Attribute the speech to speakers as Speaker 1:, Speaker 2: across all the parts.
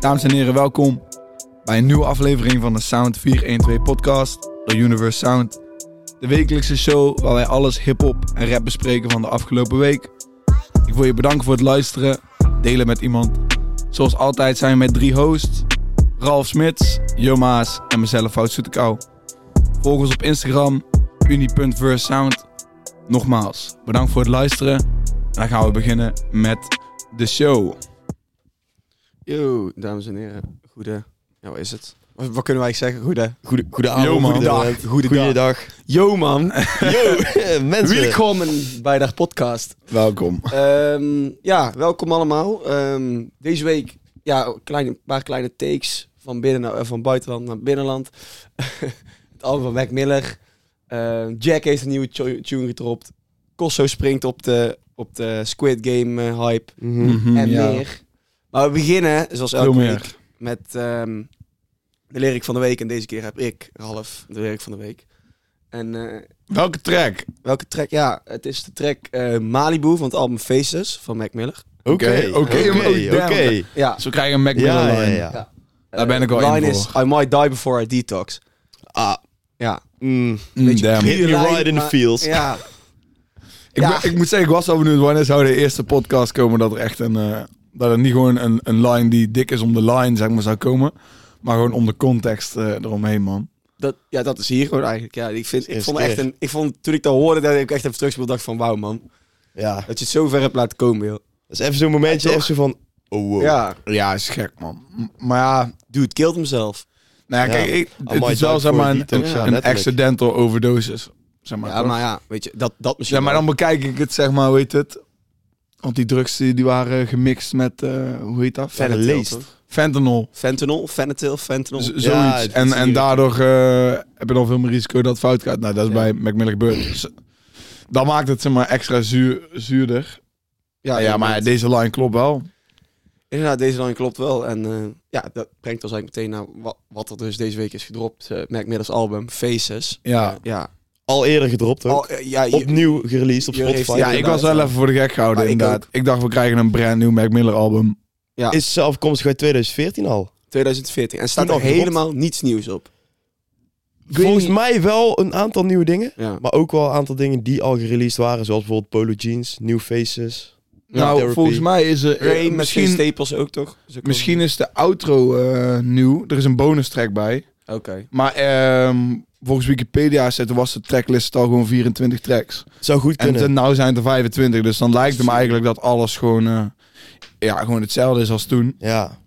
Speaker 1: Dames en heren, welkom bij een nieuwe aflevering van de Sound 412 podcast door Universe Sound. De wekelijkse show waar wij alles hip-hop en rap bespreken van de afgelopen week. Ik wil je bedanken voor het luisteren, delen met iemand. Zoals altijd zijn we met drie hosts: Ralf Smits, Jomaas en mezelf, Fout Soetekau. Volg ons op Instagram, uni.versound. Nogmaals, bedankt voor het luisteren. En dan gaan we beginnen met de show.
Speaker 2: Yo, dames en heren. Goede. Ja, wat is het? Wat, wat kunnen wij eigenlijk zeggen? Goede.
Speaker 3: Goede, goede avond,
Speaker 1: Yo, man.
Speaker 3: goede dag. Goede dag.
Speaker 2: Yo, man.
Speaker 3: Yo, mensen.
Speaker 2: Welkom bij de podcast.
Speaker 3: Welkom.
Speaker 2: Ehm, ja, welkom allemaal. Ehm, deze week, ja, een klein, een paar kleine takes van, binnen naar, eh, van buitenland naar binnenland. het album van Mac Miller. Ehm, Jack heeft een nieuwe tu- tune getropt. Kosso springt op de, op de Squid Game eh, hype.
Speaker 3: Mm,
Speaker 1: Mhm,
Speaker 2: en
Speaker 1: ja.
Speaker 2: meer. Maar we beginnen, zoals
Speaker 1: Veel
Speaker 2: elke
Speaker 1: meer.
Speaker 2: week, met ehm, de lyric van de week. En deze keer heb ik, Ralf, de lyric van de week. En eh,
Speaker 1: Welke track?
Speaker 2: welke track? Ja, het is de track eh, Malibu van het album Faces van Mac Miller.
Speaker 3: Oké,
Speaker 1: Oké,
Speaker 3: oké,
Speaker 1: oké,
Speaker 3: oké.
Speaker 2: Ja.
Speaker 1: Dus we krijgen een Mac Miller
Speaker 3: Ja, ja,
Speaker 1: line.
Speaker 3: ja.
Speaker 1: Daar ben ik al
Speaker 2: wel
Speaker 1: in
Speaker 2: line is, I might die before I detox.
Speaker 3: Ah,
Speaker 2: Ja.
Speaker 3: mm,
Speaker 1: Mm,
Speaker 2: Beetje
Speaker 1: damn.
Speaker 2: creepy.
Speaker 3: hit me right in the
Speaker 2: maar-
Speaker 3: fields.
Speaker 2: Ja.
Speaker 1: Ik,
Speaker 2: Ja.
Speaker 1: ben- ik moet zeggen, ik was al benieuwd wanneer zou de eerste podcast komen dat er echt een... eh, dat er niet gewoon een, een line die dik is om de line, zeg maar, zou komen. Maar gewoon om de context eh, eromheen, man.
Speaker 2: Dat, ja, dat is hier gewoon eigenlijk. Ja, ik, vind, ik,
Speaker 3: Eerste
Speaker 2: vond echt
Speaker 3: keer.
Speaker 2: een, ik vond toen ik dat hoorde, dat ik echt even terugspeel, dacht van wauw man.
Speaker 3: Ja, dat
Speaker 2: Dat je het zo ver hebt laten komen, joh.
Speaker 3: is even zo'n momentje, even zo van, oh wow.
Speaker 2: Ja,
Speaker 1: Ja, is gek, man. M- maar ja,
Speaker 2: dude killed himself.
Speaker 1: nou ja,
Speaker 3: Ja.
Speaker 1: kijk, ik, het
Speaker 3: Amai,
Speaker 1: is wel,
Speaker 3: dank
Speaker 1: zeg maar,
Speaker 3: voor
Speaker 1: een,
Speaker 3: die tips, ja,
Speaker 1: een
Speaker 3: letterlijk.
Speaker 1: accidental overdosis. Zeg maar,
Speaker 2: Ja,
Speaker 1: toch?
Speaker 2: maar ja, weet je, dat, dat misschien
Speaker 1: Ja, maar
Speaker 2: wel.
Speaker 1: dan bekijk ik het, zeg maar, hoe heet het? Want die drugs die die waren gemixt met, eh, hoe heet dat?
Speaker 3: Fentanyl,
Speaker 2: Fentanyl,
Speaker 3: toch?
Speaker 2: toch?
Speaker 1: Fentanyl.
Speaker 2: Fentanyl, fentanyl, fentanyl.
Speaker 1: Z- zoiets.
Speaker 3: Ja, het is
Speaker 1: en, en
Speaker 3: natuurlijk-
Speaker 1: daardoor eh, heb je dan veel meer risico dat het fout gaat. Nou, dat is
Speaker 2: Ja.
Speaker 1: bij Macmillan gebeurd. Dus, dat maakt het zeg maar extra zuur, zuurder. Ja, ja, maar
Speaker 2: inderdaad.
Speaker 1: deze line klopt wel.
Speaker 2: Inderdaad, deze lijn klopt wel. En eh, ja, dat brengt ons eigenlijk meteen naar wat, wat er dus deze week is gedropt. eh Mac Miller's album, Faces.
Speaker 1: Ja.
Speaker 2: Eh, ja.
Speaker 3: Al eerder gedropt ook.
Speaker 2: Al- eh, ja, je-
Speaker 3: Opnieuw gereleased op
Speaker 2: Je heeft-
Speaker 3: Spotify.
Speaker 1: Ja, ik was wel even voor de gek gehouden,
Speaker 2: Maar ik
Speaker 1: inderdaad. Ik, dacht, we krijgen een brand nieuw Mac Miller album.
Speaker 3: Is ze afkomstig uit 2014 al?
Speaker 2: 2014. En staat
Speaker 3: Toen
Speaker 2: er
Speaker 3: al gedropt?
Speaker 2: helemaal niets nieuws op. weet
Speaker 3: Volgens
Speaker 2: niet-
Speaker 3: mij wel een aantal nieuwe dingen.
Speaker 2: Ja.
Speaker 3: Maar ook wel een aantal dingen die al gereleased waren. Zoals bijvoorbeeld Polo Jeans, New Faces.
Speaker 1: nou,
Speaker 3: Therapy.
Speaker 1: volgens mij is er... eh,
Speaker 2: Rain, misschien
Speaker 1: misschien,
Speaker 2: Staples ook toch? Is ook
Speaker 1: misschien is de outro eh, nieuw. Er is een bonus track bij.
Speaker 2: wel- Oké.
Speaker 1: Maar ehm, volgens Wikipedia zet- was de tracklist al gewoon 24 tracks.
Speaker 3: Zou goed
Speaker 1: En
Speaker 3: kunnen.
Speaker 1: ten, nou zijn het er 25, dus dan lijkt het me eigenlijk dat alles gewoon, eh, ja, gewoon hetzelfde is als toen.
Speaker 3: Ja.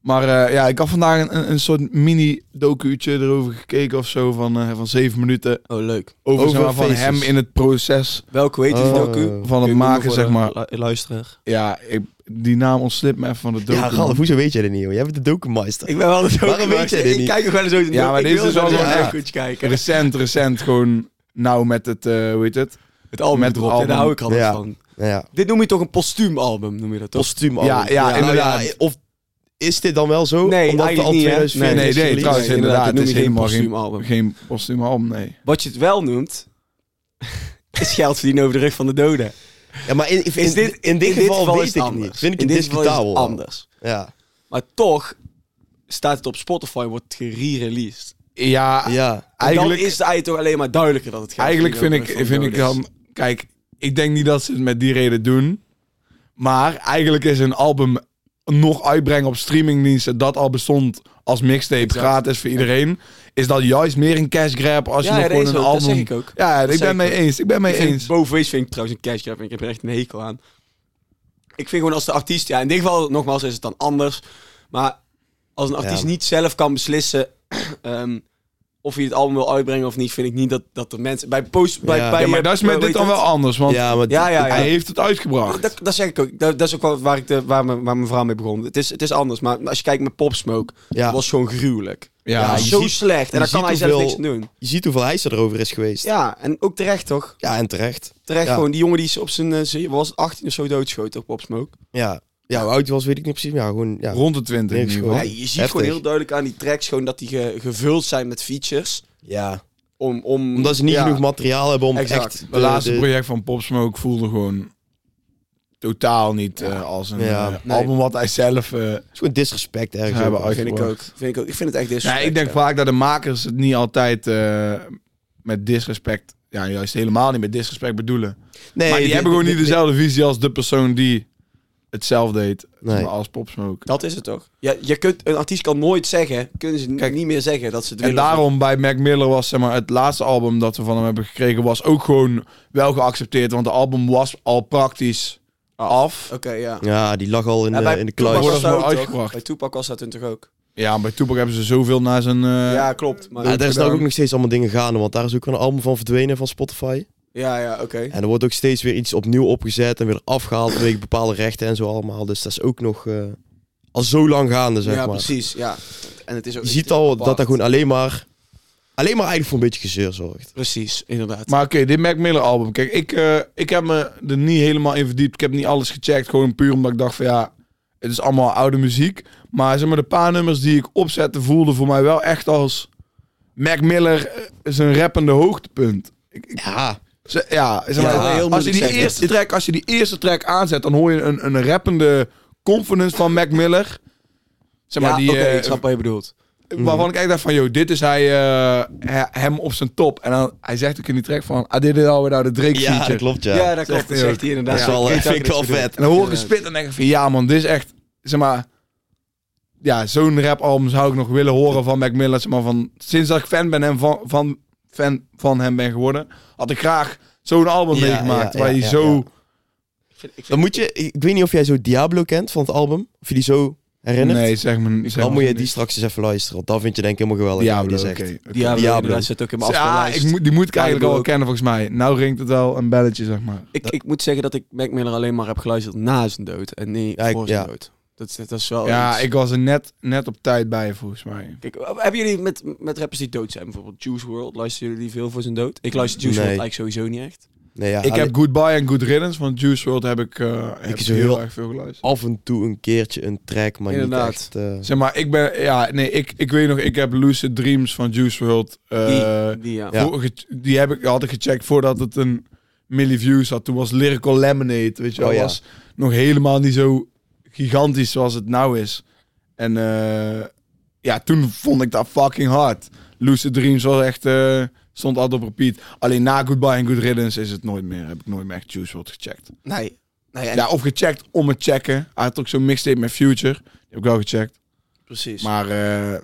Speaker 1: Maar eh, ja, ik had vandaag een- een, een soort mini-docuutje erover gekeken of zo van, eh, van zeven minuten.
Speaker 2: Oh, leuk.
Speaker 1: Over,
Speaker 3: Over
Speaker 1: zeg maar, van
Speaker 3: Faces.
Speaker 1: hem in het proces
Speaker 2: Welke weet je
Speaker 3: Oh.
Speaker 2: docu?
Speaker 1: van het maken, zeg maar.
Speaker 2: Luisteraar.
Speaker 1: Ja, ik, die naam ontslipt me even van de docu.
Speaker 3: Ja, Ralf, hoezo weet jij dit niet? Hoor? Jij bent de documentar.
Speaker 2: Ik ben wel de docu.
Speaker 3: Waarom weet jij dit
Speaker 2: Ik
Speaker 3: niet?
Speaker 2: kijk nog wel eens ooit een
Speaker 1: Ja,
Speaker 2: docu.
Speaker 1: maar
Speaker 2: Ik
Speaker 1: dit
Speaker 2: wil
Speaker 1: is
Speaker 2: zo
Speaker 1: wel
Speaker 2: eens
Speaker 1: gewoon
Speaker 2: een
Speaker 1: echt-
Speaker 2: docu'tje kijken.
Speaker 1: Recent, recent, gewoon nou met het, eh, hoe heet het?
Speaker 2: Het album
Speaker 1: Met
Speaker 2: met
Speaker 1: het
Speaker 2: erop. Ja,
Speaker 1: album.
Speaker 2: daar hou ik altijd
Speaker 3: Ja.
Speaker 2: van.
Speaker 3: Ja.
Speaker 2: Dit noem je toch een postuumalbum, noem je dat toch?
Speaker 3: Postuum
Speaker 1: Ja, ja,
Speaker 3: Nou
Speaker 1: inderdaad.
Speaker 3: ja, of is dit dan wel zo?
Speaker 2: Nee,
Speaker 3: Omdat
Speaker 2: eigenlijk
Speaker 3: al
Speaker 2: niet, hè?
Speaker 3: 2014
Speaker 1: Nee,
Speaker 2: Nee,
Speaker 1: nee,
Speaker 3: is
Speaker 1: nee,
Speaker 3: gereleased?
Speaker 1: trouwens inderdaad,
Speaker 2: inderdaad, dat
Speaker 1: het
Speaker 2: noem
Speaker 1: is
Speaker 2: je geen
Speaker 1: helemaal geen,
Speaker 2: postuum album.
Speaker 1: geen postuum album, nee.
Speaker 2: Wat je het wel noemt, is geld verdienen over de rug van de doden.
Speaker 3: Ja, maar in, in,
Speaker 2: Is dit,
Speaker 3: in dit geval, weet ik niet. Vind ik
Speaker 2: in
Speaker 3: het
Speaker 2: dit geval is het
Speaker 3: discutabel.
Speaker 2: anders.
Speaker 3: Ja.
Speaker 2: Maar toch staat het op Spotify, wordt gerereleased.
Speaker 1: Ja,
Speaker 3: ja.
Speaker 2: En
Speaker 1: eigenlijk...
Speaker 2: dan is het eigenlijk toch alleen maar duidelijker dat het geld
Speaker 1: Eigenlijk vind
Speaker 2: verdienen
Speaker 1: ik,
Speaker 2: over de
Speaker 1: vind
Speaker 2: rug
Speaker 1: ik
Speaker 2: van de doden
Speaker 1: dan. Kijk, ik denk niet dat ze het met die reden doen. Maar eigenlijk is een album nog uitbrengen op streamingdiensten. dat al bestond als mixtape
Speaker 2: Exact.
Speaker 1: gratis voor iedereen. Is dat juist meer een cash grab als
Speaker 2: is.
Speaker 1: je
Speaker 2: ja,
Speaker 1: nog
Speaker 2: dat,
Speaker 1: gewoon
Speaker 2: is
Speaker 1: een
Speaker 2: ook,
Speaker 1: album.
Speaker 2: dat zeg ik ook.
Speaker 1: Ja, ik
Speaker 2: zeg
Speaker 1: ben
Speaker 2: ik
Speaker 1: mee
Speaker 2: ook.
Speaker 1: eens. Ik ben mee
Speaker 2: Ik vind-
Speaker 1: eens.
Speaker 2: Bovenwees vind ik trouwens een cash grab en ik heb er echt een hekel aan. Ik vind gewoon als de artiest, ja in dit geval nogmaals is het dan anders. Maar als een artiest
Speaker 3: Ja.
Speaker 2: niet zelf kan beslissen ehm, of hij het album wil uitbrengen of niet, vind ik niet dat, dat de mensen bij post bij,
Speaker 3: Ja.
Speaker 2: bij
Speaker 1: Ja, maar
Speaker 2: eh,
Speaker 1: dat is
Speaker 2: hoe
Speaker 1: met dit
Speaker 2: heet
Speaker 1: dan wel
Speaker 2: het?
Speaker 1: anders. Want
Speaker 3: Ja, maar
Speaker 2: Ja, ja, ja.
Speaker 1: hij heeft het uitgebracht.
Speaker 2: Dat, dat zeg ik ook. Dat, dat is ook wel waar, ik de, waar, mijn, waar mijn verhaal mee begon. Het is, het is anders. Maar als je kijkt met Pop Smoke,
Speaker 3: Ja.
Speaker 2: was gewoon gruwelijk.
Speaker 1: ja,
Speaker 3: Ja,
Speaker 2: Ja,
Speaker 3: je
Speaker 2: zo
Speaker 3: ziet-
Speaker 2: slecht.
Speaker 3: je
Speaker 2: En daar kan
Speaker 3: ziet
Speaker 2: hij zelf
Speaker 3: hoeveel-
Speaker 2: niks aan doen.
Speaker 3: Je ziet hoeveel hijs erover is geweest. Ja,
Speaker 2: Ja, en ook terecht toch?
Speaker 3: en terecht.
Speaker 2: Terecht
Speaker 3: Ja.
Speaker 2: gewoon. Die jongen die is op zijn, eh, ze- was 18 of zo doodgeschoten op Pop Smoke.
Speaker 3: Ja. Ja, hoe oud hij was, weet ik niet precies. maar Ja, gewoon... Ja.
Speaker 1: Rond de 20 in
Speaker 3: Niks
Speaker 1: ieder geval.
Speaker 3: Oh,
Speaker 2: Ja,
Speaker 3: gewoon.
Speaker 2: je ziet
Speaker 3: heftig.
Speaker 2: gewoon heel duidelijk aan die tracks gewoon dat die ge- gevuld zijn met features.
Speaker 3: ja.
Speaker 2: Om, om,
Speaker 3: Omdat ze niet
Speaker 2: ja,
Speaker 3: genoeg materiaal hebben om
Speaker 2: Exact.
Speaker 3: echt...
Speaker 1: Het laatste project van Pop Smoke voelde gewoon totaal niet eh, als een
Speaker 3: Ja.
Speaker 1: eh,
Speaker 2: Nee.
Speaker 1: album wat hij zelf... eh,
Speaker 3: is gewoon disrespect ergens.
Speaker 1: Ze hebben
Speaker 3: ook.
Speaker 1: ooit-
Speaker 2: vind ik, ook,
Speaker 1: uitgebracht.
Speaker 2: vind ik ook. Ik vind het echt
Speaker 1: ja,
Speaker 2: disrespect.
Speaker 1: ik denk vaak dat de makers het niet altijd eh, met disrespect... Ja, juist helemaal niet met disrespect bedoelen.
Speaker 3: Nee,
Speaker 1: maar die
Speaker 3: dit-
Speaker 1: hebben gewoon
Speaker 3: dit-
Speaker 1: niet dezelfde visie als de persoon die het zelf deed.
Speaker 3: Nee.
Speaker 1: Maar als Popsmoke.
Speaker 2: Dat is het toch? Ja, je kunt, een artiest kan nooit zeggen, kunnen ze n-
Speaker 1: Kijk,
Speaker 2: niet meer zeggen dat ze het
Speaker 1: En
Speaker 2: willen.
Speaker 1: daarom bij Mac Miller was zeg maar, het laatste album dat we van hem hebben gekregen... was ook gewoon wel geaccepteerd. Want de album was al praktisch af.
Speaker 2: Oké, ja.
Speaker 3: Ja, die lag al in,
Speaker 2: Ja,
Speaker 3: de, in de kluis.
Speaker 2: Tupac
Speaker 1: Worden ze
Speaker 2: was dat
Speaker 1: maar
Speaker 2: ook, toch?
Speaker 1: uitgebracht.
Speaker 2: Bij Tupac was dat toen toch ook?
Speaker 1: Ja, bij Tupac hebben ze zoveel naar zijn... eh,
Speaker 2: ja, klopt. Maar,
Speaker 3: Ja, daar is nou
Speaker 1: gedaan.
Speaker 3: ook nog steeds allemaal dingen gaande, want daar is ook een album van verdwenen van Spotify.
Speaker 2: ja, ja, oké.
Speaker 3: En er wordt ook steeds weer iets opnieuw opgezet en weer afgehaald vanwege bepaalde rechten en zo allemaal. Dus dat is ook nog eh, al zo lang gaande, zeg
Speaker 2: ja,
Speaker 3: maar.
Speaker 2: precies. Ja. En het is ook
Speaker 3: Je
Speaker 2: het
Speaker 3: ziet
Speaker 2: is
Speaker 3: al
Speaker 2: apart.
Speaker 3: dat dat gewoon alleen maar, alleen maar eigenlijk voor een beetje gezeur zorgt.
Speaker 2: Precies, inderdaad.
Speaker 1: Maar oké, dit Mac Miller album. Kijk, ik, eh, ik heb me er niet helemaal in verdiept. Ik heb niet alles gecheckt. Gewoon puur omdat ik dacht van ja, het is allemaal oude muziek. Maar zeg maar, de paar nummers die ik opzette voelden voor mij wel echt als... Mac Miller eh, zijn rappende hoogtepunt. Ik, ik-
Speaker 3: Ja,
Speaker 1: ze- ja, zeg
Speaker 3: Ja,
Speaker 1: maar,
Speaker 3: heel
Speaker 1: als, je
Speaker 2: moeilijk
Speaker 1: die
Speaker 2: zeggen.
Speaker 1: eerste track, als je die eerste track aanzet, dan hoor je een, een rappende confidence van Mac Miller. Zeg maar,
Speaker 2: ja,
Speaker 1: die,
Speaker 2: oké,
Speaker 1: eh,
Speaker 2: ik snap wat je bedoelt.
Speaker 3: Mhm.
Speaker 1: Waarvan ik echt dacht van, joh, dit is hij, eh, he- hem op zijn top. En dan, hij zegt ook in die track van, "Ah, I did it all without a nou Drake
Speaker 3: ja
Speaker 1: feature.
Speaker 3: dat klopt, ja.
Speaker 2: Ja, dat
Speaker 1: Zegt
Speaker 2: klopt. Dat
Speaker 1: hij
Speaker 2: zegt hij inderdaad.
Speaker 3: Dat is wel,
Speaker 2: Ja,
Speaker 3: eh,
Speaker 2: weet
Speaker 3: vind ik
Speaker 2: wat
Speaker 3: wel
Speaker 2: je bedoelt.
Speaker 3: vet.
Speaker 1: En dan hoor ik gespit en denk ik van, ja man, dit is echt, zeg maar... Ja, zo'n rapalbum zou ik nog willen horen van Mac Miller. Zeg maar van, sinds dat ik fan, ben hem van, van, fan van hem ben geworden, had ik graag zo'n album
Speaker 3: Ja,
Speaker 1: meegemaakt.
Speaker 3: ja,
Speaker 1: waar
Speaker 3: ja,
Speaker 1: je
Speaker 3: ja,
Speaker 1: zo...
Speaker 3: ja.
Speaker 2: Ik vind- ik vind-
Speaker 3: Dan moet je, ik weet niet of jij zo Diablo kent van het album, of je die zo herinnert.
Speaker 1: Nee, zeg me zeg
Speaker 3: dan
Speaker 1: me
Speaker 3: moet je
Speaker 1: niet.
Speaker 3: die straks eens even luisteren, want dan vind je denk ik helemaal geweldig.
Speaker 1: Diablo,
Speaker 3: wat
Speaker 1: oké.
Speaker 3: hij zegt.
Speaker 1: oké.
Speaker 2: Diablo,
Speaker 3: Diablo.
Speaker 2: inderdaad zit ook in mijn
Speaker 1: Ja, ik
Speaker 2: afspeellijst.
Speaker 1: moet, die moet ik eigenlijk al wel
Speaker 2: ook.
Speaker 1: kennen volgens mij. Nou ringt het wel een belletje, zeg maar.
Speaker 2: Ik, ik moet zeggen dat ik Mac Miller alleen maar heb geluisterd na zijn dood en niet
Speaker 3: Ja, ik-
Speaker 2: voor zijn
Speaker 3: ja.
Speaker 2: dood. Dat, dat is wel
Speaker 1: Ja,
Speaker 2: Oh, iets.
Speaker 1: ik was er net, net op tijd bij, volgens mij.
Speaker 2: Kijk, hebben jullie met, met rappers die dood zijn, bijvoorbeeld Juice World, luisteren jullie veel voor zijn dood? Ik luister Juice
Speaker 3: Nee.
Speaker 2: World eigenlijk sowieso niet echt.
Speaker 3: Nee, ja,
Speaker 1: Ik heb Goodbye en Good Riddance van Juice WRLD heb ik, eh, heb
Speaker 3: is
Speaker 1: heel,
Speaker 3: heel-
Speaker 1: erg veel geluisterd.
Speaker 3: af en toe een keertje een track, maar
Speaker 2: Inderdaad.
Speaker 3: niet echt... eh,
Speaker 1: Zeg maar, ik ben, ja, nee, ik, ik weet nog, ik heb Lucid Dreams van Juice WRLD. eh,
Speaker 2: Die, ja.
Speaker 3: Ja.
Speaker 1: vorige- die heb ik, had ik gecheckt voordat het een milli views had. Toen was Lyrical Lemonade, weet je wel,
Speaker 3: Oh, ja.
Speaker 1: was nog helemaal niet zo gigantisch zoals het nou is. En eh, ja, toen vond ik dat fucking hard. Lucid Dreams was echt, eh, stond altijd op repeat. Alleen na Goodbye en Good Riddance is het nooit meer, heb ik nooit meer echt Juice WRLD gecheckt.
Speaker 2: Nee. nee en-
Speaker 1: Ja, of gecheckt om het checken. Hij had ook zo'n mixtape met Future. Die heb ik wel gecheckt.
Speaker 2: precies.
Speaker 1: Maar eh,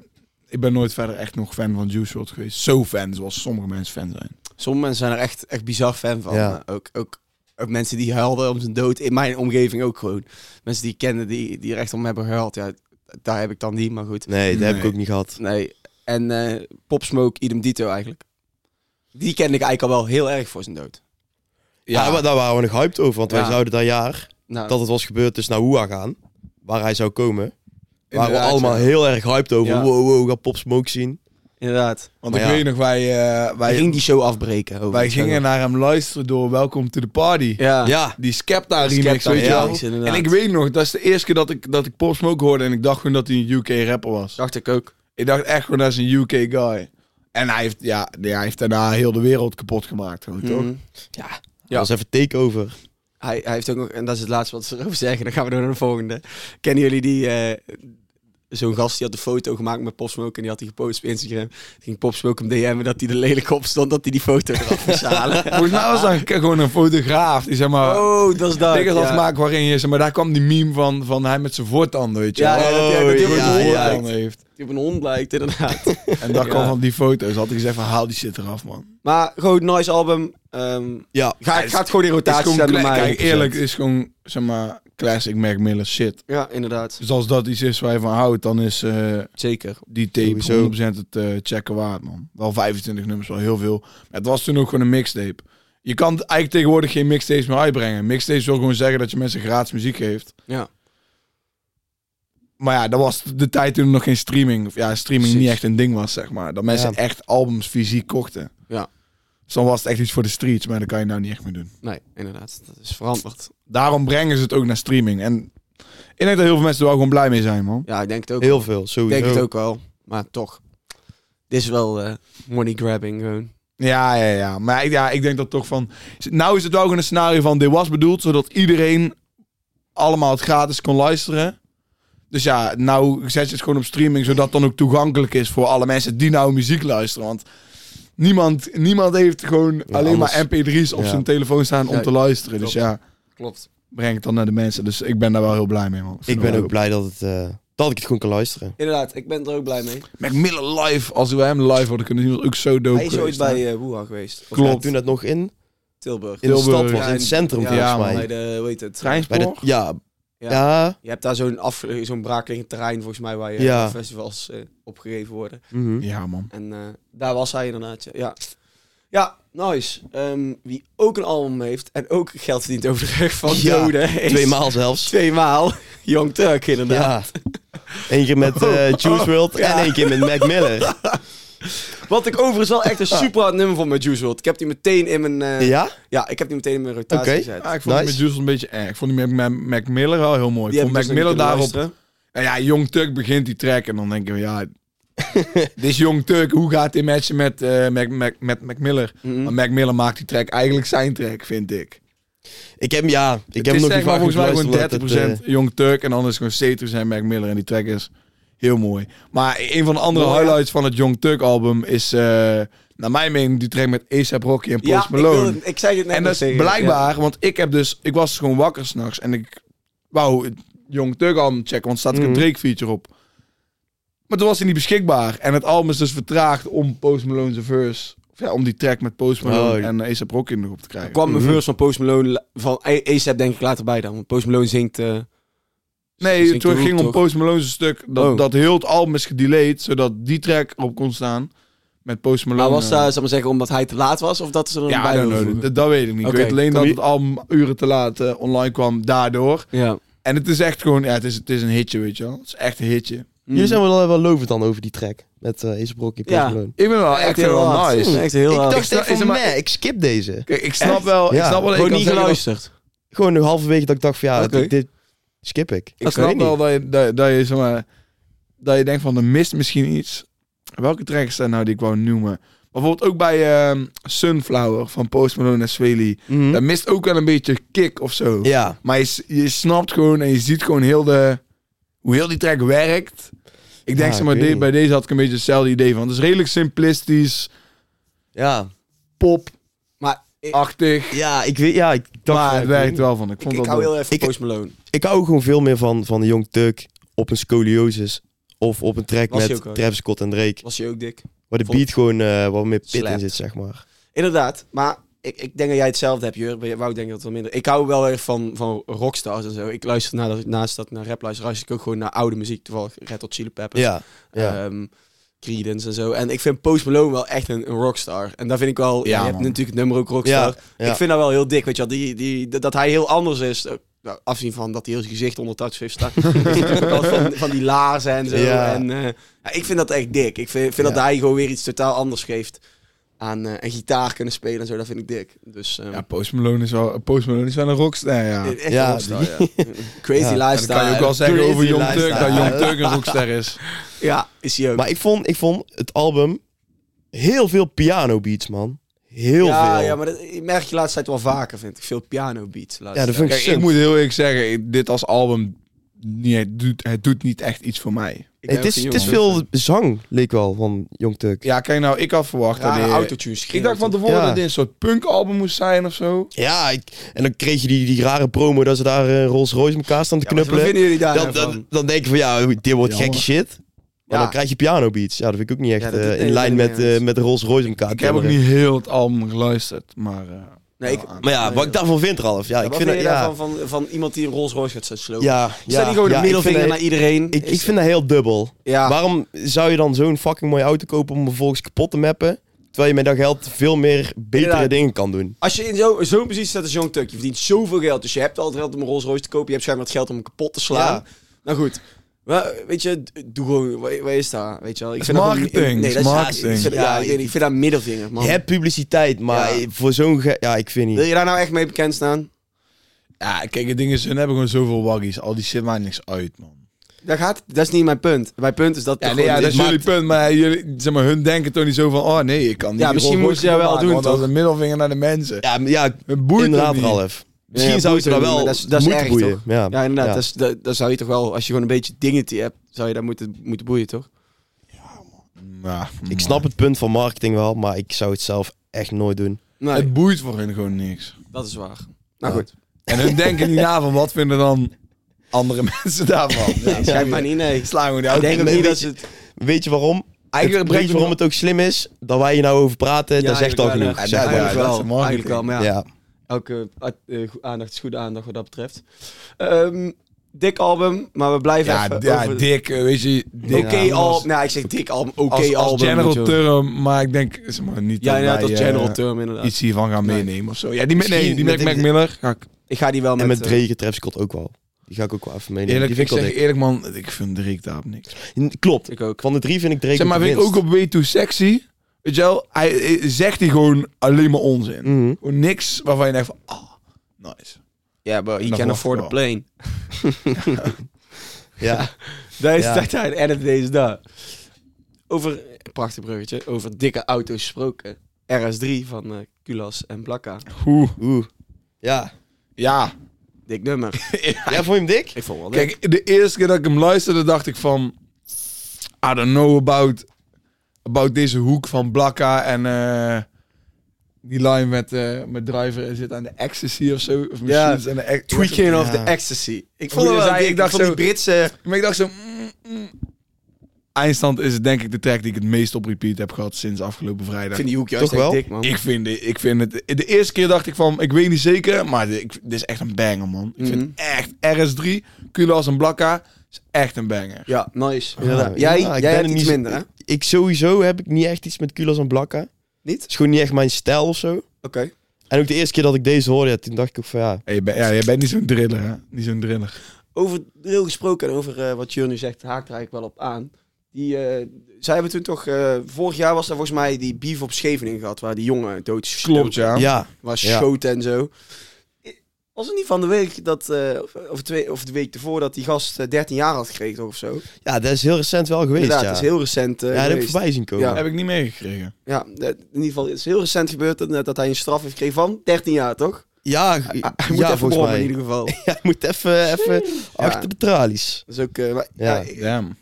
Speaker 1: ik ben nooit verder echt nog fan van Juice WRLD geweest. Zo fan, zoals sommige mensen fan zijn.
Speaker 2: Sommige mensen zijn er echt, echt bizar fan van.
Speaker 3: Ja.
Speaker 2: Eh, Ook, ook, ook mensen die huilden om zijn dood, in mijn omgeving ook gewoon. Mensen die ik kende, die, die er echt om hebben gehuild. Ja, daar heb ik dan niet, maar goed.
Speaker 3: Nee, dat heb
Speaker 1: Nee.
Speaker 3: ik ook niet gehad.
Speaker 2: Nee. En eh Pop Smoke, idem dito eigenlijk. Die kende ik eigenlijk al wel heel erg voor zijn dood.
Speaker 3: Ja, Ah, maar daar waren we nog hyped over, want
Speaker 2: Ja.
Speaker 3: wij zouden dat jaar
Speaker 2: Nou,
Speaker 3: dat het was gebeurd dus naar Hoa gaan, waar hij zou komen. Waren we
Speaker 1: Inderdaad,
Speaker 3: allemaal
Speaker 1: ja.
Speaker 3: heel erg hyped over.
Speaker 2: Ja.
Speaker 3: Wow, wow, we gaan Pop Smoke zien.
Speaker 2: inderdaad.
Speaker 1: Want
Speaker 3: Maar
Speaker 1: ik
Speaker 3: ja.
Speaker 1: weet nog, wij, eh,
Speaker 2: Hij
Speaker 1: wij,
Speaker 2: ging die show afbreken. overigens.
Speaker 1: wij gingen naar hem luisteren door Welcome to the Party.
Speaker 2: Ja.
Speaker 3: Ja,
Speaker 1: Die Skepta remix,
Speaker 2: Skepta
Speaker 1: weet je
Speaker 2: remix,
Speaker 1: wel.
Speaker 2: inderdaad.
Speaker 1: En ik weet nog, dat is de eerste keer dat ik, dat ik Pop Smoke hoorde en ik dacht gewoon dat hij een UK rapper was.
Speaker 2: Dacht ik ook.
Speaker 1: Ik dacht echt gewoon dat is een UK guy. En hij heeft, ja, nee, hij heeft daarna heel de wereld kapot gemaakt, gewoon, toch?
Speaker 2: Mhm. Ja.
Speaker 3: dat was even takeover.
Speaker 2: Hij, hij heeft ook nog, en dat is het laatste wat ze erover zeggen. Dan gaan we door naar de volgende. Kennen jullie die. eh, Zo'n gast die had een foto gemaakt met Popsmoke en die had hij gepost op Instagram. Toen Ging Popsmoke hem DM'en dat hij er lelijk op stond dat hij die foto eraf moest halen.
Speaker 1: Volgens mij was dat gewoon een fotograaf die zeg maar...
Speaker 2: Oh, dat is dat.
Speaker 1: Diggers
Speaker 2: ja.
Speaker 1: had maken waarin je ze, maar daar kwam die meme van, van hij met zijn voortanden, weet je.
Speaker 2: Ja,
Speaker 1: wel.
Speaker 2: ja, dat hij- dat
Speaker 1: Oh,
Speaker 2: hij
Speaker 1: die
Speaker 2: op een
Speaker 1: ja,
Speaker 2: hond
Speaker 1: ja,
Speaker 2: lijkt.
Speaker 1: heeft.
Speaker 2: Die op een hond lijkt, inderdaad.
Speaker 1: En daar
Speaker 2: Ja.
Speaker 1: kwam van die foto's. Had ik gezegd van haal die shit eraf, man.
Speaker 2: maar gewoon, nice album. Ehm
Speaker 3: Ja,
Speaker 2: ga,
Speaker 1: is-
Speaker 2: gaat gewoon in
Speaker 1: Het is
Speaker 2: rotatie
Speaker 1: gewoon
Speaker 2: zetten bij
Speaker 1: cla-
Speaker 2: mij.
Speaker 1: kijk, eerlijk, het is gewoon zeg maar classic Mac Miller shit.
Speaker 2: Ja, inderdaad.
Speaker 1: Dus als dat iets is waar je van houdt, dan is eh,
Speaker 2: Zeker.
Speaker 1: die tape
Speaker 3: Sowieso.
Speaker 1: 100% het eh, checken waard, man. Wel 25 nummers, wel heel veel. Maar het was toen ook gewoon een mixtape. Je kan eigenlijk tegenwoordig geen mixtapes meer uitbrengen. Mixtapes wil gewoon zeggen dat je mensen gratis muziek geeft.
Speaker 2: Ja.
Speaker 1: Maar ja, dat was de tijd toen er nog geen streaming, of ja, streaming
Speaker 2: Precies.
Speaker 1: niet echt een ding was, zeg maar. Dat mensen
Speaker 3: Ja.
Speaker 1: echt albums fysiek kochten.
Speaker 2: Ja.
Speaker 1: Dus dan was het echt iets voor de streets, maar dat kan je nou niet echt meer doen.
Speaker 2: Nee, inderdaad. Dat is veranderd.
Speaker 1: Daarom brengen ze het ook naar streaming. En ik denk dat heel veel mensen er wel gewoon blij mee zijn, man.
Speaker 2: Ja, ik denk het ook.
Speaker 3: heel veel,
Speaker 2: Ik
Speaker 3: sowieso.
Speaker 2: denk het ook wel, maar toch. Dit is wel eh, money grabbing gewoon.
Speaker 1: Ja, ja, ja. Maar ja, ik denk dat toch van... Nou is het wel gewoon een scenario van... Dit was bedoeld zodat iedereen allemaal het gratis kon luisteren. Dus ja, nou zet je het gewoon op streaming, zodat het dan ook toegankelijk is voor alle mensen die nou muziek luisteren. Want niemand, niemand heeft gewoon alleen
Speaker 3: anders-
Speaker 1: maar mp3's op
Speaker 3: ja.
Speaker 1: zijn telefoon staan om
Speaker 2: Ja,
Speaker 1: te luisteren. Dus
Speaker 2: klopt.
Speaker 1: ja,
Speaker 2: Klopt.
Speaker 1: breng het dan naar de mensen. Dus ik ben daar wel heel blij mee, man.
Speaker 3: Ik ben ook blij dat, het, eh, dat ik het gewoon kan luisteren.
Speaker 2: Inderdaad, ik ben er ook blij mee.
Speaker 1: Macmillan live, als we hem live hadden kunnen zien, was ook zo dope.
Speaker 2: Hij is ooit
Speaker 1: geweest, hè?
Speaker 2: bij eh Woeha geweest. Of
Speaker 1: Klopt.
Speaker 3: Ja, toen dat nog in,
Speaker 2: Tilburg.
Speaker 3: in de
Speaker 1: Tilburg.
Speaker 3: stad was,
Speaker 2: Ja,
Speaker 3: in het centrum
Speaker 2: ja,
Speaker 1: man.
Speaker 2: Bij
Speaker 3: volgens mij.
Speaker 2: de, hoe heet het?
Speaker 3: Bij de,
Speaker 1: Treinspoor?
Speaker 3: ja,
Speaker 2: Ja.
Speaker 3: ja.
Speaker 2: Je hebt daar zo'n afge- zo'n braakliggend terrein volgens mij waar je
Speaker 3: Ja.
Speaker 2: festivals eh, opgegeven worden.
Speaker 3: mhm.
Speaker 1: Ja, man.
Speaker 2: En eh, daar was hij inderdaad. ja. Ja, ja nice. Ehm, wie ook een album heeft en ook geld verdient over de rug van
Speaker 3: Ja,
Speaker 2: doden is...
Speaker 3: Twee maal zelfs.
Speaker 2: Tweemaal. Young Turk inderdaad.
Speaker 3: Ja. Eén keer met eh, Juice WRLD
Speaker 2: Ja.
Speaker 3: en één keer met Mac Miller.
Speaker 2: Wat ik overigens wel echt een super hard nummer vond met Juice WRLD. Ik heb die meteen in mijn... eh,
Speaker 3: Ja?
Speaker 2: Ja, ik heb die meteen in mijn rotatie
Speaker 3: Oké.
Speaker 2: gezet.
Speaker 1: Ja, Ah, ik vond die
Speaker 3: Nice.
Speaker 1: met Jules een beetje erg. Ik vond die met Mac- Mac Miller wel heel mooi.
Speaker 2: Die
Speaker 1: Ik
Speaker 2: heb
Speaker 1: vond
Speaker 2: ik
Speaker 1: Mac
Speaker 2: dus nog niet
Speaker 1: Miller
Speaker 2: kunnen
Speaker 1: daarop...
Speaker 2: luisteren.
Speaker 1: En ja, Jong Turk begint die track en dan denken we, ja... dit is Jong Turk, hoe gaat dit matchen met, eh Mac, Mac, met Mac Miller?
Speaker 2: Mhm.
Speaker 1: Maar Mac Miller maakt die track eigenlijk zijn track, vind ik.
Speaker 3: Ik heb hem, ja. Ik
Speaker 1: Ik
Speaker 3: heb
Speaker 1: het
Speaker 3: hem
Speaker 1: is
Speaker 3: nog
Speaker 1: zeg
Speaker 3: niet
Speaker 1: maar
Speaker 3: vaak
Speaker 1: volgens mij gewoon 30%
Speaker 3: geluisterd, omdat het, eh,
Speaker 1: Jong Turk en dan is het gewoon 70% Mac Miller. En die track is heel mooi. Maar een van de andere
Speaker 2: Mooi, ja.
Speaker 1: highlights van het Jong Turk album is... eh, naar mijn mening die track met A$AP Rocky en Post
Speaker 2: Ja, ik,
Speaker 1: Malone.
Speaker 2: wilde- ik zei het net
Speaker 1: En
Speaker 2: nog
Speaker 1: dat is
Speaker 2: tegen je.
Speaker 1: blijkbaar, want ik heb dus, ik was gewoon wakker s'nachts en ik wou het Jong Tug album checken, want er staat ook een
Speaker 3: Mhm.
Speaker 1: Drake feature op. Maar toen was hij niet beschikbaar en het album is dus vertraagd om Post Malone's verse, of ja, om die track met Post Malone
Speaker 3: Oh, ja.
Speaker 1: en A$AP Rocky nog op te krijgen.
Speaker 2: Er kwam een
Speaker 3: Mhm.
Speaker 2: verse van Post Malone, la- van A- A$AP denk ik later bij dan. Want Post Malone zingt... eh,
Speaker 1: nee,
Speaker 2: zingt
Speaker 1: het
Speaker 2: de
Speaker 1: ging
Speaker 2: hoek
Speaker 1: om
Speaker 2: toch?
Speaker 1: Post Malone's stuk, dat,
Speaker 2: Oh.
Speaker 1: dat heel het album is gedelayed, zodat die track erop kon staan met Post Malone.
Speaker 2: Maar was
Speaker 1: eh,
Speaker 2: dat, zal ik maar zeggen, omdat hij te laat was? Of dat ze er
Speaker 1: ja, I
Speaker 2: bij
Speaker 1: don't
Speaker 2: wilden
Speaker 1: know,
Speaker 2: voegen?
Speaker 1: dat, dat weet ik niet.
Speaker 2: Oké,
Speaker 1: Ik weet alleen
Speaker 3: kom
Speaker 1: dat
Speaker 3: je-
Speaker 1: het album uren te laat eh, online kwam daardoor.
Speaker 2: Ja.
Speaker 1: En het is echt gewoon, ja, het is, het is een hitje, weet je wel. Het is echt een hitje.
Speaker 3: eh, Jullie zijn wel, wel lovend dan over die track. Met eh Ace Brocky, Post
Speaker 2: Ja.
Speaker 3: Malone.
Speaker 1: Ik ben wel
Speaker 2: echt
Speaker 1: echt heel
Speaker 2: hard.
Speaker 1: nice.
Speaker 2: Echt heel hard.
Speaker 3: Ik
Speaker 1: Ik
Speaker 3: dacht
Speaker 1: sta-
Speaker 3: echt
Speaker 1: is er
Speaker 3: van,
Speaker 1: maar-
Speaker 3: meh, ik skip deze.
Speaker 1: Kijk, ik snap wel, ik
Speaker 3: Ja.
Speaker 1: snap wel, dat je
Speaker 2: Gewoon
Speaker 1: kan
Speaker 2: niet
Speaker 1: zeggen dat-
Speaker 2: geluisterd.
Speaker 3: Gewoon halverwege dat ik dacht van, ja,
Speaker 2: Oké.
Speaker 3: dit, dit skip ik.
Speaker 1: Ik snap wel dat je, dat, dat je zeg maar, dat je denkt van, er mist misschien iets. Welke tracks zijn nou die ik wou noemen? Bijvoorbeeld ook bij ehm, Sunflower van Post Malone en Swaley.
Speaker 3: Mhm.
Speaker 1: Dat mist ook wel een beetje kick of zo.
Speaker 3: Ehm, Ja.
Speaker 1: Maar je, s- je snapt gewoon en je ziet gewoon heel de, hoe heel die track werkt. Ik denk,
Speaker 3: Ja,
Speaker 1: zeg maar,
Speaker 3: ik weet
Speaker 1: de-
Speaker 3: niet.
Speaker 1: bij deze had ik een beetje hetzelfde idee van. Het is redelijk simplistisch,
Speaker 3: Ja.
Speaker 1: pop-achtig.
Speaker 2: Maar ik,
Speaker 3: Ja, ik weet, ja, ik dacht
Speaker 1: Maar
Speaker 3: van,
Speaker 1: Ah, het
Speaker 3: ik weet
Speaker 1: werkt
Speaker 3: niet.
Speaker 1: wel van. Ik
Speaker 2: ik,
Speaker 1: vond
Speaker 2: ik
Speaker 1: dat
Speaker 2: hou
Speaker 1: wel-
Speaker 2: heel even
Speaker 3: Ik-
Speaker 2: Post Malone.
Speaker 3: Ik hou gewoon veel meer van, van de Young Turk op een scoliosis. Of op een track
Speaker 2: Was hij
Speaker 3: met
Speaker 2: ook al?
Speaker 3: Travis Scott en Drake.
Speaker 2: Was je ook dik?
Speaker 3: Waar de
Speaker 2: Vond-
Speaker 3: beat gewoon eh wat meer pit
Speaker 2: Slapt.
Speaker 3: in zit, zeg maar.
Speaker 2: Inderdaad. Maar ik, ik denk dat jij hetzelfde hebt, Jur. Bij Wout denk ik dat wel minder. Ik hou wel erg van, van rockstars en zo. Ik luister naar, naast dat ik naar rap luister, luister ik ook gewoon naar oude muziek. Toevallig Red Hot Chili Peppers.
Speaker 3: Ja. ja.
Speaker 2: ehm, Creedence en zo. En ik vind Post Malone wel echt een, een rockstar. En daar vind ik wel... Ja,
Speaker 1: Ja,
Speaker 2: je hebt
Speaker 1: man.
Speaker 2: natuurlijk het nummer ook rockstar.
Speaker 3: ja, ja.
Speaker 2: Ik vind dat wel heel dik, weet je wel. Die, die, dat- dat hij heel anders is. Eh, nou, afzien van dat hij heel zijn gezicht onder touch heeft staan. Is natuurlijk ook wel van, van die laarzen en zo.
Speaker 3: Ja.
Speaker 2: En, eh, ja, ik vind dat echt dik. Ik vind, vind dat
Speaker 3: Ja.
Speaker 2: hij gewoon weer iets totaal anders geeft. Aan eh, en gitaar kunnen spelen en zo, dat vind ik dik. Dus ehm,
Speaker 1: Ja, Post Malone is wel, Post Malone is wel een rockster, ja.
Speaker 2: echt een
Speaker 3: Ja,
Speaker 2: rockstar, ja. Crazy
Speaker 3: Ja.
Speaker 1: En dan kan je ook
Speaker 2: lifestyle.
Speaker 1: wel zeggen
Speaker 3: Crazy
Speaker 1: over Jong
Speaker 3: lifestyle.
Speaker 1: Turk, dat Jong Turk een rockster is.
Speaker 2: Ja, is hij ook.
Speaker 3: Maar ik vond, ik vond het album heel veel piano beats, man. Heel
Speaker 2: ja,
Speaker 3: veel.
Speaker 2: ja, maar dat ik merk je de laatste tijd wel vaker, vind ik. Veel piano beats. de laatste
Speaker 3: Ja,
Speaker 2: tijd.
Speaker 3: dat vind ik
Speaker 1: Kijk, ik
Speaker 3: suf.
Speaker 1: moet heel eerlijk zeggen, ik- dit als album, niet, het, doet, het doet niet echt iets voor mij.
Speaker 2: Ik ben
Speaker 3: het, is,
Speaker 2: ook
Speaker 3: het
Speaker 2: geen
Speaker 3: is
Speaker 2: jongen.
Speaker 3: veel zang, leek wel, van Young Turk.
Speaker 1: Ja, kijk nou, ik had verwacht dat
Speaker 2: Rare
Speaker 1: dit-
Speaker 2: autotune
Speaker 1: Ik dacht van tevoren
Speaker 3: Ja.
Speaker 1: dat dit een soort punkalbum moest zijn of zo.
Speaker 3: Ja, ik- en dan kreeg je die, die rare promo dat ze daar eh, Rolls Royce elkaar staan te
Speaker 2: Wat
Speaker 3: knuppelen.
Speaker 2: vinden jullie daar
Speaker 3: Dan,
Speaker 2: nou
Speaker 3: dan,
Speaker 2: van?
Speaker 3: dan denk je van, ja, dit wordt
Speaker 1: Jammer.
Speaker 3: gekke shit. Maar
Speaker 2: Ja.
Speaker 3: dan krijg je piano beats. Ja, dat vind ik ook niet echt
Speaker 2: Ja, dat
Speaker 3: eh,
Speaker 2: doet
Speaker 3: in
Speaker 2: helemaal
Speaker 3: lijn
Speaker 2: niet
Speaker 3: met,
Speaker 2: eens.
Speaker 3: eh, met Rolls Royce elkaar
Speaker 1: Ik heb ook
Speaker 3: timmeren.
Speaker 1: niet heel het album geluisterd, maar... eh,
Speaker 2: Nee, ik,
Speaker 3: Maar ja, wat ik daarvan vind, Ralf. Ja,
Speaker 2: Ja,
Speaker 3: ik
Speaker 2: wat
Speaker 3: vind dat...
Speaker 2: vind je
Speaker 3: Ja,
Speaker 2: daarvan van, van iemand die een Rolls Royce gaat staan slopen?
Speaker 3: ja,
Speaker 2: Is dat
Speaker 3: ja,
Speaker 2: niet gewoon
Speaker 3: ja,
Speaker 2: een middelvinger
Speaker 3: ik vind
Speaker 2: naar iedereen?
Speaker 3: dat- Ik, ik
Speaker 2: Is-
Speaker 3: vind dat heel dubbel.
Speaker 2: ja.
Speaker 3: Waarom zou je dan zo'n fucking mooie auto kopen om vervolgens kapot te mappen? Terwijl je met dat geld veel meer betere
Speaker 2: Inderdaad.
Speaker 3: dingen kan doen.
Speaker 2: Als je in zo- zo'n positie staat als Young Turk, je verdient zoveel geld. Dus je hebt al het geld om een Rolls Royce te kopen. Je hebt schijnbaar het geld om hem kapot te slaan.
Speaker 3: Ja.
Speaker 2: Nou goed. Wel, weet je, d- doe gewoon, waar waar is dat? Weet je wel, ik
Speaker 1: is
Speaker 2: vind dat gewoon-
Speaker 1: marketing,
Speaker 2: nee,
Speaker 1: is
Speaker 2: dat
Speaker 1: marketing.
Speaker 2: ik vind- ja,
Speaker 3: Ja,
Speaker 2: ik, weet niet, ik vind dat een middelvinger, man.
Speaker 3: Je hebt publiciteit, maar
Speaker 2: Ja.
Speaker 3: voor zo'n... ge- Ja, ik vind
Speaker 2: Wil
Speaker 3: niet.
Speaker 2: je daar nou echt mee bekend staan?
Speaker 1: Ja, kijk, het ding is, hun hebben gewoon zoveel waggies. Al die shit maakt niks uit, man.
Speaker 2: Dat, gaat, dat is niet mijn punt. Mijn punt is dat...
Speaker 1: Ja,
Speaker 2: er
Speaker 1: nee, ja,
Speaker 2: gewoon-
Speaker 1: dat is
Speaker 2: maakt-
Speaker 1: jullie punt, maar, jullie, zeg maar hun denken toch niet zo van, oh nee, ik kan niet.
Speaker 2: Ja, misschien
Speaker 1: Rolls
Speaker 2: moeten ze dat
Speaker 1: Royce
Speaker 2: wel
Speaker 1: maken,
Speaker 2: doen,
Speaker 1: want Dat
Speaker 2: toch?
Speaker 1: is een middelvinger naar de mensen.
Speaker 3: Ja, maar ja
Speaker 1: Het boeit
Speaker 3: inderdaad,
Speaker 1: hem niet.
Speaker 3: Ralf. Misschien
Speaker 2: Ja,
Speaker 3: zou je
Speaker 2: boeien
Speaker 3: dat
Speaker 2: doen,
Speaker 3: wel
Speaker 2: maar dat is- dat is
Speaker 3: moeten
Speaker 2: erg,
Speaker 3: boeien. Ja,
Speaker 2: Ja, inderdaad.
Speaker 3: Ja.
Speaker 2: Dat, is, dat, dat zou je toch wel, als je gewoon een beetje dignity hebt, zou je daar moeten, moeten boeien, toch?
Speaker 1: Ja,
Speaker 3: Ik snap het punt van marketing wel, maar ik zou het zelf echt nooit doen.
Speaker 2: Nee,
Speaker 1: Het boeit voor hun gewoon niks.
Speaker 2: dat is waar. Nou
Speaker 3: Ja.
Speaker 2: goed,
Speaker 1: En hun denken niet na van wat vinden dan andere mensen daarvan. Ja,
Speaker 2: schijnt maar niet, nee.
Speaker 1: Slaan gewoon de
Speaker 2: Ik denk ook
Speaker 1: auto.
Speaker 3: nee,
Speaker 2: niet dat
Speaker 3: weet
Speaker 2: ze het...
Speaker 3: Weet je waarom?
Speaker 1: Eigenlijk
Speaker 3: het, weet je waarom het ook slim is dat wij hier nou over praten? dat zegt al
Speaker 2: eigenlijk wel,
Speaker 3: genoeg.
Speaker 1: zeg
Speaker 2: ja.
Speaker 1: maar.
Speaker 2: Eigenlijk
Speaker 1: Ja, dat is
Speaker 2: wel,
Speaker 1: marketing.
Speaker 2: eigenlijk wel. Maar ja,
Speaker 3: ja.
Speaker 2: elke eh, eh, go- aandacht is goede aandacht wat dat betreft. Ehm, dik album, maar we blijven
Speaker 1: Ja,
Speaker 2: even
Speaker 1: ja,
Speaker 2: over...
Speaker 1: dik, eh, weet je.
Speaker 2: Oké
Speaker 1: Dik
Speaker 2: okay,
Speaker 1: album.
Speaker 2: album. Nou, ik zeg dik album. Oké
Speaker 1: als, als
Speaker 2: album.
Speaker 1: general
Speaker 2: weet je wel.
Speaker 1: term, maar ik denk zeg maar, niet
Speaker 2: Ja, inderdaad,
Speaker 1: dat
Speaker 2: als
Speaker 1: wij,
Speaker 2: general
Speaker 1: eh,
Speaker 2: term inderdaad.
Speaker 1: iets hiervan gaan
Speaker 2: Nee.
Speaker 1: meenemen of zo. Ja, die, met- nee,
Speaker 3: Misschien
Speaker 1: die met
Speaker 3: met-
Speaker 1: Mac Miller ga ik
Speaker 2: Ik ga die wel met...
Speaker 3: En met
Speaker 2: eh,
Speaker 3: Drake en Travis Scott ook wel. Die ga ik ook wel even meenemen.
Speaker 1: eerlijk,
Speaker 3: Die
Speaker 1: ik
Speaker 3: vind ik
Speaker 1: zeg
Speaker 3: wel
Speaker 1: eerlijk man, ik vind Drake daar op niks.
Speaker 3: dik. Klopt.
Speaker 2: Ik ook.
Speaker 3: Van de drie vind ik Drake
Speaker 1: Zeg maar,
Speaker 3: het
Speaker 1: vind ik ook
Speaker 3: minst.
Speaker 1: op Way Too Sexy, weet je wel, hij, eh, zegt hij gewoon alleen maar onzin.
Speaker 3: Mhm.
Speaker 1: Gewoon niks waarvan je denkt van, ah, nice.
Speaker 2: Ja, but he
Speaker 1: Dat
Speaker 2: can
Speaker 1: mag
Speaker 2: afford a
Speaker 1: wel.
Speaker 2: plane.
Speaker 3: Ja.
Speaker 2: Daar is
Speaker 3: Ja.
Speaker 2: dat aan en deze daar. Over, prachtig bruggetje, over dikke auto's gesproken. RS3 van eh Kulas en Blakka.
Speaker 1: Oeh.
Speaker 3: Oeh. Ja.
Speaker 1: Ja,
Speaker 2: Dik nummer.
Speaker 3: Ja, vond je hem dik?
Speaker 2: Ik vond wel dik.
Speaker 1: kijk, de eerste keer dat ik hem luisterde, dacht ik van, I don't know about, about deze hoek van Blakka en eh, die line met, eh, met Driver en zit aan de ecstasy of zo. Of
Speaker 2: Ja.
Speaker 1: machines en de ec-
Speaker 2: Tweaking of
Speaker 3: Ja.
Speaker 2: the Ecstasy. Ik
Speaker 1: Hoe
Speaker 2: vond het
Speaker 1: je
Speaker 2: wel
Speaker 1: zei,
Speaker 2: dik.
Speaker 1: ik dacht
Speaker 2: van die
Speaker 1: zo-
Speaker 2: Britse...
Speaker 1: Maar ik dacht zo. mm, mm. Eindstand is het denk ik de track die ik het meest op repeat heb gehad sinds afgelopen
Speaker 2: Ik
Speaker 1: vrijdag.
Speaker 2: vind die hoek juist
Speaker 3: Toch
Speaker 2: echt
Speaker 3: wel?
Speaker 2: dik, man.
Speaker 1: Ik vind, de- ik vind het. De eerste keer dacht ik van, ik weet niet zeker, maar de- ik, dit is echt een banger, man. Ik vind
Speaker 2: Mhm.
Speaker 1: echt RS3, Kulas en Blakka is echt een banger.
Speaker 2: Ja, nice.
Speaker 3: Ja,
Speaker 2: jij
Speaker 3: ja, ik
Speaker 2: jij
Speaker 3: ben
Speaker 2: hebt
Speaker 3: er
Speaker 2: iets
Speaker 3: niet-
Speaker 2: minder, hè?
Speaker 3: Ik sowieso heb ik niet echt iets met Kulas en Blakka. Het
Speaker 2: Niet?
Speaker 3: is gewoon niet echt mijn stijl of zo.
Speaker 2: Oké.
Speaker 3: En ook de eerste keer dat ik deze hoorde, ja, toen dacht ik ook van ja.
Speaker 1: Hey, je bent- ja, jij bent niet zo'n driller, hè? Niet zo'n driller.
Speaker 2: Over drill gesproken en over eh, wat Jur nu zegt, haakt er eigenlijk wel op aan. Die, eh, zij hebben toen toch... eh, vorig jaar was er volgens mij die beef op Scheveningen gehad, waar die jongen dood is
Speaker 1: Klopt, ja.
Speaker 3: Ja.
Speaker 2: was
Speaker 3: Ja.
Speaker 2: showt en zo. Was het niet van de week dat, eh, of- of, twee, of de week ervoor, dat die gast eh, 13 jaar had gekregen toch, of zo?
Speaker 3: Ja, dat is heel recent wel geweest.
Speaker 2: Inderdaad,
Speaker 3: ja,
Speaker 2: dat is heel recent. eh,
Speaker 3: ja, dat heb ik
Speaker 2: geweest.
Speaker 3: voorbij zien komen.
Speaker 2: Ja.
Speaker 1: Heb ik niet meegekregen.
Speaker 2: ja, dat- in ieder geval is heel recent gebeurd dat, dat hij een straf heeft gekregen van 13 jaar, toch?
Speaker 3: Ja,
Speaker 2: Hij Ah, moet even
Speaker 3: ja volgens
Speaker 2: brommen
Speaker 3: mij.
Speaker 2: in ieder geval.
Speaker 3: Ja, je moet even, even achter de tralies.
Speaker 2: Dat is ook... eh, maar- ja.
Speaker 3: Ja.
Speaker 2: ik-
Speaker 1: Damn.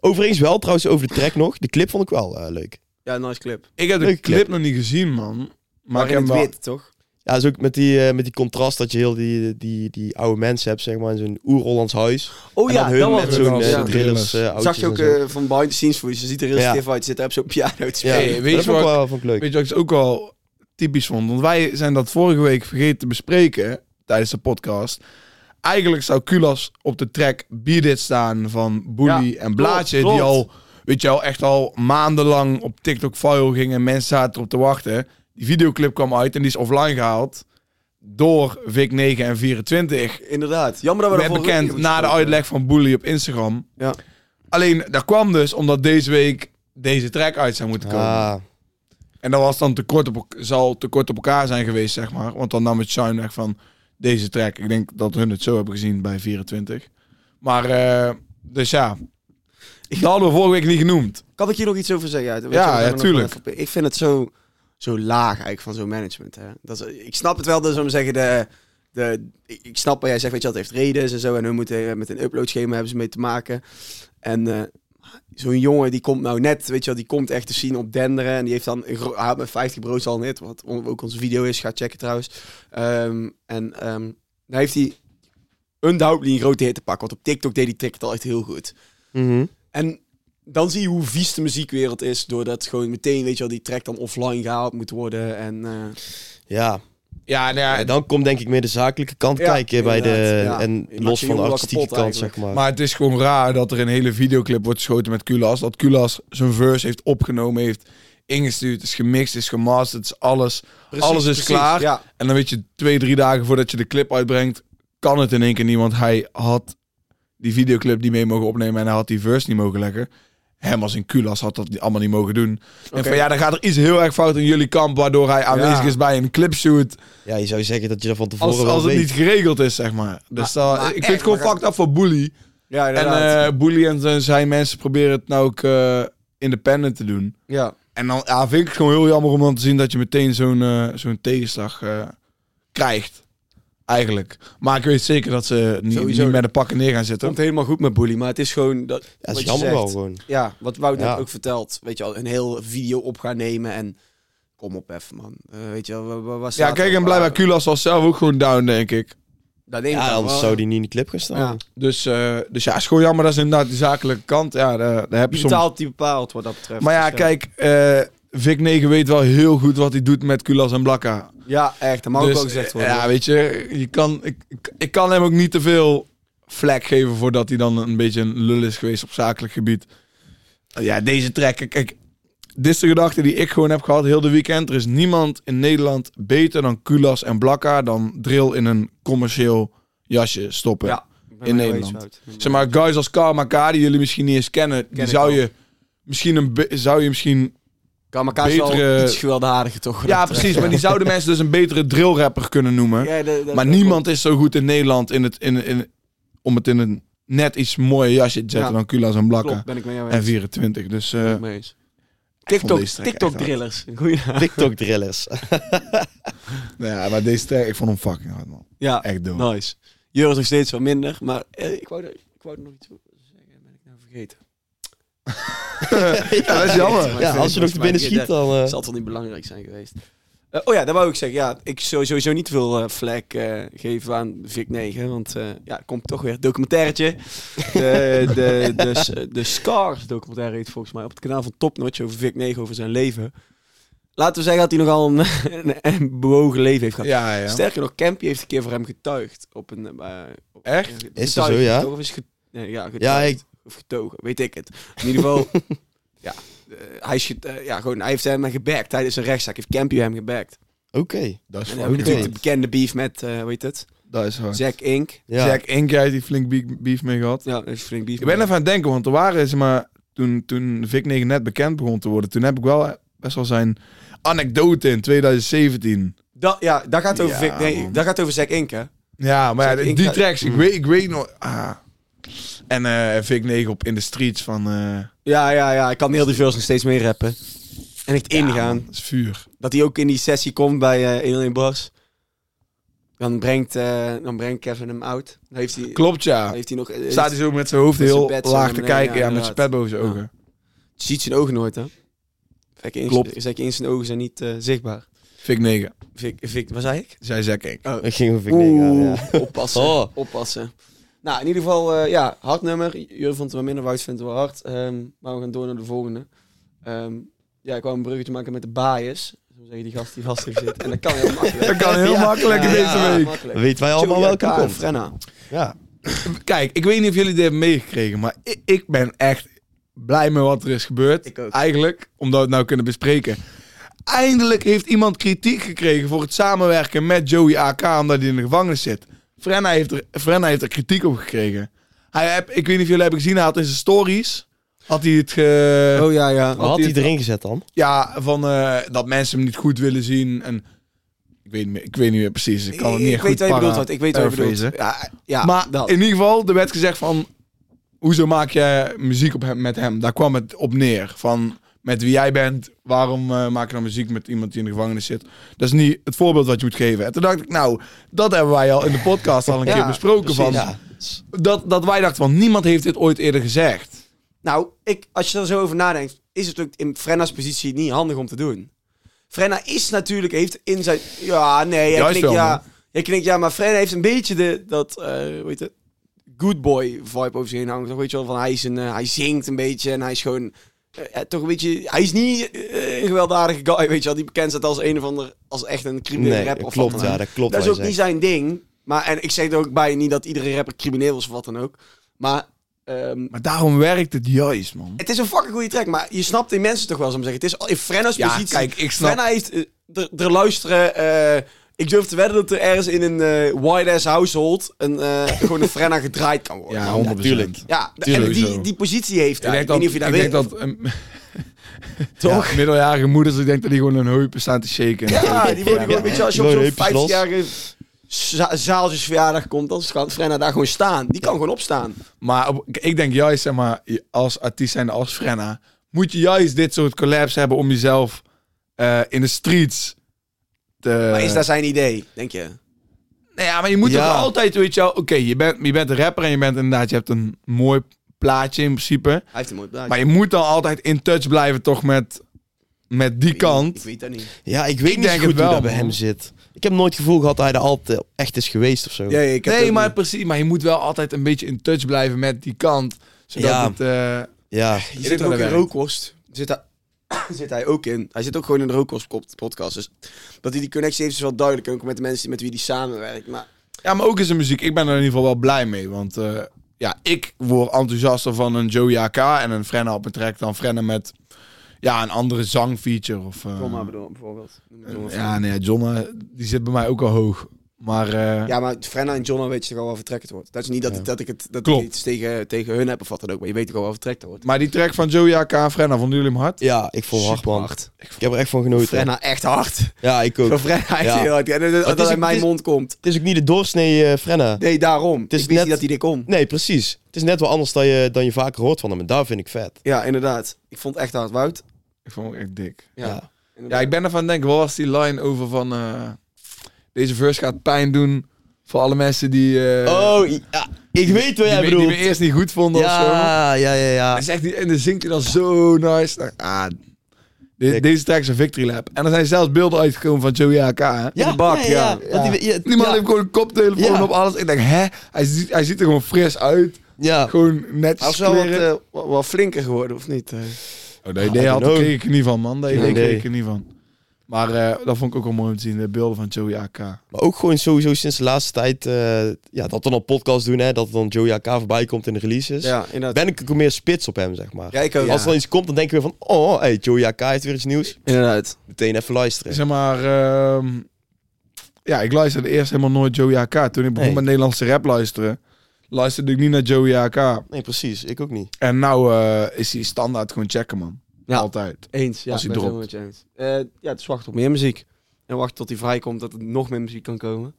Speaker 3: Overigens wel, trouwens, over de track nog. De clip vond ik wel eh, leuk.
Speaker 2: ja, nice clip.
Speaker 1: Ik heb de
Speaker 3: Leuke
Speaker 1: clip,
Speaker 3: clip.
Speaker 1: nog niet gezien, man. Maar
Speaker 2: Maar
Speaker 1: ik heb
Speaker 2: in
Speaker 1: hem
Speaker 2: het
Speaker 1: wel...
Speaker 2: wit, toch?
Speaker 3: Ja, dat is ook met die, eh, met die contrast dat je heel die, die, die oude mensen hebt, zeg maar, in zo'n oer-Hollands huis.
Speaker 2: Oh
Speaker 3: en
Speaker 2: ja,
Speaker 3: dan hun
Speaker 2: dat was
Speaker 3: met
Speaker 2: het.
Speaker 1: zo-
Speaker 3: zo'n
Speaker 1: wel.
Speaker 3: eh,
Speaker 1: Ja.
Speaker 3: drillers eh,
Speaker 2: Zag
Speaker 3: oudjes
Speaker 2: je ook
Speaker 3: en zo.
Speaker 2: eh, van behind the scenes footage, je ziet er heel
Speaker 3: Ja.
Speaker 2: stiff uit, zit er op zo'n piano te
Speaker 3: ja,
Speaker 2: spelen.
Speaker 1: Hey, weet
Speaker 3: dat
Speaker 1: je
Speaker 3: vond ik
Speaker 1: wat-
Speaker 3: wel, vond ik leuk.
Speaker 1: Weet je wat ik dus ook wel typisch vond? Want wij zijn dat vorige week vergeten te bespreken tijdens de podcast. Eigenlijk zou Kulas op de track Beat It staan van Bully en Blaadje.
Speaker 2: klopt.
Speaker 1: Die al, weet je wel, echt al maandenlang op TikTok viral ging en mensen zaten erop te wachten. Die videoclip kwam uit en die is offline gehaald door Vic 9 en 24.
Speaker 2: Inderdaad. Jammer dat we
Speaker 1: Werd
Speaker 2: dat vorige
Speaker 1: bekend
Speaker 2: week
Speaker 1: na de
Speaker 2: hebben
Speaker 1: uitleg van Bully op Instagram.
Speaker 2: Ja.
Speaker 1: Alleen, dat kwam dus omdat deze week deze track uit zou moeten komen.
Speaker 3: Ah,
Speaker 1: En dat was dan tekort op, elk- zal tekort op elkaar zijn geweest, zeg maar. Want dan nam het Shine weg van deze track. Ik denk dat hun het zo hebben gezien bij 24. Maar, eh, dus ja. Dat hadden we vorige week niet genoemd.
Speaker 2: Kan ik hier nog iets over zeggen? Ja, weet
Speaker 1: Ja,
Speaker 2: we gaan
Speaker 1: ja,
Speaker 2: er nog
Speaker 1: tuurlijk.
Speaker 2: wel even op- Ik vind het zo, zo laag eigenlijk van zo'n management. Hè? Dat is, ik snap het wel, dus om te zeggen, de, de, ik ik snap wat jij zegt, weet je, dat heeft redenen en zo. En hun moeten eh, met een uploadschema hebben ze mee te maken. En eh, zo'n jongen die komt nou net, weet je wel, die komt echt te zien op denderen. En die heeft dan een gro- hij had met 50 broods al net, wat on- ook onze video is, ga checken trouwens. Ehm, en ehm daar heeft hij undoubtedly een grote hit te pakken. Want op TikTok deed die trick het al echt heel goed.
Speaker 3: mhm.
Speaker 2: En dan zie je hoe vies de muziekwereld is. Doordat gewoon meteen, weet je wel, die track dan offline gehaald moet worden. En eh,
Speaker 3: ja.
Speaker 1: Ja, nou ja,
Speaker 3: En dan komt denk ik meer de zakelijke kant
Speaker 2: Ja,
Speaker 3: kijken bij de...
Speaker 2: inderdaad, ja. Je
Speaker 3: En
Speaker 2: maakt
Speaker 3: los
Speaker 2: je
Speaker 3: van
Speaker 2: jongen
Speaker 3: de
Speaker 2: wel
Speaker 3: artistieke
Speaker 2: kapot
Speaker 3: kant,
Speaker 2: eigenlijk.
Speaker 3: zeg maar.
Speaker 1: maar het is gewoon raar dat er een hele videoclip wordt geschoten met Kulas. Dat Kulas zijn verse heeft opgenomen, heeft ingestuurd, is gemixt, is gemasterd, is alles. Alles is klaar.
Speaker 2: Ja,
Speaker 1: En dan weet je twee, drie dagen voordat je de clip uitbrengt, kan het in één keer niet. Want hij had die videoclip niet mee mogen opnemen en hij had die verse niet mogen leggen. Hem als in Kulas had dat allemaal niet mogen doen. En
Speaker 2: Oké.
Speaker 1: van ja, dan gaat er iets heel erg fout in jullie kamp, waardoor hij aanwezig is bij een clipshoot.
Speaker 3: Ja, je zou zeggen dat je dat van tevoren
Speaker 1: Als,
Speaker 3: wel
Speaker 1: als het
Speaker 3: weet.
Speaker 1: niet geregeld is, zeg maar. Dus dat-
Speaker 2: maar
Speaker 1: ik vind
Speaker 2: echt,
Speaker 1: het gewoon
Speaker 2: maar
Speaker 1: fucked up voor Bully.
Speaker 2: ja
Speaker 1: En
Speaker 2: inderdaad.
Speaker 1: eh Bully en zijn- zijn mensen proberen het nou ook eh, independent te doen.
Speaker 2: ja.
Speaker 1: En dan ja, vind ik het gewoon heel jammer om dan te zien dat je meteen zo'n eh, zo'n tegenslag eh, krijgt. Eigenlijk. Maar ik weet zeker dat ze niet,
Speaker 2: Sowieso.
Speaker 1: niet met de pakken neer gaan zitten.
Speaker 2: komt helemaal goed met Bully, maar het is gewoon... Dat,
Speaker 3: dat
Speaker 2: wat
Speaker 3: is
Speaker 2: je
Speaker 3: jammer
Speaker 2: zegt.
Speaker 3: wel gewoon.
Speaker 2: Ja, wat Wout
Speaker 3: Ja.
Speaker 2: net ook vertelt. Weet je wel, een heel video op gaan nemen en... Kom op even, man. Eh, weet je wel, wa- wa- waar
Speaker 1: Ja,
Speaker 2: staat
Speaker 1: kijk,
Speaker 2: dat?
Speaker 1: en blijkbaar Kulas was zelf ook gewoon down, denk ik.
Speaker 2: Dat neem ik
Speaker 3: Ja,
Speaker 2: aan,
Speaker 3: anders
Speaker 2: wel.
Speaker 3: zou die niet in de clip gaan staan.
Speaker 2: Ja.
Speaker 1: Dus, eh, dus ja, is gewoon jammer. Dat is inderdaad de zakelijke kant. Ja, daar, daar heb je
Speaker 2: Die
Speaker 1: soms
Speaker 2: betaalt, die bepaalt wat dat betreft.
Speaker 1: Maar ja,
Speaker 2: Dus,
Speaker 1: kijk, eh Vic 9 weet wel heel goed wat hij doet met Kulas en Blakka.
Speaker 2: Ja, echt. Dat mag
Speaker 1: Dus,
Speaker 2: ook gezegd worden.
Speaker 1: Ja, weet je, je kan, ik, ik- ik kan hem ook niet te veel vlek geven voordat hij dan een beetje een lul is geweest op zakelijk gebied. Ja, deze trekken, kijk, dit is de gedachte die ik gewoon heb gehad heel de weekend. Er is niemand in Nederland beter dan Kulas en Blakka dan drill in een commercieel jasje stoppen.
Speaker 2: Ja, ik ben
Speaker 1: in
Speaker 2: met jou
Speaker 1: Nederland.
Speaker 2: eens, Wout.
Speaker 1: Zeg maar, guys als Karma die jullie misschien niet eens kennen, die
Speaker 2: ik
Speaker 1: zou
Speaker 2: wel.
Speaker 1: je, misschien een, be- zou je misschien
Speaker 2: Kamaka is wel
Speaker 1: betere-
Speaker 2: iets gewelddadiger, toch?
Speaker 1: Ja, precies. Maar die zouden mensen dus een betere drillrapper kunnen noemen.
Speaker 2: Ja, dat- dat-
Speaker 1: maar
Speaker 2: dat
Speaker 1: niemand is zo goed in Nederland in het, in, in, om het in een net iets mooier jasje te zetten
Speaker 2: Ja.
Speaker 1: dan Kula's en
Speaker 2: klopt.
Speaker 1: Blakka.
Speaker 2: Klopt, ben ik met jou
Speaker 1: En
Speaker 2: eens.
Speaker 1: 24. Dus eh,
Speaker 2: Mee eens.
Speaker 1: vond
Speaker 2: TikTok,
Speaker 1: deze track echt
Speaker 2: TikTok
Speaker 1: hard.
Speaker 2: drillers. Goeie naam.
Speaker 3: TikTok drillers.
Speaker 1: nou ja, maar deze track, ik vond hem fucking hard, man.
Speaker 2: Ja,
Speaker 1: Echt dope.
Speaker 2: nice. Jure is nog steeds wat minder, maar eh, ik, wou, er- ik wou er nog iets over zeggen. Ben ik nou vergeten?
Speaker 1: ja, dat is jammer.
Speaker 3: Ja, als je nog te binnen schiet, dan... eh,
Speaker 2: Dat zal toch niet belangrijk zijn geweest. Eh, oh ja, dat wou ik zeggen. Ja, ik zou sowieso niet veel eh, vlek eh, geven aan Vic 9. Want eh, ja, er komt toch weer het documentairetje. De, de, de, s- de Scars documentaire heet volgens mij op het kanaal van Topnotch over Vic 9, over zijn leven. Laten we zeggen dat hij nogal een, een, een bewogen leven heeft gehad.
Speaker 1: Ja, ja.
Speaker 2: Sterker nog, Campy heeft een keer voor hem getuigd. Op een, eh, op-
Speaker 1: Echt?
Speaker 2: Getuigd,
Speaker 3: Is dat zo, ja?
Speaker 2: toch? Of is ge- nee, ja, getuigd.
Speaker 3: Ja, ik-
Speaker 2: Of getogen, weet ik het. In ieder geval, ja, eh, hij, is get- eh, ja gewoon, hij heeft hem gebackt tijdens een rechtszaak. Heeft Campy hem gebackt.
Speaker 3: Oké.
Speaker 1: Dat is
Speaker 2: En dan hebben we
Speaker 1: fucking
Speaker 2: natuurlijk
Speaker 1: dope.
Speaker 2: de bekende beef met, eh hoe heet het?
Speaker 1: Dat is hard.
Speaker 2: Zack Inc.
Speaker 3: Ja.
Speaker 1: Zack Inc, jij die flink bie- beef mee gehad.
Speaker 2: Ja, dat is flink beef.
Speaker 1: Ik ben even aan het denken, want er waren ze maar... Toen, toen Vic 9 net bekend begon te worden, toen heb ik wel best wel zijn anekdote in 2017.
Speaker 2: Da- ja, dat gaat over,
Speaker 1: Ja,
Speaker 2: Vic- nee,
Speaker 1: man.
Speaker 2: dat gaat over Zack Inc, hè?
Speaker 1: Ja, maar ja,
Speaker 2: Zeg, ik- Mm.
Speaker 1: die tracks, ik weet, ik weet nog... Ah. En eh Vic 9 op In The Streets van... eh
Speaker 2: Ja, ja, ja. Ik kan heel die verse nog steeds mee rappen. En echt ingaan.
Speaker 1: dat is vuur.
Speaker 2: dat hij ook in die sessie komt bij eh 101 Bars. Dan brengt, eh, dan brengt Kevin hem out. Dan heeft hij,
Speaker 1: Klopt,
Speaker 2: dan
Speaker 1: ja.
Speaker 2: heeft hij nog... eh,
Speaker 1: Staat hij zo met zijn hoofd
Speaker 2: met zijn
Speaker 1: heel
Speaker 2: pet zo
Speaker 1: laag
Speaker 2: naar
Speaker 1: te
Speaker 2: beneden,
Speaker 1: kijken.
Speaker 2: ja,
Speaker 1: Ja, met zijn pet
Speaker 2: inderdaad.
Speaker 1: boven zijn
Speaker 2: Ja.
Speaker 1: ogen.
Speaker 2: Je ziet zijn ogen nooit, hè? Kijk in,
Speaker 1: Klopt.
Speaker 2: Klopt. in zijn ogen zijn niet eh, zichtbaar.
Speaker 1: Vic 9.
Speaker 2: Vic, Vic, wat zei ik?
Speaker 1: Zij Zack Inc.
Speaker 3: Ik ging over Vic Nega, ja.
Speaker 2: oppassen,
Speaker 3: Oh.
Speaker 2: oppassen. Nou, in ieder geval, eh, ja, hard nummer. J- Jur vond het wel minder, Wout vindt het wel hard. Ehm, maar we gaan door naar de volgende. Ehm, ja, ik wou een bruggetje maken met de bias. Zo zeggen die gast die vast heeft zitten. En dat kan heel makkelijk.
Speaker 1: Dat kan heel
Speaker 3: Ja.
Speaker 1: makkelijk
Speaker 3: Ja,
Speaker 1: deze
Speaker 3: ja.
Speaker 1: week.
Speaker 2: makkelijk.
Speaker 3: Weet wij allemaal welke
Speaker 2: Julia
Speaker 3: komt.
Speaker 2: Frenna.
Speaker 3: Ja.
Speaker 1: Kijk, ik weet niet of jullie dit hebben meegekregen, maar ik, ik ben echt blij met wat er is gebeurd.
Speaker 2: Ik ook.
Speaker 1: Eigenlijk, omdat we het nou kunnen bespreken. Eindelijk heeft iemand kritiek gekregen voor het samenwerken met Joey AK, omdat hij in de gevangenis zit. Frenna heeft er, Frenna heeft er kritiek op gekregen. Hij heb, ik weet niet of jullie hebben gezien, hij had in zijn stories, had hij het ge-
Speaker 2: Oh ja, ja.
Speaker 3: Wat had hij erin gezet dan?
Speaker 1: ja, van eh, dat mensen hem niet goed willen zien en... Ik weet, niet meer- ik weet niet meer precies. Ik kan het niet echt goed
Speaker 2: weet wat je bedoelt,
Speaker 1: para-
Speaker 2: Wout. Ik weet wat je bedoelt.
Speaker 1: paraphrasen.
Speaker 2: Ja, ja
Speaker 1: maar
Speaker 2: dat.
Speaker 1: in ieder geval, er werd gezegd van... Hoezo maak je muziek op hem, met hem? Daar kwam het op neer. Van, met wie jij bent, waarom eh, maak je dan muziek met iemand die in de gevangenis zit? Dat is niet het voorbeeld wat je moet geven. En toen dacht ik, nou, dat hebben wij al in de podcast al een
Speaker 2: Ja,
Speaker 1: keer besproken. Van,
Speaker 3: Ja.
Speaker 1: dat, dat wij dachten van, niemand heeft dit ooit eerder gezegd.
Speaker 2: Nou, ik, als je er zo over nadenkt, is het ook in Frenna's positie niet handig om te doen. Frenna is natuurlijk, heeft in zijn... Ja, nee, jij
Speaker 1: Juist
Speaker 2: knikt
Speaker 1: wel,
Speaker 2: ja.
Speaker 1: man.
Speaker 2: Jij knikt ja, maar Frenna heeft een beetje de, dat, eh hoe heet het, good boy vibe over zich heen hangen. Toch weet je wel, van hij, is een, eh, hij zingt een beetje en hij is gewoon... eh, eh, toch een beetje, hij is niet eh, een gewelddadige guy, weet je wel, die bekend staat als een of ander, als echt een criminele
Speaker 3: Nee,
Speaker 2: rapper
Speaker 3: dat
Speaker 2: of
Speaker 3: klopt.
Speaker 2: wat dan
Speaker 3: Ja,
Speaker 2: ook.
Speaker 3: dat klopt.
Speaker 2: Dat is
Speaker 3: wat
Speaker 2: ook
Speaker 3: je
Speaker 2: niet
Speaker 3: zegt.
Speaker 2: zijn ding. Maar, en ik zeg er ook bij niet dat iedere rapper crimineel is of wat dan ook. Maar ehm,
Speaker 1: Maar daarom werkt het juist, man.
Speaker 2: het is een fucking goede track. Maar je snapt die mensen toch wel, zou ik maar zeggen. Het is al- in Frenna's
Speaker 1: Ja,
Speaker 2: positie.
Speaker 1: kijk, ik snap-
Speaker 2: Frenna heeft... eh, er- Er luisteren... eh, ik durf te wedden dat er ergens in een eh wide-ass household... Een, eh, gewoon een Frenna gedraaid kan worden.
Speaker 1: Ja, 100%.
Speaker 3: Ja, tuurlijk.
Speaker 2: Ja, de-
Speaker 1: tuurlijk
Speaker 2: en die,
Speaker 1: zo.
Speaker 2: die positie heeft. hij. Ik, weet niet of je daar
Speaker 1: ik
Speaker 2: weet.
Speaker 1: denk dat ehm, ja, middeljarige moeders, ik denk dat die gewoon hun heupen staan te shaken.
Speaker 2: Ja, die worden
Speaker 1: Ja.
Speaker 2: gewoon een beetje als je op
Speaker 3: Die
Speaker 2: zo'n
Speaker 3: worden heupjes los.
Speaker 2: 50-jarige za- zaaltjesverjaardag komt, dan gaat Frenna daar gewoon staan. Die kan gewoon opstaan.
Speaker 1: Maar op- ik denk juist, zeg maar, je- als artiest zijnde als Frenna, moet je juist dit soort collabs hebben om jezelf eh, in de streets te...
Speaker 2: Maar is dat zijn idee, denk je?
Speaker 1: Nou ja, maar je moet
Speaker 3: Ja.
Speaker 1: toch altijd, weet je wel... Oké, je, bent, je bent een rapper en je bent inderdaad... Je hebt een mooi plaatje in principe.
Speaker 2: Hij heeft een mooi plaatje.
Speaker 1: Maar je moet dan altijd in touch blijven toch met, met die
Speaker 2: Ik weet-
Speaker 1: kant.
Speaker 2: Ik weet dat niet.
Speaker 3: Ja, ik weet
Speaker 1: Ik
Speaker 3: niet
Speaker 1: denk
Speaker 3: zo goed
Speaker 1: het wel,
Speaker 3: hoe dat bij
Speaker 1: man.
Speaker 3: hem zit. Ik heb nooit het gevoel gehad dat hij er altijd echt is geweest of zo.
Speaker 2: Ja, ik heb
Speaker 1: Nee,
Speaker 2: ook
Speaker 1: maar
Speaker 2: niet.
Speaker 1: precies. Maar je moet wel altijd een beetje in touch blijven met die kant. Zodat
Speaker 3: Ja.
Speaker 1: het... eh,
Speaker 3: Ja.
Speaker 2: Je
Speaker 1: weet
Speaker 2: zit
Speaker 1: wel
Speaker 2: ook in
Speaker 1: werkt.
Speaker 2: rookworst. Zit, hij- zit hij ook in. Hij zit ook gewoon in de rookworst podcast. Dus dat hij die connectie heeft is wel duidelijk. Ook met de mensen met wie hij samenwerkt. Maar
Speaker 1: Ja, maar ook is de muziek. Ik ben er in ieder geval wel blij mee. Want eh, ja, ik word enthousiaster van een Joey AK en een Frenna op een track dan Frenna met ja, een andere zangfeature. Of, eh,
Speaker 2: Roma bedoel- bijvoorbeeld.
Speaker 1: ja, nee, Jonna, die zit bij mij ook al hoog. Maar eh,
Speaker 2: Ja, maar Frenna en John weet je toch al wel vertrekt wordt. Dat is niet dat,
Speaker 3: Ja.
Speaker 2: ik, dat ik het dat
Speaker 1: Klopt.
Speaker 2: ik iets tegen, tegen hun heb of wat dan ook. Maar je weet toch al wel vertrekt wordt.
Speaker 1: maar die track van Joey AK en Frenna, vonden jullie hem hard?
Speaker 3: ja, ik vond hard, man.
Speaker 2: Superhard.
Speaker 3: Ik heb er echt van genoten.
Speaker 2: Frenna echt hard.
Speaker 3: Ja, ik ook.
Speaker 2: Van Frenna echt
Speaker 3: Ja.
Speaker 2: heel hard. En dat- dat
Speaker 3: is
Speaker 2: hij
Speaker 3: ook-
Speaker 2: in mijn
Speaker 3: het is-
Speaker 2: mond komt.
Speaker 3: Het is ook niet de doorsnee eh, Frenna.
Speaker 2: Nee, daarom. Het
Speaker 3: is
Speaker 2: is ik wist
Speaker 3: net-
Speaker 2: niet dat hij dit kon.
Speaker 3: Nee, precies. Het is net wel anders dan je, dan je vaker hoort van hem. En daar vind ik vet.
Speaker 2: Ja, inderdaad. Ik vond het echt hard. Wout?
Speaker 1: Ik vond hem echt dik.
Speaker 3: Ja.
Speaker 1: Ja, ik ben ervan aan het denken, wat was die line over van eh, deze verse gaat pijn doen voor alle mensen die, eh,
Speaker 3: oh, ja. Ik weet wat
Speaker 1: die,
Speaker 3: jij
Speaker 1: me, die
Speaker 3: bedoelt.
Speaker 1: me eerst niet goed vonden of zo.
Speaker 3: ja, ja, ja, ja.
Speaker 1: Hij zegt die, en dan zingt hij dan zo nice. Nou, ah, de-
Speaker 3: Dik.
Speaker 1: deze track is een victory lap. En er zijn zelfs beelden uitgekomen van Joey AK. hè?
Speaker 3: Ja,
Speaker 1: in de bak, ja.
Speaker 3: ja, ja. Want die- ja,
Speaker 1: Die man
Speaker 3: ja.
Speaker 1: heeft gewoon een koptelefoon
Speaker 3: Ja.
Speaker 1: op alles. Ik denk, hè? Hij ziet, hij ziet er gewoon fris uit.
Speaker 3: Ja.
Speaker 1: Gewoon netjes
Speaker 2: was wel wat,
Speaker 1: kleren.
Speaker 2: eh, wa- wel flinker geworden, of niet? eh?
Speaker 1: oh, dat idee
Speaker 3: I
Speaker 1: had
Speaker 3: don't know.
Speaker 1: kreeg ik er niet van, man. Dat idee
Speaker 3: Nee.
Speaker 1: kreeg ik er niet van. Maar eh, dat vond ik ook wel mooi om te zien. De beelden van Joey AK.
Speaker 3: Maar ook gewoon sowieso sinds de laatste tijd... eh, ja, dat we dan podcast doen, hè. Dat dan Joey AK voorbij komt in de releases.
Speaker 2: Ja, inderdaad.
Speaker 3: Ben ik ook meer spits op hem, zeg maar.
Speaker 2: Ja, ik ook.
Speaker 1: Ja.
Speaker 3: Als er dan iets komt, dan denk ik weer van... Oh, hey, Joey AK heeft weer iets nieuws.
Speaker 2: Inderdaad.
Speaker 3: Meteen even luisteren.
Speaker 1: Zeg maar... ehm, ja, ik luisterde eerst helemaal nooit Joey AK. Toen ik begon
Speaker 3: Nee.
Speaker 1: met Nederlandse rap luisteren... luisterde ik niet naar Joey AK.
Speaker 3: Nee, precies. Ik ook niet.
Speaker 1: En nou eh, is hij standaard gewoon checken, man.
Speaker 2: Ja.
Speaker 1: Altijd.
Speaker 2: Eens, ja.
Speaker 1: Als hij
Speaker 2: ik ben het
Speaker 1: dropt.
Speaker 2: helemaal met je eens. Eh, ja, dus wacht op meer muziek. En wacht tot hij vrijkomt dat er nog meer muziek kan komen.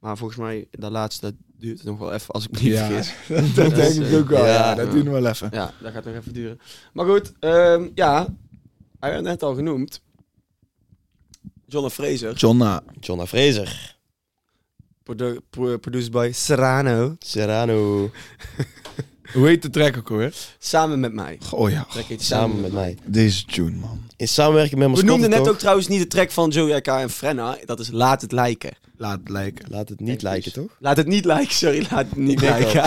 Speaker 2: Maar volgens mij, dat laatste, dat duurt nog wel even, als ik me niet vergis.
Speaker 1: dat
Speaker 2: Dat
Speaker 1: denk
Speaker 2: is,
Speaker 1: ik
Speaker 2: eh,
Speaker 1: ook wel. Ja,
Speaker 3: ja.
Speaker 1: dat duurt nog wel even.
Speaker 2: Ja, dat gaat nog even duren. Maar goed, ehm, ja. Hij werd net al genoemd. John Fraser.
Speaker 1: Jonna.
Speaker 3: Jonna Fraser.
Speaker 2: produ- pro- produced by Serrano.
Speaker 3: Serrano.
Speaker 1: Hoe heet de track ook hoor?
Speaker 2: Samen met mij.
Speaker 1: Oh ja,
Speaker 2: Track heet
Speaker 3: Samen met mij.
Speaker 1: deze tune, man.
Speaker 3: In samenwerking met
Speaker 2: We
Speaker 3: Mascotte,
Speaker 2: noemden net
Speaker 3: toch?
Speaker 2: ook trouwens niet de track van Joey K en Frenna. Dat is Laat het lijken.
Speaker 1: Laat het lijken.
Speaker 3: Laat het niet
Speaker 2: Denk
Speaker 3: lijken,
Speaker 2: eens.
Speaker 3: toch?
Speaker 2: Laat het niet lijken, sorry. Laat het niet
Speaker 3: denk
Speaker 2: lijken.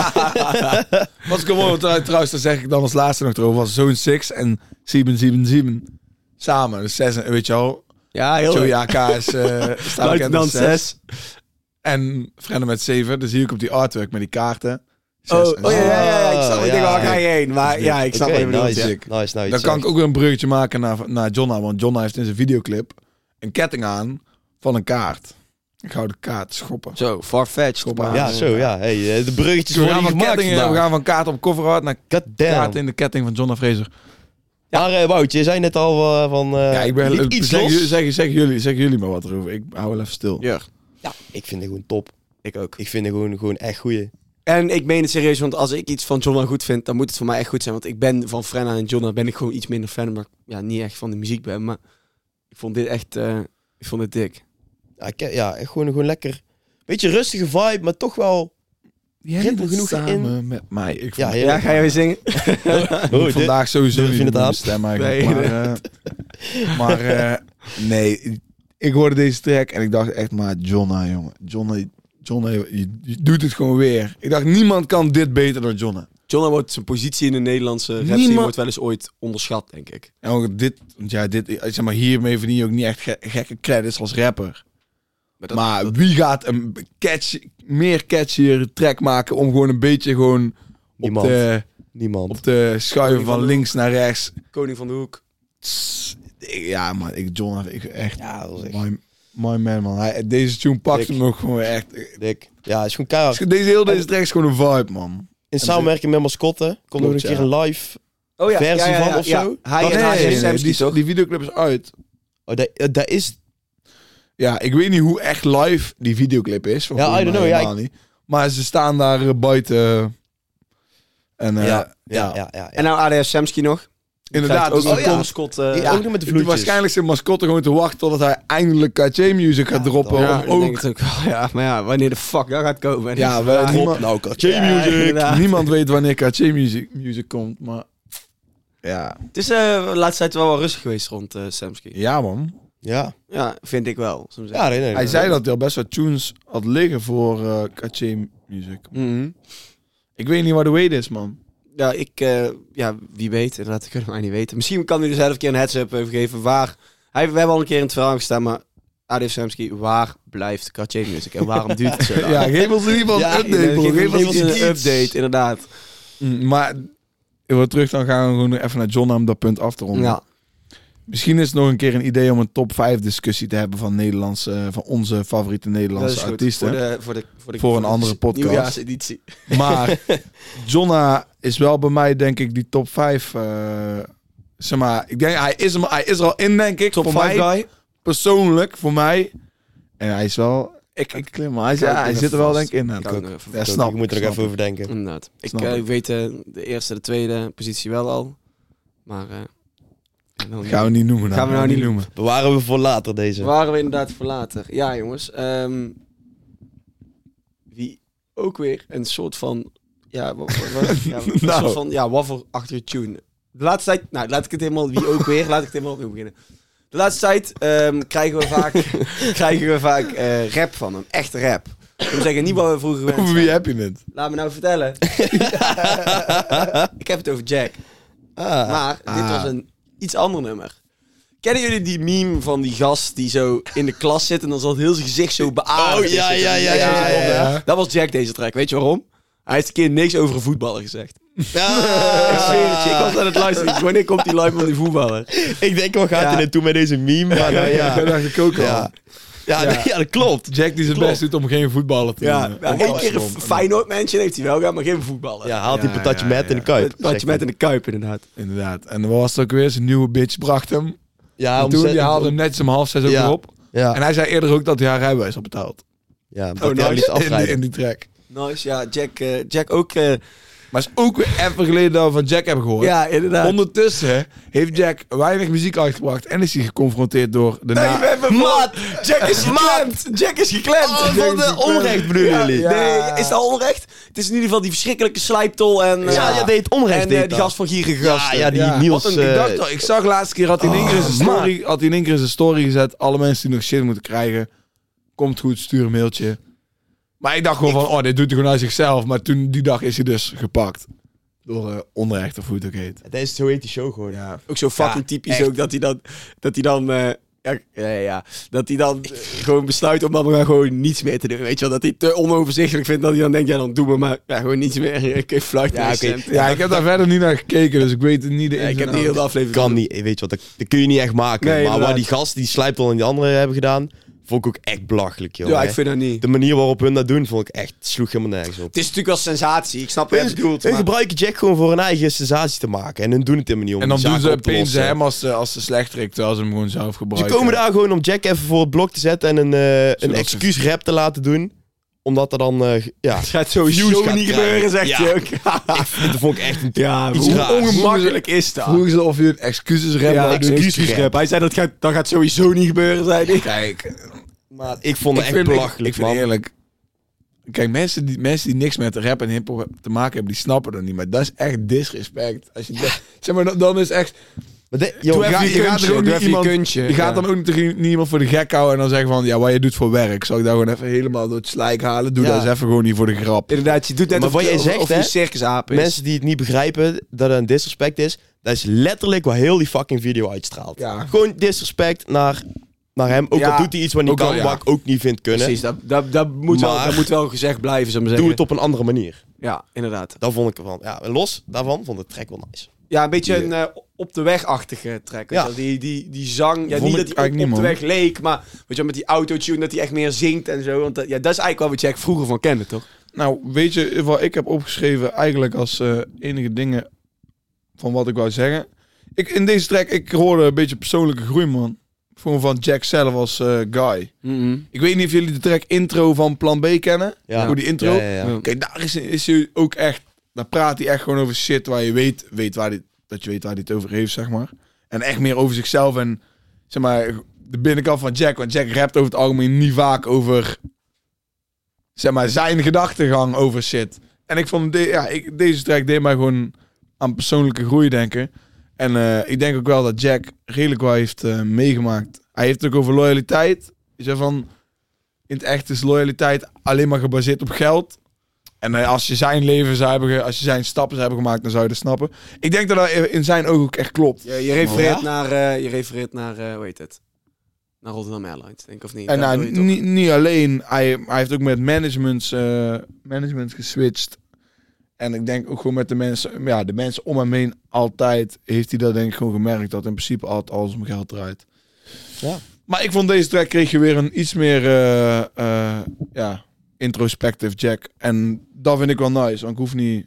Speaker 1: Was ik mooi, want trouwens, dan zeg ik dan als laatste nog erover. Was zo'n 6 en 777 samen. Dus 6, weet je wel.
Speaker 2: ja, heel
Speaker 1: Joey
Speaker 2: leuk.
Speaker 1: AK is eh staat bekend
Speaker 2: Luitenant
Speaker 1: als 6.
Speaker 2: 6.
Speaker 1: En Frenna met 7. Dus zie ik op die artwork met die kaarten.
Speaker 2: Oh,
Speaker 1: Zes en
Speaker 2: oh ja,
Speaker 1: zeven.
Speaker 2: ja, ja, ik snap
Speaker 3: Ah,
Speaker 2: Ik denk,
Speaker 3: ja.
Speaker 2: waar ga je heen? Maar ja, ik snap
Speaker 3: Oké,
Speaker 2: wat je bedoelt.
Speaker 3: nice.
Speaker 2: ja.
Speaker 3: Nice, nice.
Speaker 1: Dan kan ik
Speaker 3: nice.
Speaker 1: ook weer een bruggetje maken naar, naar Jonna. Want Jonna heeft in zijn videoclip een ketting aan van een kaart. Een gouden kaart, schoppen.
Speaker 2: Zo, farfetched.
Speaker 1: maar-
Speaker 3: Ja,
Speaker 1: Ah,
Speaker 3: zo, ja. Hey, eh, de
Speaker 1: Dus
Speaker 3: bruggetjes
Speaker 1: we,
Speaker 3: worden
Speaker 1: gaan
Speaker 3: hier
Speaker 1: van
Speaker 3: gemaakt
Speaker 1: kettingen, we
Speaker 3: vandaag.
Speaker 1: gaan van kaart op cover hard naar
Speaker 3: God
Speaker 1: kaart
Speaker 3: damn.
Speaker 1: in de ketting van Jonna Fraser.
Speaker 3: Maar eh, Wout, je zei net al eh, van... eh,
Speaker 1: ja, ik ben,
Speaker 3: liet iets
Speaker 1: zeg,
Speaker 3: los.
Speaker 1: jullie- zeg, zeg jullie, zeg jullie maar wat erover. Ik hou wel even stil.
Speaker 2: Ja,
Speaker 3: Ja, ik vind het gewoon top.
Speaker 2: ik ook.
Speaker 3: Ik vind het gewoon, gewoon echt goeie.
Speaker 2: En ik meen het serieus, want als ik iets van Jonna goed vind, dan moet het voor mij echt goed zijn. Want ik ben van Frenna en Jonna ben ik gewoon iets minder fan, maar ik, ja, niet echt van de muziek ben. Maar ik vond dit echt, eh, ik vond dit dik.
Speaker 3: Ja, ik, ja echt gewoon, gewoon lekker... Beetje rustige vibe, maar toch wel...
Speaker 1: Die
Speaker 3: hebben
Speaker 1: hebben
Speaker 3: genoeg
Speaker 1: genoeg samen met mij. Ik
Speaker 3: Ja,
Speaker 1: vond-
Speaker 3: heel-
Speaker 2: ga je weer zingen?
Speaker 1: ik
Speaker 3: Oh,
Speaker 1: moet
Speaker 3: dit-
Speaker 1: vandaag sowieso
Speaker 3: durf je
Speaker 1: niet
Speaker 3: het
Speaker 1: met
Speaker 3: aan?
Speaker 1: mijn stem eigenlijk.
Speaker 2: Nee,
Speaker 1: maar eh, maar eh, nee, ik hoorde deze track en ik dacht echt maar Jonna, jongen. Jonna, Jonna je, je doet het gewoon weer. Ik dacht, niemand kan dit beter dan Jonna.
Speaker 2: Jonna wordt zijn positie in de Nederlandse rap scene
Speaker 1: Niemand-
Speaker 2: wordt wel eens ooit onderschat, denk ik.
Speaker 1: En ook dit, want ja, dit, eh, zeg maar, hiermee verdien je ook niet echt ge- gekke credits als rapper.
Speaker 2: Maar dat-
Speaker 1: maar wie gaat een catch, meer catchier track maken om gewoon een beetje gewoon op
Speaker 3: Niemand.
Speaker 1: de,
Speaker 3: Niemand.
Speaker 1: op de schuiven van links naar rechts.
Speaker 2: Koning van de Hoek.
Speaker 1: Tss, ik- Ja, man, ik, John, ik echt,
Speaker 3: Ja, dat was echt
Speaker 1: my, my man, man. Hij, deze tune pakt
Speaker 3: Ik-
Speaker 1: hem ook gewoon echt.
Speaker 3: dik. Ja, is gewoon keihard.
Speaker 1: Deze heel deze track is gewoon een vibe, man.
Speaker 3: In samenwerking met Mascotte komt nog een
Speaker 1: Klopt,
Speaker 3: keer
Speaker 1: ja.
Speaker 3: een live...
Speaker 2: Oh
Speaker 3: Versie van of zo?
Speaker 2: Hij
Speaker 3: Nee,
Speaker 2: en hij en Samsky,
Speaker 1: die,
Speaker 2: toch?
Speaker 1: die videoclip is uit.
Speaker 3: Oh, dat, eh, dat is...
Speaker 1: Ja, ik weet niet hoe echt live die videoclip is. want
Speaker 3: Ja,
Speaker 1: volgens
Speaker 3: I don't
Speaker 1: mij
Speaker 3: know, ja,
Speaker 1: helemaal niet. Maar ze staan daar eh, buiten. En eh,
Speaker 3: Ja,
Speaker 1: ja,
Speaker 3: ja, ja, ja.
Speaker 2: En nou ADS Samsky nog.
Speaker 1: Inderdaad,
Speaker 2: Ook
Speaker 1: dus
Speaker 2: oh,
Speaker 1: dan komt
Speaker 2: Scott.
Speaker 3: Die-
Speaker 2: ja.
Speaker 3: ook nog met de vloedjes.
Speaker 1: waarschijnlijk zijn mascotte gewoon te wachten totdat hij eindelijk KJ-music gaat droppen.
Speaker 3: dat-
Speaker 1: Ja,
Speaker 2: ik
Speaker 1: ook,
Speaker 2: denk het ook wel, ja, maar ja, wanneer de fuck dat gaat komen.
Speaker 1: ja, we,
Speaker 2: Ja,
Speaker 1: niemand,
Speaker 3: nou, KJ-music.
Speaker 2: inderdaad.
Speaker 1: niemand weet wanneer KJ-music music komt, maar... Ja,
Speaker 2: Het is eh, de laatste tijd wel wel rustig geweest rond eh, Samsky.
Speaker 1: ja man.
Speaker 3: Ja,
Speaker 2: Ja, vind ik wel. Soms
Speaker 3: ja nee, nee,
Speaker 1: Hij
Speaker 3: nee.
Speaker 1: zei dat hij al best wat tunes had liggen voor eh KJ-music. Ik weet niet waar de weight is, man.
Speaker 2: Mhm. Ja, ik, eh, ja, wie weet, inderdaad, dat kunnen wij niet weten. Misschien kan hij er zelf een keer een heads-up over geven waar... Hij, we hebben al een keer in het verhaal gestaan, maar ADF Samsky, waar blijft Katje Music en waarom duurt het zo lang?
Speaker 1: Ja, geef ons in ieder geval
Speaker 3: Ja,
Speaker 1: een update,
Speaker 2: Nee,
Speaker 1: bro.
Speaker 2: geef
Speaker 1: Geef
Speaker 2: ons
Speaker 1: ons
Speaker 2: een
Speaker 1: iets.
Speaker 2: update, inderdaad.
Speaker 1: Mm, Maar ik wil terug, dan gaan we gewoon even naar John om dat punt af te ronden.
Speaker 2: Ja,
Speaker 1: Misschien is het nog een keer een idee om een top 5 discussie te hebben van, Nederlandse, eh, van onze favoriete
Speaker 2: dat is
Speaker 1: Nederlandse
Speaker 2: goed. Voor,
Speaker 1: artiesten.
Speaker 2: de, voor, de, de-
Speaker 1: Voor een
Speaker 2: de
Speaker 1: andere podcast.
Speaker 2: Nieuwjaarseditie.
Speaker 1: Maar Jonna is wel bij mij, denk ik, die top 5. eh, zeg maar, ik denk, hij is, hem, hij is er al in, denk ik.
Speaker 2: Top
Speaker 1: voor
Speaker 2: 5
Speaker 1: mij,
Speaker 2: guy.
Speaker 1: persoonlijk, voor mij. En hij is wel. Ik, ik klim, maar hij, is-
Speaker 2: Ik hou
Speaker 1: ja, hij
Speaker 2: het
Speaker 1: zit er
Speaker 2: even
Speaker 1: wel, denk
Speaker 2: vast.
Speaker 1: ik, in.
Speaker 2: Ik
Speaker 1: Ja,
Speaker 2: hou
Speaker 1: ook.
Speaker 2: het even
Speaker 1: Ja,
Speaker 2: vast.
Speaker 1: snap
Speaker 3: ik moet er ook
Speaker 1: snap
Speaker 3: even over denken.
Speaker 2: Inderdaad. Ik
Speaker 1: Snap
Speaker 2: eh,
Speaker 1: ik.
Speaker 2: weet eh, de eerste, de tweede positie wel al. Maar... eh, ik wil niet-
Speaker 1: Gaan we niet noemen.
Speaker 2: Gaan we nou niet
Speaker 1: noemen.
Speaker 3: Bewaren we voor later deze.
Speaker 2: Waren we inderdaad voor later. Ja, jongens. ehm, wie ook weer een soort van... Ja, wa- wa- wa- ja, een
Speaker 1: Nou.
Speaker 2: soort van ja, waffelachtige tune. De laatste tijd... Nou, laat ik het helemaal... Wie ook weer? Laat ik het helemaal opnieuw beginnen. De laatste tijd ehm, krijgen we vaak, krijgen we vaak eh, rap van hem. Echt rap. Ik wil zeggen, niet wat we vroeger gewend
Speaker 1: Over
Speaker 2: zijn.
Speaker 1: wie heb je het?
Speaker 2: Laat me nou vertellen. ik heb het over Jack.
Speaker 3: Ah,
Speaker 2: Maar dit was een iets ander nummer. Kennen jullie die meme van die gast die zo in de klas zit en dan zat heel zijn gezicht zo beaard?
Speaker 3: Oh, ja, ja, ja, ja,
Speaker 1: ja, ja.
Speaker 2: Dat was Jack deze track. Weet je waarom? Hij heeft een keer niks over een voetballer gezegd.
Speaker 3: Ah.
Speaker 2: Ik zweer het je, ik was aan het luisteren. Wanneer komt die live van die voetballer?
Speaker 3: Ah. Ik denk, wat gaat
Speaker 2: Ja.
Speaker 3: hij dit doen met deze meme? Maar, nou, ja.
Speaker 1: Dat dacht ik ook al.
Speaker 3: Ja. Ja,
Speaker 1: Ja.
Speaker 3: ja, dat klopt.
Speaker 1: Jack die zijn
Speaker 3: Klopt.
Speaker 1: best doet om geen voetballer te
Speaker 2: Ja,
Speaker 1: noemen.
Speaker 2: ja,
Speaker 1: Om
Speaker 2: één
Speaker 1: alles
Speaker 2: keer een
Speaker 1: om.
Speaker 2: Feyenoord mensje heeft hij wel gehad, maar geen voetballer.
Speaker 3: Ja, haalt die
Speaker 1: Ja,
Speaker 3: patatje
Speaker 1: ja,
Speaker 3: met
Speaker 1: ja.
Speaker 3: in de kuip.
Speaker 2: Het Wat je met in de kuip inderdaad.
Speaker 1: Inderdaad. En wat was het ook weer? Zijn nieuwe bitch bracht hem.
Speaker 3: Ja,
Speaker 1: En toen die haalde hem netjes om half zes ook
Speaker 3: Ja.
Speaker 1: weer op.
Speaker 3: Ja,
Speaker 1: En hij zei eerder ook dat hij haar rijbewijs had betaald.
Speaker 3: ja dat
Speaker 2: Oh,
Speaker 3: hij
Speaker 2: nice.
Speaker 3: hem liet
Speaker 1: In die, in
Speaker 3: afrijden.
Speaker 1: die track.
Speaker 2: Nice, ja, Jack, eh, Jack ook. eh,
Speaker 1: Maar is ook weer even geleden dat we van Jack hebben gehoord.
Speaker 2: ja, inderdaad.
Speaker 1: Ondertussen heeft Jack weinig muziek uitgebracht en is hij geconfronteerd door de
Speaker 2: Nee,
Speaker 1: na-
Speaker 2: we hebben Maat, Jack is geklemd. Jack is geklemd.
Speaker 3: Oh, van de onrecht bedoelen
Speaker 2: Ja,
Speaker 3: jullie?
Speaker 2: Nee, is dat onrecht? Het is in ieder geval die verschrikkelijke slijptol en... eh,
Speaker 3: Ja, ja, deed onrecht.
Speaker 2: En eh,
Speaker 3: deed
Speaker 2: die
Speaker 3: dat.
Speaker 2: gast van gierige
Speaker 3: Ja,
Speaker 2: gasten.
Speaker 3: Ah, ja, die
Speaker 1: Ja.
Speaker 3: Niels...
Speaker 1: Wat een
Speaker 3: eh,
Speaker 1: gedachte. Ik zag laatste keer, had hij in één keer in zijn
Speaker 2: Oh,
Speaker 1: story, had hij in één keer in zijn story gezet. Alle mensen die nog shit moeten krijgen, komt goed, stuur een mailtje. Maar ik dacht gewoon van, oh, dit doet hij gewoon uit zichzelf. Maar toen, die dag is hij dus gepakt. Door eh, onrecht, of hoe het ook heet.
Speaker 3: Deze, zo heet die show gewoon.
Speaker 1: Ja.
Speaker 2: Ook zo fucking
Speaker 3: Ja,
Speaker 2: typisch
Speaker 3: echt.
Speaker 2: ook dat hij dan... Dat hij dan eh, ja, ja, ja, ja. Dat hij dan eh, gewoon besluit om dan maar gewoon niets meer te doen. Weet je wel, dat hij te onoverzichtelijk vindt. Dat hij dan denkt, ja, dan doen we maar ja, gewoon niets meer. Ik heb fluit
Speaker 3: Ja,
Speaker 2: ja,
Speaker 3: oké.
Speaker 1: Ja, ik heb daar verder niet naar gekeken, dus ik weet niet de
Speaker 2: ja, ik
Speaker 1: ins en
Speaker 2: heb die hele
Speaker 1: outs.
Speaker 2: aflevering...
Speaker 3: Kan niet, weet je wat, dat, dat kun je niet echt maken.
Speaker 2: Nee,
Speaker 3: maar
Speaker 2: inderdaad.
Speaker 3: wat die gast, die slijptol en die anderen hebben gedaan, vond ik ook echt belachelijk, joh.
Speaker 2: Ja,
Speaker 3: hè.
Speaker 2: ik vind dat niet.
Speaker 3: De manier waarop hun dat doen, vond ik echt, sloeg helemaal nergens op.
Speaker 2: Het is natuurlijk als sensatie. Ik snap wat je bedoelt.
Speaker 3: Hun
Speaker 2: maar-
Speaker 3: gebruiken Jack gewoon voor hun eigen sensatie te maken. En hun doen het helemaal niet om Dus
Speaker 1: En dan
Speaker 3: die
Speaker 1: doen
Speaker 3: zaak
Speaker 1: ze
Speaker 3: op te
Speaker 1: opeens
Speaker 3: lossen.
Speaker 1: hem als, de- als de slechterik, terwijl ze hem gewoon zelf
Speaker 3: Dus Ze
Speaker 1: gebruiken.
Speaker 3: komen daar gewoon om Jack even voor het blok te zetten en een, eh een
Speaker 1: ze-
Speaker 3: excuus rap te laten doen. Omdat er dan, eh, ja,
Speaker 2: Het gaat sowieso
Speaker 3: Views
Speaker 2: niet
Speaker 3: gaat
Speaker 2: gebeuren, zegt
Speaker 3: krijgen.
Speaker 2: je ook.
Speaker 3: dat vond ik echt een
Speaker 2: ja,
Speaker 3: iets
Speaker 2: hoe
Speaker 3: raars.
Speaker 2: ongemakkelijk is dat?
Speaker 1: Vroegen ze of je een excuses rap
Speaker 2: ja,
Speaker 1: wou doen.
Speaker 3: excuus-
Speaker 2: excuses rap. Hij zei dat gaat, dat gaat sowieso niet gebeuren, zei hij.
Speaker 1: Kijk,
Speaker 3: Maar ik vond het echt
Speaker 1: vind-
Speaker 3: belachelijk,
Speaker 1: ik vind
Speaker 3: man.
Speaker 1: eerlijk. Kijk, mensen die, mensen die niks met rap en hip-hop te maken hebben, die snappen dat niet. Maar dat is echt disrespect. Als je dat- zeg maar, dan, dan is echt.
Speaker 3: Maar de- joh,
Speaker 1: Ah. Doe even
Speaker 3: ga-
Speaker 1: je kuntje,
Speaker 2: er ook
Speaker 1: doe
Speaker 2: niet
Speaker 1: even je
Speaker 2: iemand-
Speaker 1: Je gaat dan ook niet, tegen niemand voor de gek houden en dan zeggen van ja, wat je doet voor werk. Zal ik daar gewoon even helemaal door het slijk halen? Doe
Speaker 3: Ja.
Speaker 1: dat eens even gewoon niet voor de grap.
Speaker 2: Inderdaad, je doet net
Speaker 3: Maar
Speaker 2: of,
Speaker 3: wat jij
Speaker 2: of-
Speaker 3: zegt,
Speaker 2: of je
Speaker 3: hè?
Speaker 2: circusaap is.
Speaker 3: mensen die het niet begrijpen dat er een disrespect is, dat is letterlijk waar heel die fucking video uitstraalt.
Speaker 1: Ja.
Speaker 3: Gewoon disrespect naar, naar hem. Ook
Speaker 2: Ja,
Speaker 3: al doet hij iets wat niet
Speaker 1: ook
Speaker 3: kan,
Speaker 1: al, ja.
Speaker 3: wat ik ook niet vind kunnen.
Speaker 2: Precies, dat, dat, dat, moet wel,
Speaker 3: Maar-
Speaker 2: dat moet wel gezegd blijven, zou ik maar
Speaker 3: Doe
Speaker 2: zeggen.
Speaker 3: het op een andere manier.
Speaker 2: Ja, inderdaad.
Speaker 3: Dat vond ik ervan. Ja, en los daarvan vond ik de track wel nice.
Speaker 2: Ja, een beetje een eh, op de weg-achtige track. weet
Speaker 3: Ja.
Speaker 2: je wel. Die, die, die zang, ja,
Speaker 1: Vond
Speaker 2: niet
Speaker 1: ik
Speaker 2: dat hij op,
Speaker 1: eigenlijk
Speaker 2: op
Speaker 1: niet,
Speaker 2: de
Speaker 1: man.
Speaker 2: weg leek, maar weet je wel, met die autotune dat hij echt meer zingt en zo. Want dat, ja, dat is eigenlijk wel wat Jack vroeger van kende, toch?
Speaker 1: Nou, weet je wat ik heb opgeschreven eigenlijk als eh, enige dingen van wat ik wou zeggen? Ik, in deze track, ik hoorde een beetje persoonlijke groei, man. Gewoon van Jack zelf als eh, guy.
Speaker 2: Mm-hmm.
Speaker 1: Ik weet niet of jullie de track intro van Plan B kennen.
Speaker 3: Ja.
Speaker 1: Hoe die intro.
Speaker 3: Ja, ja, ja.
Speaker 1: Kijk, daar is, is hij ook echt. Daar praat hij echt gewoon over shit waar je weet, weet waar, die, dat je weet waar hij het over heeft, zeg maar. En echt meer over zichzelf en, zeg maar, de binnenkant van Jack. Want Jack rapt over het algemeen niet vaak over, zeg maar, zijn gedachtegang over shit. En ik vond, de, ja, ik, deze track deed mij gewoon aan persoonlijke groei denken. En eh, ik denk ook wel dat Jack redelijk wel heeft eh, meegemaakt. Hij heeft het ook over loyaliteit. Is er van, in het echt is loyaliteit alleen maar gebaseerd op geld. En eh, als je zijn leven zou hebben, ge- als je zijn stappen zou hebben gemaakt, dan zou je dat snappen. Ik denk dat dat in zijn ogen ook echt klopt.
Speaker 2: Je, je refereert
Speaker 1: Ja?
Speaker 2: naar, eh, je refereert naar eh, hoe heet het? Naar Rotterdam Airlines, denk ik, of niet?
Speaker 1: En
Speaker 2: Daar
Speaker 1: nou,
Speaker 2: bedoel je
Speaker 1: niet, niet alleen, hij, hij heeft ook met managements, eh, management geswitcht. En ik denk ook gewoon met de mensen, ja, de mensen om hem heen altijd heeft hij dat denk ik gewoon gemerkt. Dat in principe altijd alles om geld draait.
Speaker 3: Ja.
Speaker 1: Maar ik vond deze track kreeg je weer een iets meer eh, eh, ja, introspective Jack. En dat vind ik wel nice, want ik hoef niet...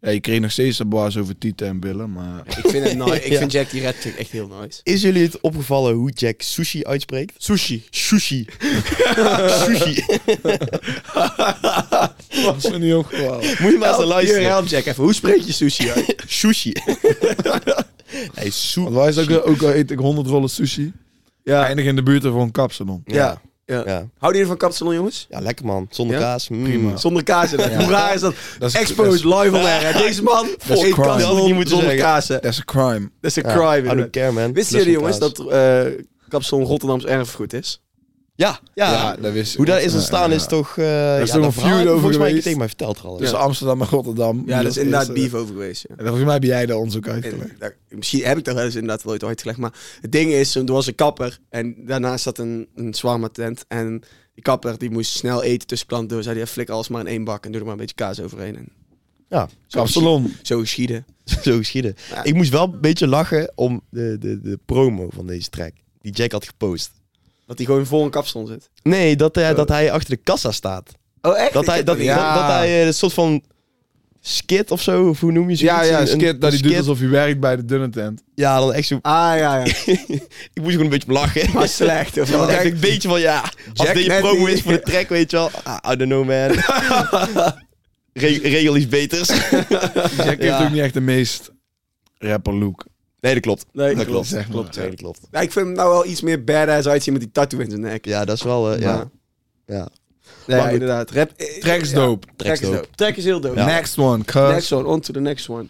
Speaker 1: Ja, je kreeg nog steeds de bars over tieten en billen, maar...
Speaker 2: toch? Ik vind, het nice. ik
Speaker 3: Ja.
Speaker 2: vind Jack die Red chick echt heel nice.
Speaker 3: Is jullie het opgevallen hoe Jack sushi uitspreekt?
Speaker 2: Sushi.
Speaker 3: Sushi. sushi.
Speaker 1: Dat was me niet opgevallen.
Speaker 3: Moet je maar eens naar
Speaker 2: Hier,
Speaker 3: luisteren.
Speaker 2: help Jack even. Hoe spreek je sushi uit?
Speaker 3: Sushi. Hij is
Speaker 1: Want wij is ook, ook al eet ik 100 rollen sushi. Ja. Eindig in de buurt van een kapsalon.
Speaker 2: Ja.
Speaker 3: Ja. ja.
Speaker 2: Houden jullie van kapsalon, jongens?
Speaker 3: Ja, lekker man. Zonder
Speaker 2: Ja?
Speaker 3: kaas. Mm.
Speaker 1: Prima.
Speaker 2: Zonder kaas. en Hoe raar is dat?
Speaker 1: Dat is-
Speaker 2: Exposed
Speaker 1: dat is-
Speaker 2: live on air. hè. Deze man
Speaker 1: is crime.
Speaker 2: eet
Speaker 1: Dat
Speaker 3: had ik niet
Speaker 2: kapsalon
Speaker 3: moeten
Speaker 2: zonder
Speaker 3: zeggen.
Speaker 2: kaas. hè.
Speaker 1: Dat is een crime.
Speaker 2: Dat is een
Speaker 3: Ja,
Speaker 2: crime.
Speaker 3: I don't
Speaker 2: inderdaad.
Speaker 3: care, man.
Speaker 2: Wisten
Speaker 3: Plus
Speaker 2: jullie,
Speaker 3: zonder
Speaker 2: jongens,
Speaker 3: kaas.
Speaker 2: dat eh kapsalon Rotterdams erfgoed is?
Speaker 3: Ja, ja.
Speaker 1: dat wist ik.
Speaker 3: Hoe dat is
Speaker 1: Ja,
Speaker 3: ontstaan
Speaker 1: ja.
Speaker 3: is toch... eh
Speaker 1: is
Speaker 3: ja,
Speaker 1: toch
Speaker 3: dat
Speaker 1: een
Speaker 3: verhaal
Speaker 1: feud
Speaker 3: heb je
Speaker 1: over
Speaker 3: Volgens mij een keer
Speaker 1: geweest?
Speaker 3: tegen mij verteld, Ralf.
Speaker 1: Tussen Dus Amsterdam en Rotterdam.
Speaker 2: Ja, dat is inderdaad
Speaker 1: bief.
Speaker 2: beef over geweest. ja.
Speaker 1: Volgens mij heb jij daar onderzoek uitgelegd.
Speaker 2: En, daar- misschien heb ik dat wel eens inderdaad wel ooit uitgelegd. Maar het ding is, er was een kapper en daarnaast zat een, een zwarma tent. En die kapper die moest snel eten tussen klanten door. Zei hij, ja, flik alles maar in één bak en doe er maar een beetje kaas overheen. En
Speaker 3: Ja,
Speaker 2: zo
Speaker 1: Kapsalon.
Speaker 2: geschi- Zo geschieden.
Speaker 3: zo geschieden.
Speaker 2: Ja.
Speaker 3: Ik moest wel een beetje lachen om de, de, de promo van deze track. Die Jack had gepost.
Speaker 2: Dat hij gewoon vol een kapsalon zit.
Speaker 3: Nee, dat, eh, dat hij achter de kassa staat.
Speaker 2: Oh, echt?
Speaker 3: Dat hij, dat,
Speaker 1: Ja.
Speaker 3: dat, dat hij eh, een soort van skit of zo, of hoe noem je zoiets?
Speaker 1: Ja, ja,
Speaker 3: Een-
Speaker 1: skit
Speaker 3: een
Speaker 1: dat hij doet
Speaker 3: skit.
Speaker 1: alsof hij werkt bij de dunne tent.
Speaker 3: Ja, dan echt zo...
Speaker 2: Ah, ja, ja.
Speaker 3: Ik moest gewoon een beetje om lachen.
Speaker 2: Maar slecht. Of
Speaker 3: Ja,
Speaker 2: wel?
Speaker 3: dan echt een beetje van, ja, als
Speaker 2: Jack
Speaker 3: dit je
Speaker 2: net
Speaker 3: promo
Speaker 2: niet.
Speaker 3: is voor de track, weet je wel. Ah, I don't know, man. Re- regel iets beters.
Speaker 1: Jack
Speaker 3: Ja.
Speaker 1: heeft ook niet echt de meest rapper look.
Speaker 3: Nee, dat klopt.
Speaker 2: Nee,
Speaker 3: dat klopt.
Speaker 1: zeg maar.
Speaker 3: klopt, ja, dat klopt.
Speaker 2: Ja, ik vind hem nou wel iets meer badass uitzien met die tattoo in zijn nek.
Speaker 3: Ja, dat is wel... eh,
Speaker 2: Maar-
Speaker 3: ja. ja.
Speaker 2: Nee,
Speaker 1: Maar goed.
Speaker 2: inderdaad. Rap, eh,
Speaker 1: Track is
Speaker 2: ja.
Speaker 1: dope.
Speaker 2: Track is dope. Track is heel dope.
Speaker 1: Next one, cuz.
Speaker 2: Next one, on to the next one.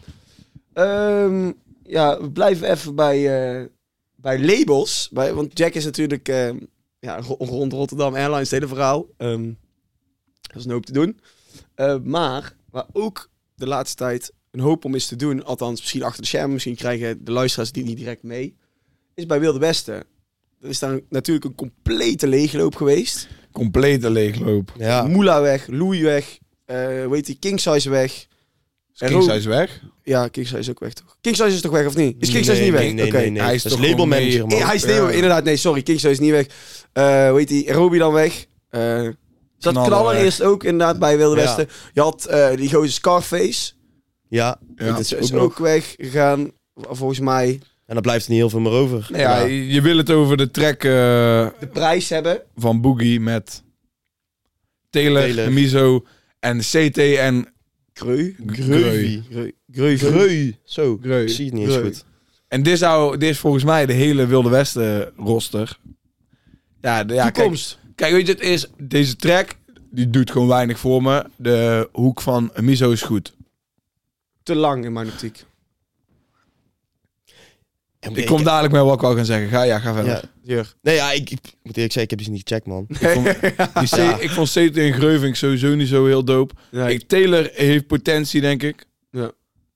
Speaker 2: Ehm, ja, we blijven even bij, eh, bij labels. Bij, want Jack is natuurlijk ehm, ja, ro- rond Rotterdam Airlines, het hele verhaal. Ehm, dat is een hoop te doen. Eh, maar waar ook de laatste tijd een hoop om is te doen, althans misschien achter de schermen, misschien krijgen de luisteraars die niet direct mee, is bij Wilde Westen. Er is daar natuurlijk een complete leegloop geweest.
Speaker 1: Complete leegloop.
Speaker 3: Ja.
Speaker 2: Moela weg, Louis weg, weet weet eh, die Kingsize weg. En
Speaker 1: Kings
Speaker 2: Ro-
Speaker 1: is weg.
Speaker 2: Ja, Kingsize is ook weg, toch? Kingsize is toch weg, of niet? Is Kingsize
Speaker 3: Nee,
Speaker 2: niet weg?
Speaker 3: Nee, nee,
Speaker 2: Oké.
Speaker 3: nee, nee.
Speaker 1: Hij is
Speaker 3: dat is
Speaker 1: toch gewoon mee-
Speaker 3: labelmanager, man.
Speaker 2: Eh, Hij is nee,
Speaker 1: Ja.
Speaker 2: inderdaad. Nee, sorry. Kingsize is niet weg. Eh hoe heet die? Roby dan weg. Eh zat
Speaker 1: Knaller
Speaker 2: Knaller
Speaker 1: weg.
Speaker 2: eerst ook inderdaad bij Wilde
Speaker 3: Ja.
Speaker 2: Westen. Je had eh, die gozer Scarface.
Speaker 3: Ja,
Speaker 1: Ja.
Speaker 3: dat
Speaker 2: Is,
Speaker 3: is ook
Speaker 2: is
Speaker 3: nog...
Speaker 2: ook weggegaan, volgens mij.
Speaker 3: En daar blijft er niet heel veel meer over.
Speaker 1: Nou ja, je je wil het over de track eh,
Speaker 2: De prijs hebben.
Speaker 1: van Boogie met Taylor,
Speaker 3: Taylor.
Speaker 1: Mizo en CT en
Speaker 2: Greu.
Speaker 1: Greu.
Speaker 3: Greu.
Speaker 2: Greu. Greu.
Speaker 3: Greu. Zo,
Speaker 1: Greu.
Speaker 3: ik zie het niet eens
Speaker 2: Greu.
Speaker 3: goed.
Speaker 1: En dit, zou, dit is volgens mij de hele Wilde Westen roster. Ja, de, ja kijk,
Speaker 2: Toekomst.
Speaker 1: kijk, weet je, het is deze track, die doet gewoon weinig voor me. De hoek van Miso is goed.
Speaker 2: Te lang in mijn optiek.
Speaker 3: En
Speaker 1: Ik kom dadelijk met wat ik wou gaan zeggen. Ga, ja, ga verder.
Speaker 3: Ja.
Speaker 2: Jur.
Speaker 3: Nee, ja, ik, ik moet eerlijk zeggen, ik heb die niet gecheckt, man.
Speaker 1: Ik, vond, die C-
Speaker 3: Ja.
Speaker 1: ik vond CT en Greuving sowieso niet zo heel dope.
Speaker 2: Ja,
Speaker 1: Ik, Taylor heeft potentie, denk ik.
Speaker 2: Ja.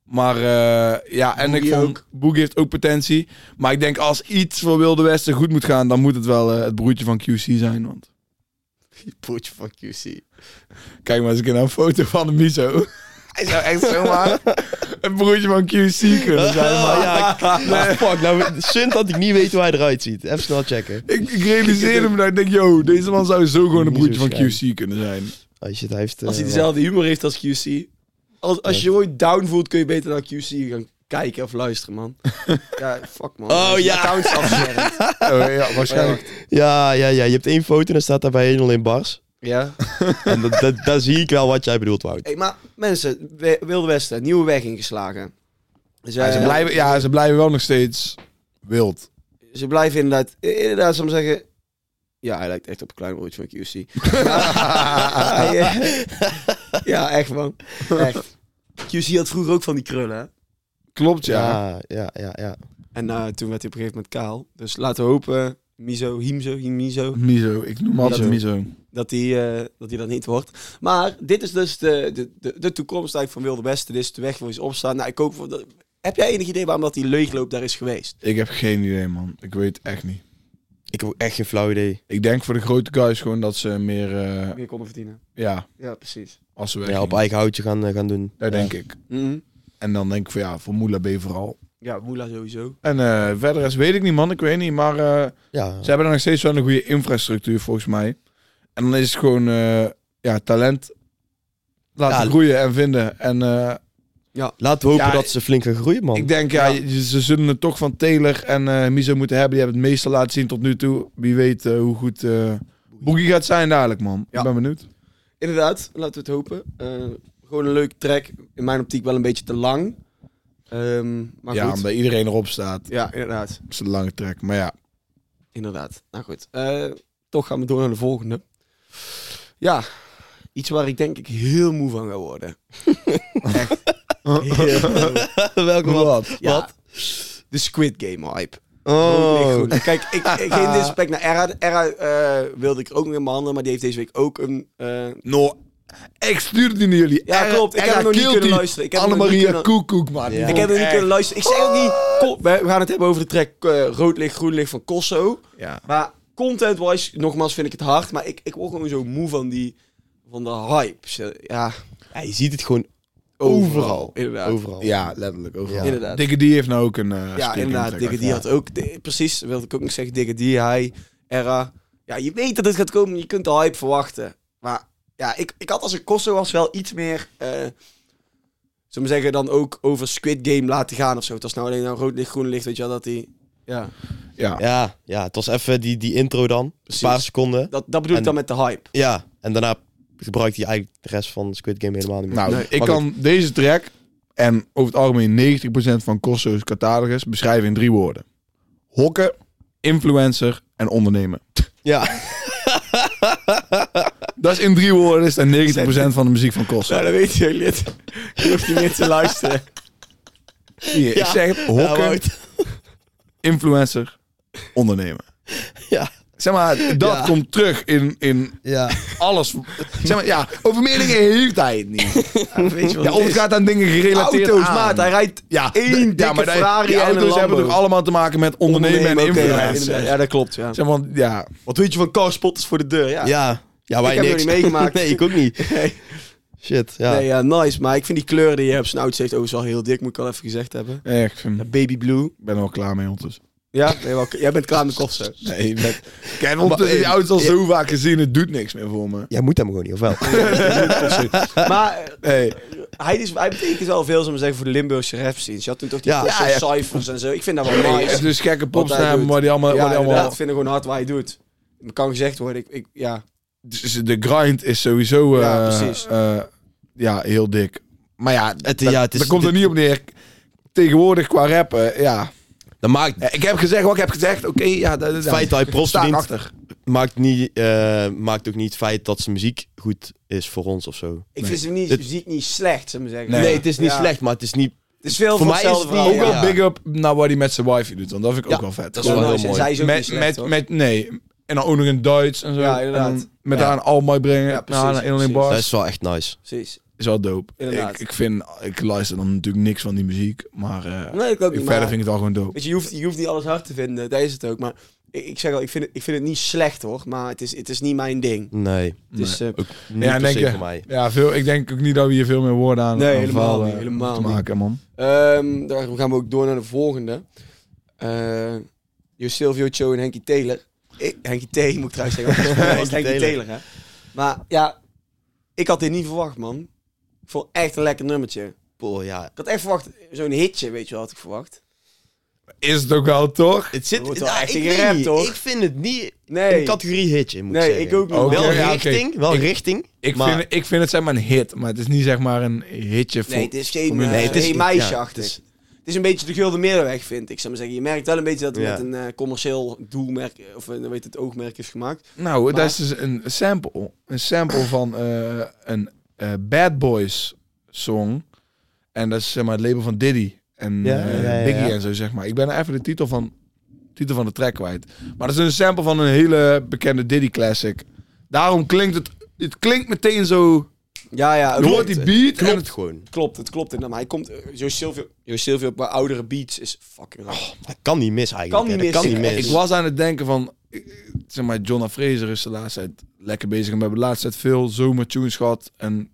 Speaker 1: Maar eh, ja, en
Speaker 2: Boogie
Speaker 1: ik vond
Speaker 2: ook.
Speaker 1: Boogie heeft ook potentie. Maar ik denk als iets voor Wilde Westen goed moet gaan, dan moet het wel eh, het broertje van QC zijn. Want
Speaker 2: Poetje van QC.
Speaker 1: kijk maar eens een keer naar een foto van de Miso.
Speaker 2: Hij zou echt zomaar...
Speaker 1: Een broertje van QC kunnen zijn.
Speaker 3: Ah,
Speaker 1: Maar
Speaker 3: ja, ik- ah, fuck, nou, Sint dat ik niet weet hoe hij eruit ziet. Even snel checken.
Speaker 1: ik, ik realiseerde me dat ik denk, yo, deze man zou zo gewoon een broertje van QC kunnen zijn.
Speaker 3: Oh shit, hij heeft... eh,
Speaker 2: Als hij dezelfde humor heeft als QC. Als, als je je ooit down voelt, kun je beter naar QC gaan kijken of luisteren, man. ja, fuck man.
Speaker 3: Oh,
Speaker 2: Als je
Speaker 3: ja.
Speaker 2: Accounts afschermt.
Speaker 1: Oh, ja, waarschijnlijk.
Speaker 3: Ja, ja, ja. Je hebt één foto en dan staat daarbij 1 in bars.
Speaker 2: ja.
Speaker 3: En dat, dat, daar zie ik wel wat jij bedoelt, Wout.
Speaker 2: Hey, maar mensen, We- Wilde Westen, nieuwe weg ingeslagen. Ze,
Speaker 1: Ja, ze, blijven, ja, ze blijven wel nog steeds wild.
Speaker 2: ze blijven inderdaad, inderdaad, zal ik maar zeggen. Ja, hij lijkt echt op een klein broertje van QC. Ah, ja, ja, echt man. Echt. QC had vroeger ook van die krullen. hè?
Speaker 1: Klopt, ja.
Speaker 3: Ja, ja, ja, ja.
Speaker 2: En eh, toen werd hij op een gegeven moment kaal. Dus laten we hopen, Miso, Himzo, Himizo,
Speaker 1: Miso, ik noem altijd Miso.
Speaker 2: dat hij eh, dat, hij dat niet wordt. Maar dit is dus de, de, de, de toekomst eigenlijk van Wilde Westen. Dit is de weg waar ze opstaan. Nou, ik hoop, voor dat- heb jij enig idee waarom dat die leegloop daar is geweest?
Speaker 1: Ik heb geen idee, man. Ik weet echt niet.
Speaker 3: Ik heb ook echt geen flauw idee.
Speaker 1: Ik denk voor de grote guys gewoon dat ze meer, eh,
Speaker 2: Meer konden verdienen.
Speaker 1: ja,
Speaker 2: Ja, precies.
Speaker 1: als ze weg.
Speaker 3: Ja, op eigen houtje gaan, eh, gaan doen.
Speaker 1: Daar
Speaker 3: Ja.
Speaker 1: denk ik.
Speaker 2: Mhm.
Speaker 1: En dan denk ik van ja, voor Moela B vooral.
Speaker 2: Ja, Moela sowieso.
Speaker 1: En eh, verder is weet ik niet, man. Ik weet niet. Maar eh,
Speaker 3: Ja.
Speaker 1: ze hebben er nog steeds wel een goede infrastructuur, volgens mij. En dan is het gewoon eh, ja, talent laten
Speaker 3: Ja.
Speaker 1: groeien en vinden. En eh,
Speaker 3: Laten we hopen
Speaker 1: Ja,
Speaker 3: dat ze flink gaan groeien, man.
Speaker 1: ik denk, ja,
Speaker 2: Ja.
Speaker 1: je- ze zullen het toch van Taylor en eh Miso moeten hebben. Die hebben het meeste laten zien tot nu toe. Wie weet eh, hoe goed eh Boogie gaat zijn dadelijk, man.
Speaker 2: Ja.
Speaker 1: Ik ben benieuwd.
Speaker 2: Inderdaad, laten we het hopen. Eh, gewoon een leuk track. In mijn optiek wel een beetje te lang. Ehm, maar
Speaker 1: ja,
Speaker 2: goed.
Speaker 1: omdat iedereen erop staat.
Speaker 2: Ja, inderdaad.
Speaker 1: Het is een lange trek, maar ja.
Speaker 2: Inderdaad. Nou goed. Eh, toch gaan we door naar de volgende. Ja, iets waar ik denk ik heel moe van ga worden. Echt.
Speaker 3: Welke wat?
Speaker 2: Ja, De Squid Game hype. Rood, licht,
Speaker 3: Oh.
Speaker 2: groen. Kijk, ik, ik, geen disrespect naar Era. Era eh, wilde ik ook nog in behandelen, maar die heeft deze week ook een... eh,
Speaker 1: No, ik stuurde die naar jullie.
Speaker 2: Ja,
Speaker 1: Erre-
Speaker 2: klopt. Ik heb
Speaker 1: Erre
Speaker 2: hem nog niet
Speaker 1: Kilty,
Speaker 2: kunnen luisteren. Ik heb hem nog niet
Speaker 1: Annemaria
Speaker 2: kunnen-
Speaker 1: Koekoek, man.
Speaker 3: Ja.
Speaker 2: ik heb er niet kunnen luisteren. Ik zei ook niet... Kom, we we gaan het hebben over de track eh, Rood Licht, Groen Licht van Kosso.
Speaker 1: Ja.
Speaker 2: Maar content-wise, nogmaals, vind ik het hard. Maar ik, ik word gewoon zo moe van die... Van de hype. Ze- Ja,
Speaker 3: Ja, je ziet het gewoon
Speaker 2: overal.
Speaker 3: Overal.
Speaker 2: Inderdaad.
Speaker 3: overal.
Speaker 1: ja, letterlijk. Overal.
Speaker 3: Ja.
Speaker 2: Inderdaad.
Speaker 1: Dikke die heeft nou ook een... eh,
Speaker 2: Ja,
Speaker 1: Squid
Speaker 2: inderdaad.
Speaker 1: Game
Speaker 2: Dikke
Speaker 1: track
Speaker 2: die
Speaker 1: uit.
Speaker 2: had ook... de- precies, wilde ik ook nog zeggen. Dikke die, hij, Era. Ja, je weet dat het gaat komen. Je kunt de hype verwachten. Maar ja, ik, ik had als ik Kosso was wel iets meer... eh Zullen we zeggen, dan ook over Squid Game laten gaan of zo. Het was nou alleen nou rood licht, groen licht, weet je wel, dat die... Ja,
Speaker 1: Ja.
Speaker 3: Ja, ja het was even die, die intro dan. Een
Speaker 2: Precies.
Speaker 3: paar seconden.
Speaker 2: dat, dat bedoel ik
Speaker 3: En-
Speaker 2: dan met de hype.
Speaker 3: Ja, en daarna gebruikt hij eigenlijk de rest van Squid Game helemaal niet meer.
Speaker 1: Nou,
Speaker 2: Nee.
Speaker 1: ik
Speaker 3: Maar
Speaker 1: kan deze track en over het algemeen 90% van Cosso's catalogus beschrijven in drie woorden. Hokken, influencer en ondernemen.
Speaker 3: Ja,
Speaker 1: Dat is in drie woorden is dat 90% van de muziek van Cosso.
Speaker 2: Nou, dat weet jullie het. Je hoeft niet meer te luisteren.
Speaker 1: Hier, Ik
Speaker 3: Ja.
Speaker 1: zeg het,
Speaker 3: ja,
Speaker 1: hokken,
Speaker 3: Wout.
Speaker 1: influencer, ondernemen.
Speaker 3: ja.
Speaker 1: Zeg maar, dat
Speaker 3: Ja.
Speaker 1: komt terug in, in
Speaker 3: ja.
Speaker 1: alles. Zeg maar, ja, over meer dingen heeft hij het niet.
Speaker 2: weet je wat
Speaker 1: Ja, of het gaat aan dingen gerelateerd
Speaker 2: Auto's,
Speaker 1: aan.
Speaker 2: maat. Hij rijdt
Speaker 1: ja,
Speaker 2: één
Speaker 1: d-
Speaker 2: dikke
Speaker 1: ja, maar die-
Speaker 2: Ferrari
Speaker 1: die
Speaker 2: en een
Speaker 1: auto's hebben
Speaker 2: Lambo.
Speaker 1: toch allemaal te maken met ondernemen, en
Speaker 2: oké, ja,
Speaker 1: influencer.
Speaker 2: inderdaad. Ja, dat klopt, ja.
Speaker 1: Zeg maar, ja,
Speaker 2: Wat weet je van carspotters voor de deur? Ja.
Speaker 3: Ja, ja
Speaker 2: Ik
Speaker 3: wij
Speaker 2: heb
Speaker 3: niks.
Speaker 2: nog niet meegemaakt.
Speaker 3: nee, ik ook niet.
Speaker 2: Nee.
Speaker 3: Shit, ja.
Speaker 2: Nee, ja, nice. Maar ik vind die kleur die je op zijn outfit heeft overigens oh, wel heel dik, moet ik al even gezegd hebben.
Speaker 1: echt.
Speaker 2: Ja, baby blue.
Speaker 1: Ik ben er wel klaar mee ondertussen.
Speaker 2: Ja, ben je wel- jij bent klaar met kosten.
Speaker 1: Nee, met... Kijk, ondertussen
Speaker 2: eh,
Speaker 1: die auto's al zo vaak gezien, het doet niks meer voor me.
Speaker 3: Jij moet hem gewoon niet, of wel?
Speaker 2: Maar eh,
Speaker 1: Nee,
Speaker 2: hij, is, hij betekent wel veel, zullen we zeggen, voor de Limburgse rap scene. Je had toen toch die
Speaker 3: Ja.
Speaker 2: Kosso
Speaker 1: Ja, ja.
Speaker 2: cijfers en zo. Ik vind dat wel
Speaker 1: nee,
Speaker 2: nice.
Speaker 1: het is gekke pops
Speaker 2: Wat hij
Speaker 1: hebben,
Speaker 2: doet.
Speaker 1: maar die allemaal...
Speaker 2: ja,
Speaker 1: waar die allemaal
Speaker 2: inderdaad. Ik vind het gewoon hard wat hij doet. Het kan gezegd worden. Ik, ik, ja.
Speaker 1: Dus de grind is sowieso eh,
Speaker 2: Ja, precies.
Speaker 1: eh, ja, heel dik. Maar ja,
Speaker 3: Het-
Speaker 1: dat,
Speaker 3: ja, het is-
Speaker 1: dat komt er niet op neer. Tegenwoordig qua rappen, ja.
Speaker 3: Dat maakt
Speaker 1: Eh, Ik heb gezegd wat ik heb gezegd, oké, ja, dat, dat,
Speaker 3: het feit dat hij props
Speaker 1: sta ik
Speaker 3: verdient,
Speaker 1: achter.
Speaker 3: maakt, niet, eh, maakt ook niet het feit dat zijn muziek goed is voor ons of zo.
Speaker 2: Ik vind ze niet,
Speaker 3: Het-
Speaker 2: muziek niet slecht, zullen we zeggen.
Speaker 1: Nee.
Speaker 3: Nee, het is niet
Speaker 2: Ja.
Speaker 3: slecht, maar het is niet...
Speaker 2: Het is veel
Speaker 3: Voor
Speaker 2: voor
Speaker 3: mij is
Speaker 2: hetzelfde
Speaker 3: het niet-
Speaker 2: verhaal.
Speaker 1: Ook wel
Speaker 2: ja.
Speaker 3: ja.
Speaker 1: big up naar wat hij met zijn wife doet, want dat vind ik ook wel vet.
Speaker 3: dat is wel
Speaker 1: Gewoon
Speaker 3: heel
Speaker 2: nice. En
Speaker 3: mooi.
Speaker 2: zij is ook
Speaker 1: met,
Speaker 2: niet slecht,
Speaker 1: met,
Speaker 2: hoor.
Speaker 1: met, nee, en dan ook nog in Duits en zo.
Speaker 2: Ja, inderdaad.
Speaker 1: En dan met
Speaker 2: Ja.
Speaker 1: haar een All My brengen,
Speaker 2: Ja,
Speaker 1: ja,
Speaker 2: precies,
Speaker 1: naar een
Speaker 2: precies.
Speaker 3: Dat
Speaker 1: Bars.
Speaker 3: is wel echt nice.
Speaker 2: Precies.
Speaker 1: is wel dope.
Speaker 2: Inderdaad.
Speaker 1: Ik, ik vind, ik luister dan natuurlijk niks van die muziek, maar eh,
Speaker 2: Nee, ik ook
Speaker 1: ik
Speaker 2: niet.
Speaker 1: verder
Speaker 2: maar-
Speaker 1: vind ik het al gewoon dope.
Speaker 2: Weet je, je hoeft, je hoeft niet alles hard te vinden. Dat is het ook. Maar ik, ik zeg al, ik vind, het, ik vind het niet slecht hoor. Maar het is, het is niet mijn ding.
Speaker 3: Nee,
Speaker 2: Het is, eh,
Speaker 3: ook niet
Speaker 1: Ja,
Speaker 3: ja,
Speaker 1: en
Speaker 3: per
Speaker 1: denk
Speaker 3: se
Speaker 1: je-
Speaker 3: voor mij.
Speaker 1: Ja, veel, ik denk ook niet dat we hier veel meer woorden aan
Speaker 2: Nee,
Speaker 1: aan
Speaker 2: helemaal
Speaker 1: verhalen,
Speaker 2: niet,
Speaker 1: eh,
Speaker 2: helemaal
Speaker 1: te maken, man.
Speaker 2: ehm, daarom gaan we ook door naar de volgende. Eh Jo Silvio Cho en Henky Taylor. Ik, Henky T, moet ik trouwens zeggen. want Het is
Speaker 3: Henky
Speaker 2: Henky Taylor,
Speaker 3: Taylor.
Speaker 2: hè. Maar ja, ik had dit niet verwacht, man. Ik vond echt een lekker nummertje. Ik
Speaker 3: Boah, ja.
Speaker 2: had echt verwacht, zo'n hitje, weet je wel, had ik verwacht.
Speaker 1: Is het ook wel toch?
Speaker 3: Het
Speaker 2: Er
Speaker 3: zit...
Speaker 2: wordt wel
Speaker 3: nou,
Speaker 2: echt
Speaker 3: ik,
Speaker 2: in
Speaker 3: weet
Speaker 2: gerapt,
Speaker 3: niet.
Speaker 2: hoor.
Speaker 3: ik vind het niet
Speaker 2: Nee.
Speaker 3: een categorie hitje, moet
Speaker 2: nee,
Speaker 3: ik
Speaker 2: ik
Speaker 3: zeggen.
Speaker 2: ook niet.
Speaker 1: Ook niet.
Speaker 2: man.
Speaker 3: Wel
Speaker 1: Ja, oké.
Speaker 3: richting, wel
Speaker 1: Ik-
Speaker 3: richting.
Speaker 1: Ik,
Speaker 3: maar-
Speaker 1: vind, ik vind het zeg maar een hit, maar het is niet zeg maar een hitje voor...
Speaker 2: Nee, het is geen
Speaker 1: voor
Speaker 2: eh,
Speaker 1: mijn-
Speaker 3: Nee, het is
Speaker 2: geen
Speaker 3: niet-
Speaker 2: meisje
Speaker 3: ja,
Speaker 2: achter.
Speaker 3: het
Speaker 2: Het
Speaker 3: is-
Speaker 2: is, is een beetje de gulden middenweg, vind ik. Zou maar zeggen. Je merkt wel een beetje dat het
Speaker 3: Ja.
Speaker 2: met een eh, commercieel doelmerk, of eh, weet het, oogmerk is gemaakt.
Speaker 1: Nou,
Speaker 2: Maar-
Speaker 1: dat is dus een sample. Een sample van eh, een eh, Bad Boys song. En dat is zeg maar het label van Diddy. En
Speaker 3: Ja,
Speaker 1: eh,
Speaker 3: ja, ja,
Speaker 1: Biggie
Speaker 3: ja.
Speaker 1: en zo, zeg maar. Ik ben even de titel van, titel van de track kwijt. Maar dat is een sample van een hele bekende Diddy classic. Daarom klinkt het... Het klinkt meteen zo...
Speaker 2: Ja, ja.
Speaker 1: Je hoort die beat en
Speaker 3: Klopt
Speaker 1: het-
Speaker 3: gewoon.
Speaker 2: Klopt, het klopt. inderdaad. Maar hij komt... eh, Joe Silvio, Joe Silvio bij oudere beats is fucking raar.
Speaker 3: Dat kan niet mis eigenlijk.
Speaker 2: Kan
Speaker 3: hè.
Speaker 2: niet
Speaker 3: Dat
Speaker 2: mis.
Speaker 3: kan niet
Speaker 1: Ik
Speaker 3: mis.
Speaker 1: was aan het denken van... eh, Zeg maar, Jonna Fraser is de laatste tijd lekker bezig. En we hebben de laatste tijd veel zomertunes gehad. En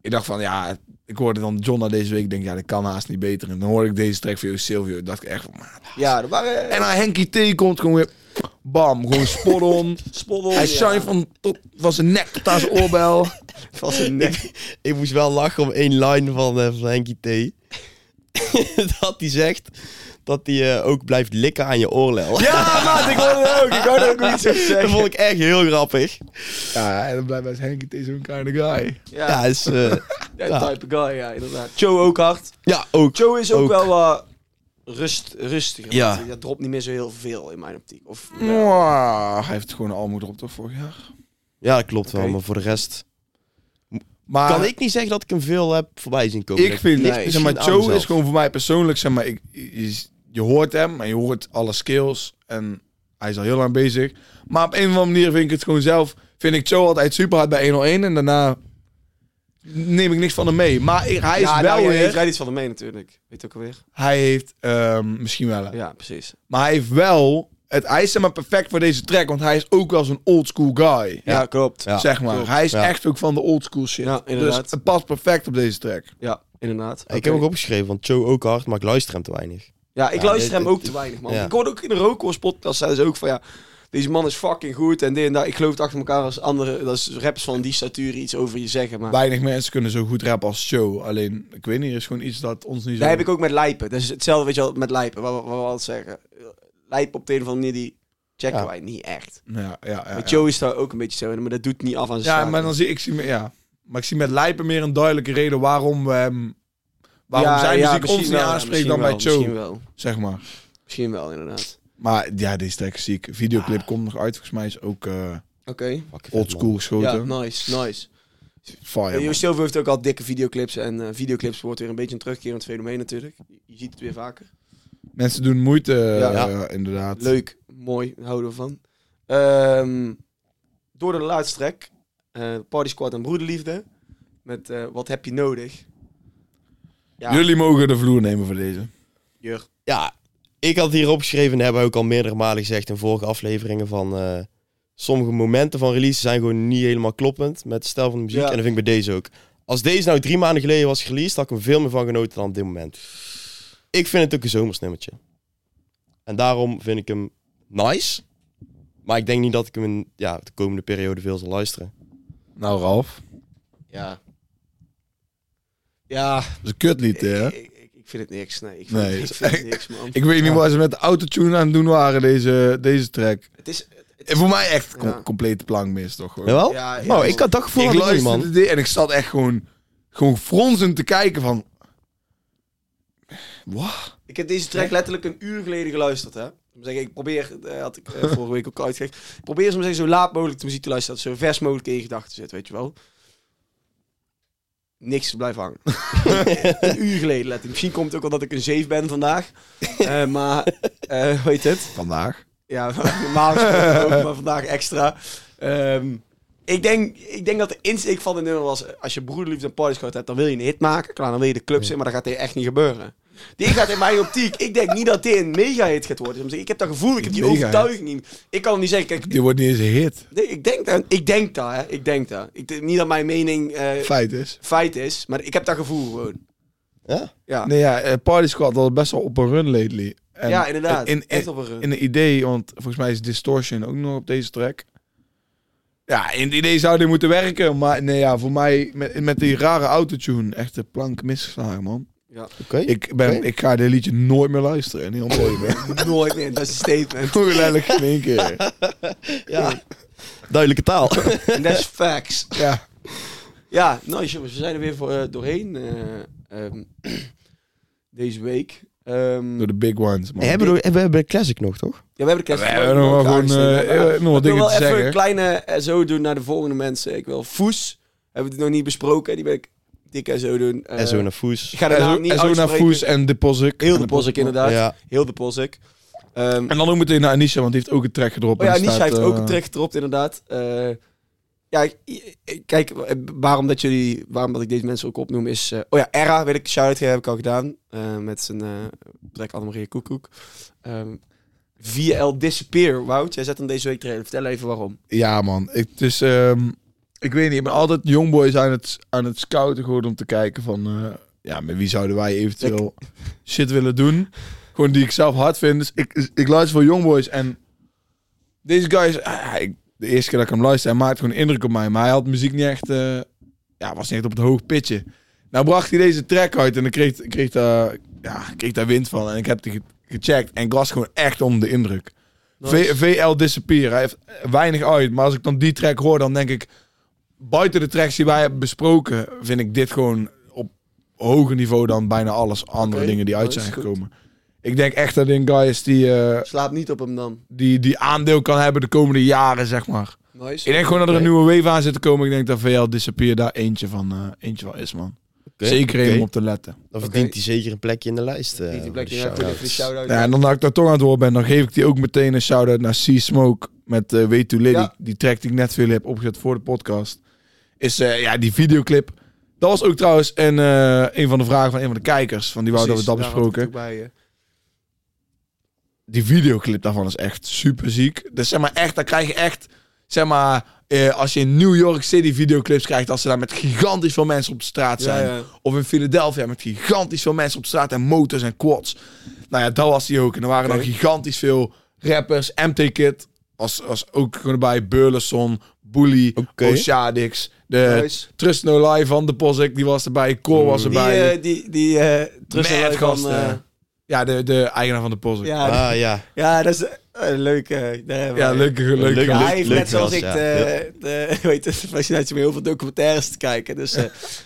Speaker 1: ik dacht van, ja... Ik hoorde dan Jonna deze week. Ik denk, ja, dat kan haast niet beter. En dan hoorde ik deze track van jou, Silvio. Ik dacht echt van, man.
Speaker 2: Ja, er waren...
Speaker 1: En dan Henkie T komt gewoon weer... Bam, gewoon spot on.
Speaker 2: spot on,
Speaker 1: Hij
Speaker 2: ja.
Speaker 1: shine van, tot, van zijn nek tot aan zijn oorbel.
Speaker 2: Van zijn nek.
Speaker 3: Ik moest wel lachen om één line van, eh, van Henkie T. dat hij zegt dat hij eh, ook blijft likken aan je oorlel.
Speaker 2: Ja, maat, ik hoorde het ook. Ik hoorde ook hoe iets zo
Speaker 3: Dat
Speaker 2: zeggen.
Speaker 3: vond ik echt heel grappig.
Speaker 1: Ja, en dan blijft als Henkie T zo'n kleine guy.
Speaker 3: Ja,
Speaker 2: Ja,
Speaker 3: is, eh,
Speaker 2: dat
Speaker 3: ja.
Speaker 2: type guy, ja, inderdaad. Joe ook hard.
Speaker 3: ja ook.
Speaker 2: Joe is ook,
Speaker 3: Ook.
Speaker 2: wel wat rust, rustiger.
Speaker 3: Ja.
Speaker 2: want Dat dropt niet meer zo heel veel in mijn optiek. Of,
Speaker 1: Mwah, hij heeft gewoon een almoed op toch vorig jaar?
Speaker 3: Ja, dat klopt
Speaker 2: Oké.
Speaker 3: wel, maar voor de rest...
Speaker 1: Maar
Speaker 3: Kan ik niet zeggen dat ik hem veel heb voorbij zien komen.
Speaker 1: Ah. Ik vind,
Speaker 2: Nee,
Speaker 1: zeg maar,
Speaker 3: misschien aan
Speaker 1: Joe
Speaker 3: mezelf.
Speaker 1: is gewoon voor mij persoonlijk, zeg maar, ik, je, je hoort hem en je hoort alle skills en hij is al heel lang bezig. Maar op een of andere manier vind ik het gewoon zelf, vind ik Joe altijd super hard bij 101 en daarna neem ik niks van hem mee. Maar ik- hij is
Speaker 2: ja,
Speaker 1: wel
Speaker 2: nou,
Speaker 1: weer,
Speaker 2: Hij rijdt iets van hem mee natuurlijk. Weet ook alweer.
Speaker 1: hij heeft, ehm, misschien wel,
Speaker 2: Ja, precies.
Speaker 1: maar hij heeft wel, het, hij is zeg maar perfect voor deze track, want hij is ook wel zo'n old school guy.
Speaker 2: Ja, klopt. Ja.
Speaker 3: Ja.
Speaker 1: Zeg maar,
Speaker 2: klopt.
Speaker 1: hij is
Speaker 3: Ja.
Speaker 1: echt ook van de old school shit.
Speaker 2: Ja,
Speaker 1: dus
Speaker 2: inderdaad.
Speaker 1: het past perfect op deze track.
Speaker 2: inderdaad.
Speaker 3: Ik heb ook opgeschreven, want Joe ook hard, maar ik luister hem te weinig.
Speaker 2: Ja, ik
Speaker 3: Ja,
Speaker 2: luister
Speaker 3: dit-
Speaker 2: hem ook
Speaker 3: dit-
Speaker 2: te weinig, man.
Speaker 3: ja.
Speaker 2: Ik hoorde ook in de Rookworst podcast zeiden ze ook van ja, deze man is fucking goed en dit en dat. Ik geloof het achter elkaar als andere, als rappers van die statuur iets over je zeggen, maar...
Speaker 1: Weinig mensen kunnen zo goed rappen als Joe. Alleen, ik weet niet, er is gewoon iets dat ons niet zo...
Speaker 2: Daar heb ik ook met lijpen. Dat is hetzelfde weet je wel, met lijpen, wat, we- wat we altijd zeggen. Lijpen op de een of andere manier, die checken
Speaker 3: Ja.
Speaker 2: wij niet echt.
Speaker 1: Ja, ja, ja,
Speaker 2: Maar
Speaker 1: ja.
Speaker 2: Joe is daar ook een beetje zo in, maar dat doet niet af aan zijn
Speaker 1: ja
Speaker 2: status.
Speaker 1: maar dan zie ik... Zie, me- ja. Maar ik zie met Lijpen meer een duidelijke reden waarom we hem... Waarom
Speaker 2: Ja,
Speaker 1: zijn
Speaker 2: ja,
Speaker 1: muziek ons
Speaker 2: misschien
Speaker 1: niet
Speaker 2: wel, ja,
Speaker 1: aanspreekt dan bij
Speaker 2: misschien wel,
Speaker 1: Joe,
Speaker 2: Misschien wel,
Speaker 1: zeg maar.
Speaker 2: misschien wel inderdaad.
Speaker 1: Maar ja, deze track is ziek. Videoclip
Speaker 2: Ah.
Speaker 1: komt nog uit. Volgens mij is ook eh
Speaker 2: Oké.
Speaker 1: old school geschoten.
Speaker 2: Ja, nice, nice.
Speaker 1: Fire,
Speaker 2: Ja,
Speaker 1: man.
Speaker 2: Joost Silver heeft ook al dikke videoclips. En eh, videoclips wordt weer een beetje een terugkerend fenomeen natuurlijk. Je ziet het weer vaker.
Speaker 1: Mensen doen moeite, eh,
Speaker 2: Ja.
Speaker 1: ja, inderdaad.
Speaker 2: Leuk, mooi, daar houden we van. Ehm, door de laatste track. eh, Party Squad en Broederliefde. Met eh, Wat heb je nodig? Ja,
Speaker 1: Jullie mogen de vloer nemen voor deze.
Speaker 2: Jur.
Speaker 3: Ja, ik had hier opgeschreven, en hebben we ook al meerdere malen gezegd in vorige afleveringen, van eh, sommige momenten van release zijn gewoon niet helemaal kloppend met de stijl van de muziek.
Speaker 2: Ja.
Speaker 3: En dat vind ik bij deze ook. Als deze nou drie maanden geleden was gereleased, had ik er veel meer van genoten dan op dit moment. Ik vind het ook een zomersnummertje. En daarom vind ik hem nice. Maar ik denk niet dat ik hem in ja, de komende periode veel zal luisteren.
Speaker 1: Nou, Ralf.
Speaker 2: Ja. Ja,
Speaker 1: Dat is een kutlied, hè?
Speaker 2: ik, ik, ik vind het niks. Nee, ik vind,
Speaker 1: Nee,
Speaker 2: het- ik vind het niks, man.
Speaker 1: Ik weet niet wat ze met de autotune aan het doen waren, deze, deze track.
Speaker 2: het is...
Speaker 1: En voor mij echt
Speaker 2: Ja.
Speaker 1: com- complete plankmis, toch? Gewoon.
Speaker 3: Jawel?
Speaker 2: Ja, ja,
Speaker 3: oh,
Speaker 2: man.
Speaker 3: ik had dat gevoel
Speaker 1: ik
Speaker 3: had ik niet,
Speaker 1: luisterde
Speaker 3: man.
Speaker 1: dit en ik zat echt gewoon, gewoon fronsend te kijken van... Wat?
Speaker 2: Ik heb deze track letterlijk een uur geleden geluisterd, hè. Ik, zeg, ik probeer, eh, had ik eh, vorige week ook al uitgelegd, ik probeer zo, zo laat mogelijk de muziek te luisteren, dat het zo vers mogelijk in je gedachten zit, weet je wel. Niks blijft hangen. een uur geleden letterlijk. Misschien komt het ook omdat ik een zeef ben vandaag. Eh, maar, eh weet het?
Speaker 1: Vandaag.
Speaker 2: Ja, normaal gesproken ook, maar vandaag extra. Ehm, ik, denk, ik denk dat de insteek van de nummer was, als je broederliefde en partyscout hebt, dan wil je een hit maken. Klaar, dan wil je de clubs in, maar dat gaat dit echt niet gebeuren. Dit gaat in mijn optiek. Ik denk niet dat dit een mega-hit gaat worden. Ik heb dat gevoel, ik heb die
Speaker 1: Mega-hit.
Speaker 2: overtuiging niet. Ik kan het niet zeggen. Kijk,
Speaker 1: Dit wordt niet eens een hit.
Speaker 2: nee, ik denk dat. Ik denk dat, hè. Ik denk dat. Ik denk niet dat mijn mening eh,
Speaker 1: Feit is.
Speaker 2: feit is, maar ik heb dat gevoel gewoon.
Speaker 3: Ja?
Speaker 2: Ja,
Speaker 1: Nee, ja, eh, Party Squad was best wel op een run lately. En
Speaker 2: ja inderdaad.
Speaker 1: In, in,
Speaker 2: echt op een run.
Speaker 1: in de idee, want volgens mij is Distortion ook nog op deze track. Ja, in het idee zou dit moeten werken, maar nee, ja, voor mij met, met die rare autotune echt de plank misgeslagen, man.
Speaker 3: Oké.
Speaker 1: Ik, ben,
Speaker 3: Oké.
Speaker 1: ik ga dit liedje nooit meer luisteren. En heel mooi, man.
Speaker 2: Nooit meer, dat is een statement.
Speaker 1: Gewoon letterlijk in één keer.
Speaker 3: Ja. Duidelijke taal.
Speaker 2: En dat is facts.
Speaker 1: Ja.
Speaker 2: nou, Ja, nice jongens, we zijn er weer voor, eh, doorheen. Eh, ehm, deze week. Ehm,
Speaker 1: Door de big ones, man.
Speaker 3: We hebben, we, we hebben Classic nog, toch?
Speaker 2: ja, we hebben de kerst.
Speaker 1: we hebben nog wel gewoon
Speaker 2: aangegeven,
Speaker 1: eh,
Speaker 2: maar
Speaker 1: eh, nog wat
Speaker 2: Ik wil
Speaker 1: dingen
Speaker 2: wel
Speaker 1: te
Speaker 2: even
Speaker 1: zeggen.
Speaker 2: een kleine eh, zo doen naar de volgende mensen. Ik wil Foes. Hebben we het nog niet besproken. Die wil ik dik en zo doen. Eh,
Speaker 3: en zo naar Foes.
Speaker 2: Ik ga de naam niet
Speaker 1: En zo naar
Speaker 2: uitspreken.
Speaker 1: Foes en De Pozzik.
Speaker 2: Heel de Posik inderdaad.
Speaker 3: Ja.
Speaker 2: Heel de Posik. Ehm,
Speaker 1: En dan ook meteen naar Anisha, want die heeft ook een track gedropt.
Speaker 2: Oh ja,
Speaker 1: en
Speaker 2: Nisha
Speaker 1: staat,
Speaker 2: heeft
Speaker 1: eh,
Speaker 2: ook een track gedropt, inderdaad. Eh, ja, ik- ik- kijk, eh, waarom dat jullie, waarom dat ik deze mensen ook opnoem is... eh, oh ja, Era, weet ik, shout-out heb ik al gedaan. eh, met zijn eh track Annemarie Koekoek. Ehm VL Disappear, Wout, jij zet hem deze week erin. Vertel even waarom.
Speaker 1: Ja, man. Ik, het is, ehm, ik weet niet, ik ben altijd jongboys aan het, aan het scouten geworden om te kijken van... eh, ja, met wie zouden wij eventueel shit willen doen? Gewoon die ik zelf hard vind. Dus ik, ik luister voor jongboys en deze guy is... ah, ik- de eerste keer dat ik hem luister, hij maakt gewoon indruk op mij. Maar hij had muziek niet echt... eh, ja, was niet echt op het hoog pitje. Nou bracht hij deze track uit en ik kreeg, kreeg, daar, ja, ik kreeg daar wind van. En ik heb die ge- gecheckt en ik was gewoon echt onder de indruk. V- VL Disappear. Hij heeft weinig uit. Maar als ik dan die track hoor, dan denk ik... Buiten de tracks die wij hebben besproken, vind ik dit gewoon op hoger niveau dan bijna alles andere
Speaker 2: Oké,
Speaker 1: dingen die uit
Speaker 2: nice,
Speaker 1: zijn
Speaker 2: goed.
Speaker 1: gekomen. Ik denk echt dat dit een guy is die, eh,
Speaker 2: Slaap niet op hem dan.
Speaker 1: die, die aandeel kan hebben de komende jaren, zeg maar.
Speaker 2: Nice.
Speaker 1: Ik denk gewoon dat er een nieuwe wave aan zit te komen. Ik denk dat VL Disappear daar eentje van, eh, eentje van is, man.
Speaker 3: Oké.
Speaker 1: Zeker één
Speaker 3: Oké.
Speaker 1: om op te letten.
Speaker 3: Dan
Speaker 2: Oké.
Speaker 3: verdient hij zeker een plekje in de lijst. eh,
Speaker 2: Niet die
Speaker 3: voor
Speaker 2: Black
Speaker 3: de
Speaker 2: Mirror,
Speaker 3: shout-outs.
Speaker 2: voor die shout-out.
Speaker 1: Ja, en dan dat ik daar toch aan het woord ben, dan geef ik die ook meteen een shout-out naar C-Smoke met eh Way Too Lady.
Speaker 2: Ja.
Speaker 1: Die track die ik net voor jullie heb opgezet voor de podcast. Is eh, ja, die videoclip. Dat was ook trouwens een, eh, een van de vragen van een van de kijkers. Van die wou dat we dat
Speaker 2: Precies, daar had ik
Speaker 1: besproken.
Speaker 2: het ook bij, eh.
Speaker 1: Die videoclip daarvan is echt super ziek. Dus zeg maar echt, dan krijg je echt... Zeg maar, eh, als je in New York City videoclips krijgt... als ze daar met gigantisch veel mensen op de straat zijn.
Speaker 2: Ja, ja.
Speaker 1: Of in Philadelphia met gigantisch veel mensen op straat en motors en quads. Nou ja, dat was die ook. En er waren
Speaker 2: Oké.
Speaker 1: dan gigantisch veel rappers. MT Kid was, was ook gewoon bij. Burleson, Bully,
Speaker 3: Oké.
Speaker 1: Oshadix. De
Speaker 2: Nice.
Speaker 1: Trust No Lie van de Posik, die was erbij. Cor was
Speaker 2: Die,
Speaker 1: erbij.
Speaker 2: eh, die, die, eh Trussel
Speaker 1: Mad
Speaker 2: van...
Speaker 1: gasten.
Speaker 2: eh,
Speaker 1: ja, de, de eigenaar van de Posik. Ja,
Speaker 2: ja,
Speaker 3: Ah ja.
Speaker 2: ja, dat is eh, leuk. eh, daar hebben wij-
Speaker 1: leuk. leuk,
Speaker 3: leuk,
Speaker 2: Ja,
Speaker 1: leuk.
Speaker 2: hij heeft
Speaker 3: leuk
Speaker 2: net zoals
Speaker 3: gras,
Speaker 2: ik
Speaker 3: ja.
Speaker 2: de, de, weet het, de fascinatie met heel veel documentaires te kijken. Dus eh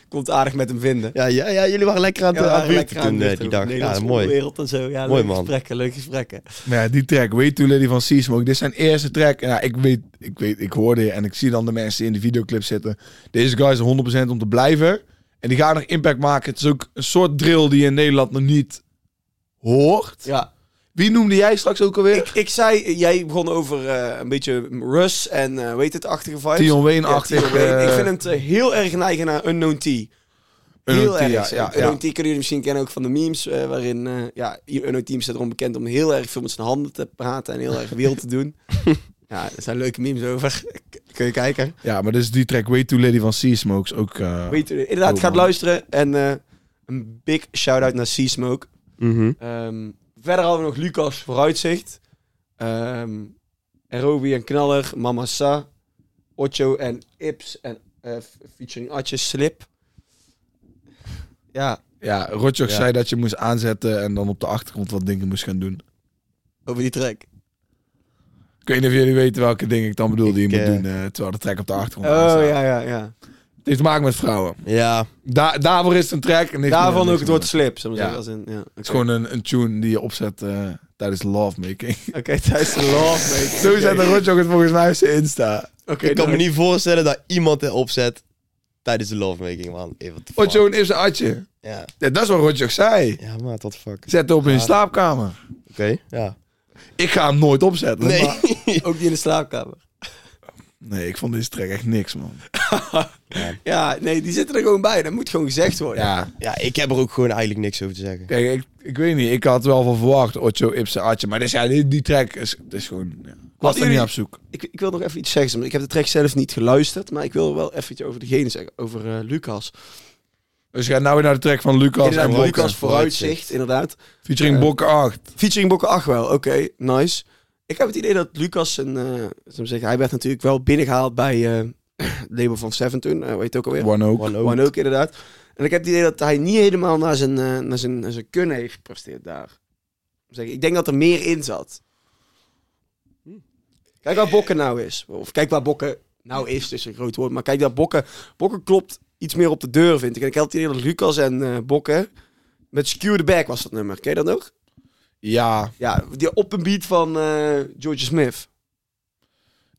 Speaker 2: komt aardig met hem vinden.
Speaker 3: Ja, ja, ja, jullie waren lekker aan het
Speaker 2: we
Speaker 3: ja,
Speaker 2: waren lekker aan
Speaker 3: toen
Speaker 2: het
Speaker 3: eh, die
Speaker 2: luchten over
Speaker 3: dag.
Speaker 2: de
Speaker 3: Ja,
Speaker 2: Nederlandse
Speaker 3: mooi.
Speaker 2: wereld en zo. Ja,
Speaker 3: Mooi,
Speaker 2: leuke
Speaker 3: man.
Speaker 2: gesprekken, leuke gesprekken.
Speaker 1: Maar ja, die track, Way Too Lady van Seasmoke. Dit is zijn eerste track. En ja, ik weet, ik weet, ik hoorde je en ik zie dan de mensen die in de videoclip zitten. Deze guy is er 100% om te blijven. En die gaat nog impact maken. Het is ook een soort drill die je in Nederland nog niet hoort.
Speaker 2: Ja.
Speaker 1: Wie noemde jij straks ook alweer?
Speaker 2: Ik, ik zei, jij begon over eh, een beetje Russ en eh, weet het, achtige vibes.
Speaker 1: Tion
Speaker 2: Ja,
Speaker 1: Wayne-achtig.
Speaker 2: Tion Wayne.
Speaker 1: eh,
Speaker 2: ik vind hem te- heel erg neigen naar Unknown T.
Speaker 1: Unknown
Speaker 2: Heel
Speaker 1: T,
Speaker 2: erg.
Speaker 1: ja, ja,
Speaker 2: Unknown
Speaker 1: ja.
Speaker 2: T kunnen jullie misschien kennen ook van de memes, eh, waarin eh ja, Unknown Team staat erom bekend om heel erg veel met zijn handen te praten en heel erg wild te doen. Ja, er zijn leuke memes over. K- Kun je kijken.
Speaker 1: Ja, maar dus die track Way Too Lady van Seasmoke is ook... eh,
Speaker 2: Weet je, inderdaad,
Speaker 1: Oh,
Speaker 2: gaat
Speaker 1: man.
Speaker 2: luisteren. En eh, een big shout-out naar C-Smoke.
Speaker 3: Mhm.
Speaker 2: Ehm, verder hadden we nog Lucas Vooruitzicht. Ehm Roby en Knaller, Mama Sa, Ocho en Ips en eh, f- featuring Atje Slip. Ja,
Speaker 1: ja, Rotjoch
Speaker 3: Ja.
Speaker 1: zei dat je moest aanzetten en dan op de achtergrond wat dingen moest gaan doen.
Speaker 2: over die track.
Speaker 1: Ik weet niet of jullie weten welke dingen ik dan bedoel die je
Speaker 3: Ik,
Speaker 1: moet
Speaker 3: eh,
Speaker 1: doen eh, terwijl de track op de achtergrond
Speaker 2: Oh
Speaker 1: aanstaat.
Speaker 2: ja, ja, ja.
Speaker 1: Het heeft te maken met vrouwen.
Speaker 3: Ja,
Speaker 1: Da daarvoor is het een track. En heeft
Speaker 2: Daarvan
Speaker 1: niks
Speaker 2: ook het woord
Speaker 1: te
Speaker 2: slip. Zullen we
Speaker 1: Ja.
Speaker 2: zeggen, als in, ja. Oké,
Speaker 1: maken. Het is gewoon een, een tune die je opzet eh, tijdens lovemaking.
Speaker 2: Oké, thuis de love, mate.
Speaker 1: Zo zet de Rotjoch het volgens mij op zijn Insta.
Speaker 2: Oké,
Speaker 3: ik kan me
Speaker 2: nou,
Speaker 3: niet voorstellen dat iemand het opzet tijdens de lovemaking, man. Hey, what the fuck.
Speaker 1: Rotjoch is een atje.
Speaker 3: Ja,
Speaker 1: Ja, dat is wat Rotjoch zei.
Speaker 3: ja maar what the fuck. Oké,
Speaker 1: Zet hem op in je
Speaker 3: Ja.
Speaker 1: slaapkamer.
Speaker 3: ja.
Speaker 1: Ik ga hem nooit opzetten.
Speaker 3: Nee.
Speaker 1: maar-
Speaker 2: Ook die in de slaapkamer.
Speaker 1: nee, ik vond deze track echt niks, man.
Speaker 2: Ja, nee, die zitten er gewoon bij. Dat moet gewoon gezegd worden.
Speaker 1: Ja.
Speaker 3: Ja, ik heb er ook gewoon eigenlijk niks over te zeggen.
Speaker 1: Kijk, ik, ik weet niet. Ik had wel van verwacht, Ocho, Ipse, Atje. Maar dus, ja, die, die track is, het is gewoon... Ja. Ik was er
Speaker 2: jullie-
Speaker 1: niet op zoek.
Speaker 2: Ik, ik wil nog even iets zeggen. want Ik heb de track zelf niet geluisterd, maar ik wil er wel even iets over degene zeggen. Over eh, Lucas.
Speaker 1: Dus ga nou weer naar de track van Lucas en
Speaker 2: Inderdaad,
Speaker 1: Bokke.
Speaker 2: Lucas vooruitzicht, inderdaad.
Speaker 1: Featuring
Speaker 2: Eh,
Speaker 1: Bokke 8.
Speaker 2: Featuring Bokke Achwel, oké, nice. Ik heb het idee dat Lucas, een, eh, zullen we zeggen, hij werd natuurlijk wel binnengehaald bij eh het label van Seventeen, eh weet ook alweer.
Speaker 1: One Oak.
Speaker 3: One Oak.
Speaker 2: One ook inderdaad. En ik heb het idee dat hij niet helemaal naar zijn, eh, naar zijn, naar zijn kunnen heeft gepresteerd daar. Zeg, ik denk dat er meer in zat. Kijk waar Bokken nou is. Of kijk waar Bokken nou is, dus een groot woord. Maar kijk dat Bokken... Bokken klopt iets meer op de deur, vind ik. En ik heb het idee dat Lucas en eh Bokken... Met Skew the Back was dat nummer. Ken je dat ook?
Speaker 1: Ja,
Speaker 2: Ja, die op een beat van eh George Smith.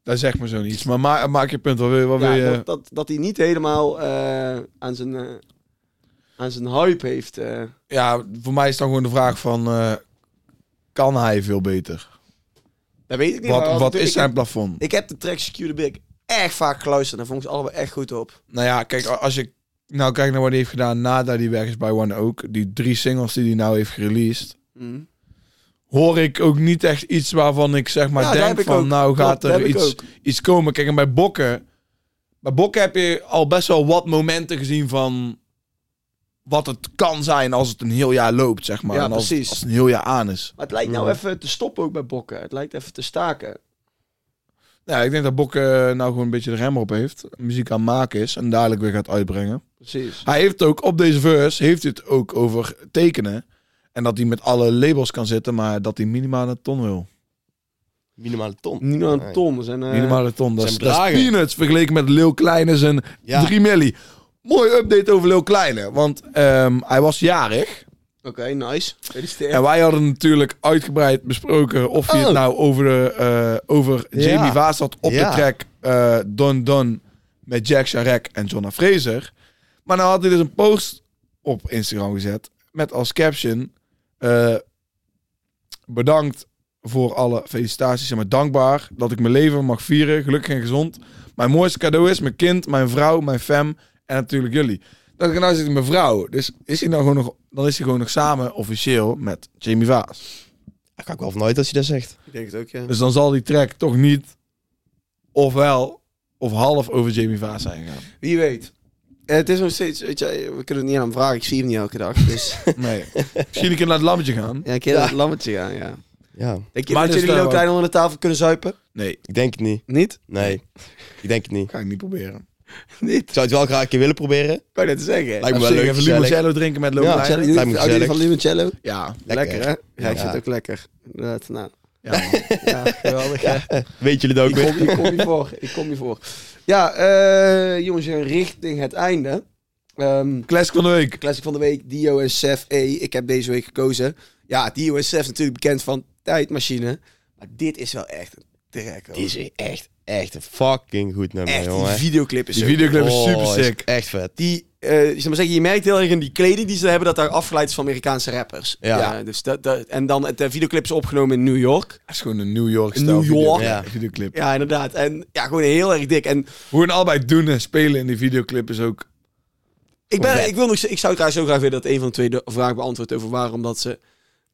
Speaker 1: dat zegt me zo niets. Maar ma- maak je punt. Wat wil je? Wat wil
Speaker 2: Ja,
Speaker 1: je?
Speaker 2: dat, dat, dat hij niet helemaal eh, aan, zijn, eh, aan zijn hype heeft. eh.
Speaker 1: ja, voor mij is dan gewoon de vraag van... eh, kan hij veel beter?
Speaker 2: dat weet ik niet. maar
Speaker 1: Wat, wat
Speaker 2: ik-
Speaker 1: is
Speaker 2: ik-
Speaker 1: zijn plafond?
Speaker 2: Ik heb de track Skew the Back echt vaak geluisterd. Daar vond ik ze allebei echt goed op.
Speaker 1: Nou ja, kijk, a- als ik nou kijk naar wat hij heeft gedaan nadat hij weg is bij One Oak, die drie singles die hij nou heeft gereleased,
Speaker 2: Mm.
Speaker 1: hoor ik ook niet echt iets waarvan ik zeg maar
Speaker 2: Ja, dat
Speaker 1: denk
Speaker 2: heb ik
Speaker 1: van
Speaker 2: ook.
Speaker 1: nou
Speaker 2: Klopt,
Speaker 1: gaat
Speaker 2: dat
Speaker 1: er
Speaker 2: heb ik
Speaker 1: iets,
Speaker 2: ook.
Speaker 1: iets komen. Kijk, en bij Bokken, bij Bokken heb je al best wel wat momenten gezien van wat het kan zijn als het een heel jaar loopt, zeg maar.
Speaker 2: Ja,
Speaker 1: en als,
Speaker 2: precies.
Speaker 1: als het een heel jaar aan is.
Speaker 2: Maar het lijkt nou
Speaker 3: Mhm.
Speaker 2: even te stoppen ook bij Bokken. Het lijkt even te staken.
Speaker 1: Nou, ik denk dat Bokken nou gewoon een beetje de rem op heeft, muziek aan het maken is en dadelijk weer gaat uitbrengen.
Speaker 2: Precies.
Speaker 1: Hij heeft ook op deze verse heeft hij het ook over tekenen. En dat hij met alle labels kan zitten, maar dat hij minimaal een ton wil.
Speaker 3: Minimale ton.
Speaker 2: Nino en
Speaker 3: Nee.
Speaker 2: Tom zijn... eh,
Speaker 1: minimaal een ton. Dat is,
Speaker 3: zijn
Speaker 1: dat is
Speaker 3: bedragen.
Speaker 1: peanuts vergeleken met Lil Kleine zijn
Speaker 3: Ja.
Speaker 1: 3 milli. Mooi update over Lil Kleine. Want ehm, hij was jarig.
Speaker 2: Oké, nice. Gefeliciteerd.
Speaker 1: En wij hadden natuurlijk uitgebreid besproken of hij het
Speaker 3: Oh.
Speaker 1: nou over, de, eh, over
Speaker 3: Ja.
Speaker 1: Jamie Vaas had op
Speaker 3: Ja.
Speaker 1: de track eh, Don Don met Jack Sharek en Jonna Fraser. Maar nou had hij dus een post op Instagram gezet met als caption eh, bedankt voor alle felicitaties en maar dankbaar dat ik mijn leven mag vieren, gelukkig en gezond. Mijn mooiste cadeau is mijn kind, mijn vrouw, mijn fam en natuurlijk jullie. Dat ik nou zit mijn vrouw. Dus is hij nou gewoon nog, dan is hij gewoon nog samen officieel met Jamie Vaas.
Speaker 3: Daar ga ik wel vanuit als je dat zegt.
Speaker 2: Ik denk het ook, ja.
Speaker 1: Dus dan zal die track toch niet ofwel of half over Jamie Vaas zijn gegaan.
Speaker 2: Wie weet. Eh, het is nog steeds... Weet je, we kunnen het niet aan hem vragen. Ik zie hem niet elke dag. Dus
Speaker 1: Nee. Misschien een keer naar het lammetje gaan.
Speaker 2: ja, ik heb
Speaker 3: Ja.
Speaker 2: het lammetje gaan, ja.
Speaker 3: Ja.
Speaker 2: Denk
Speaker 1: Maar
Speaker 2: je maar dat
Speaker 1: dus
Speaker 2: jullie
Speaker 1: daar
Speaker 2: ook
Speaker 1: ook.
Speaker 2: klein onder de tafel kunnen zuipen?
Speaker 1: Nee,
Speaker 3: Ik denk het niet.
Speaker 2: Niet?
Speaker 3: Nee. Ik denk het niet.
Speaker 1: ga ik niet proberen.
Speaker 2: Niet.
Speaker 3: Ik zou het wel graag een keer willen proberen.
Speaker 2: Kan je dat zeggen?
Speaker 3: Lijkt me wel
Speaker 1: Even
Speaker 3: leuk.
Speaker 1: even
Speaker 3: gezellig.
Speaker 1: limoncello drinken met Lola.
Speaker 3: Ja,
Speaker 1: Ja,
Speaker 3: lijkt me
Speaker 2: Houden jullie
Speaker 3: gezellig.
Speaker 2: van limoncello?
Speaker 1: ja,
Speaker 2: Lekker, hè? Ja, ik
Speaker 3: Ja.
Speaker 2: vind het ook lekker. Inderdaad, nou.
Speaker 1: man.
Speaker 2: Ja, geweldig, hè?
Speaker 3: Weet jullie dat ook
Speaker 2: Ik
Speaker 3: weer?
Speaker 2: kom, ik kom hiervoor. Ik kom hiervoor. Ja, eh, jongens, richting het einde. Ehm
Speaker 1: Classic van de week.
Speaker 2: classic van de week, Dio en Sef E. Ik heb deze week gekozen. Ja, Dio en Sef natuurlijk bekend van Tijdmachine. Maar dit is wel echt een track. hoor.
Speaker 3: Die is echt, echt een fucking goed nummer,
Speaker 2: echt, die
Speaker 3: jongen.
Speaker 2: videoclip is
Speaker 1: Die
Speaker 2: ook-
Speaker 1: videoclip is
Speaker 3: Oh,
Speaker 1: super sick.
Speaker 3: Echt vet.
Speaker 2: Die, eh, ik zal maar zeggen, je merkt heel erg in die kleding die ze hebben dat daar afgeleid is van Amerikaanse rappers.
Speaker 3: Ja.
Speaker 2: dus dat, dat, en dan, de videoclip is opgenomen in New York.
Speaker 1: Dat is gewoon een New York stijl
Speaker 2: New York.
Speaker 1: videoclip.
Speaker 3: Ja.
Speaker 1: videoclip.
Speaker 2: Ja, inderdaad. En ja, gewoon heel erg dik. En
Speaker 1: Hoe hun allebei doen en spelen in die videoclip is ook...
Speaker 2: Ik,
Speaker 3: Vet.
Speaker 2: ben, ik, wil nog, ik zou trouwens zo graag willen dat een van de twee de vraag beantwoordt over waarom dat ze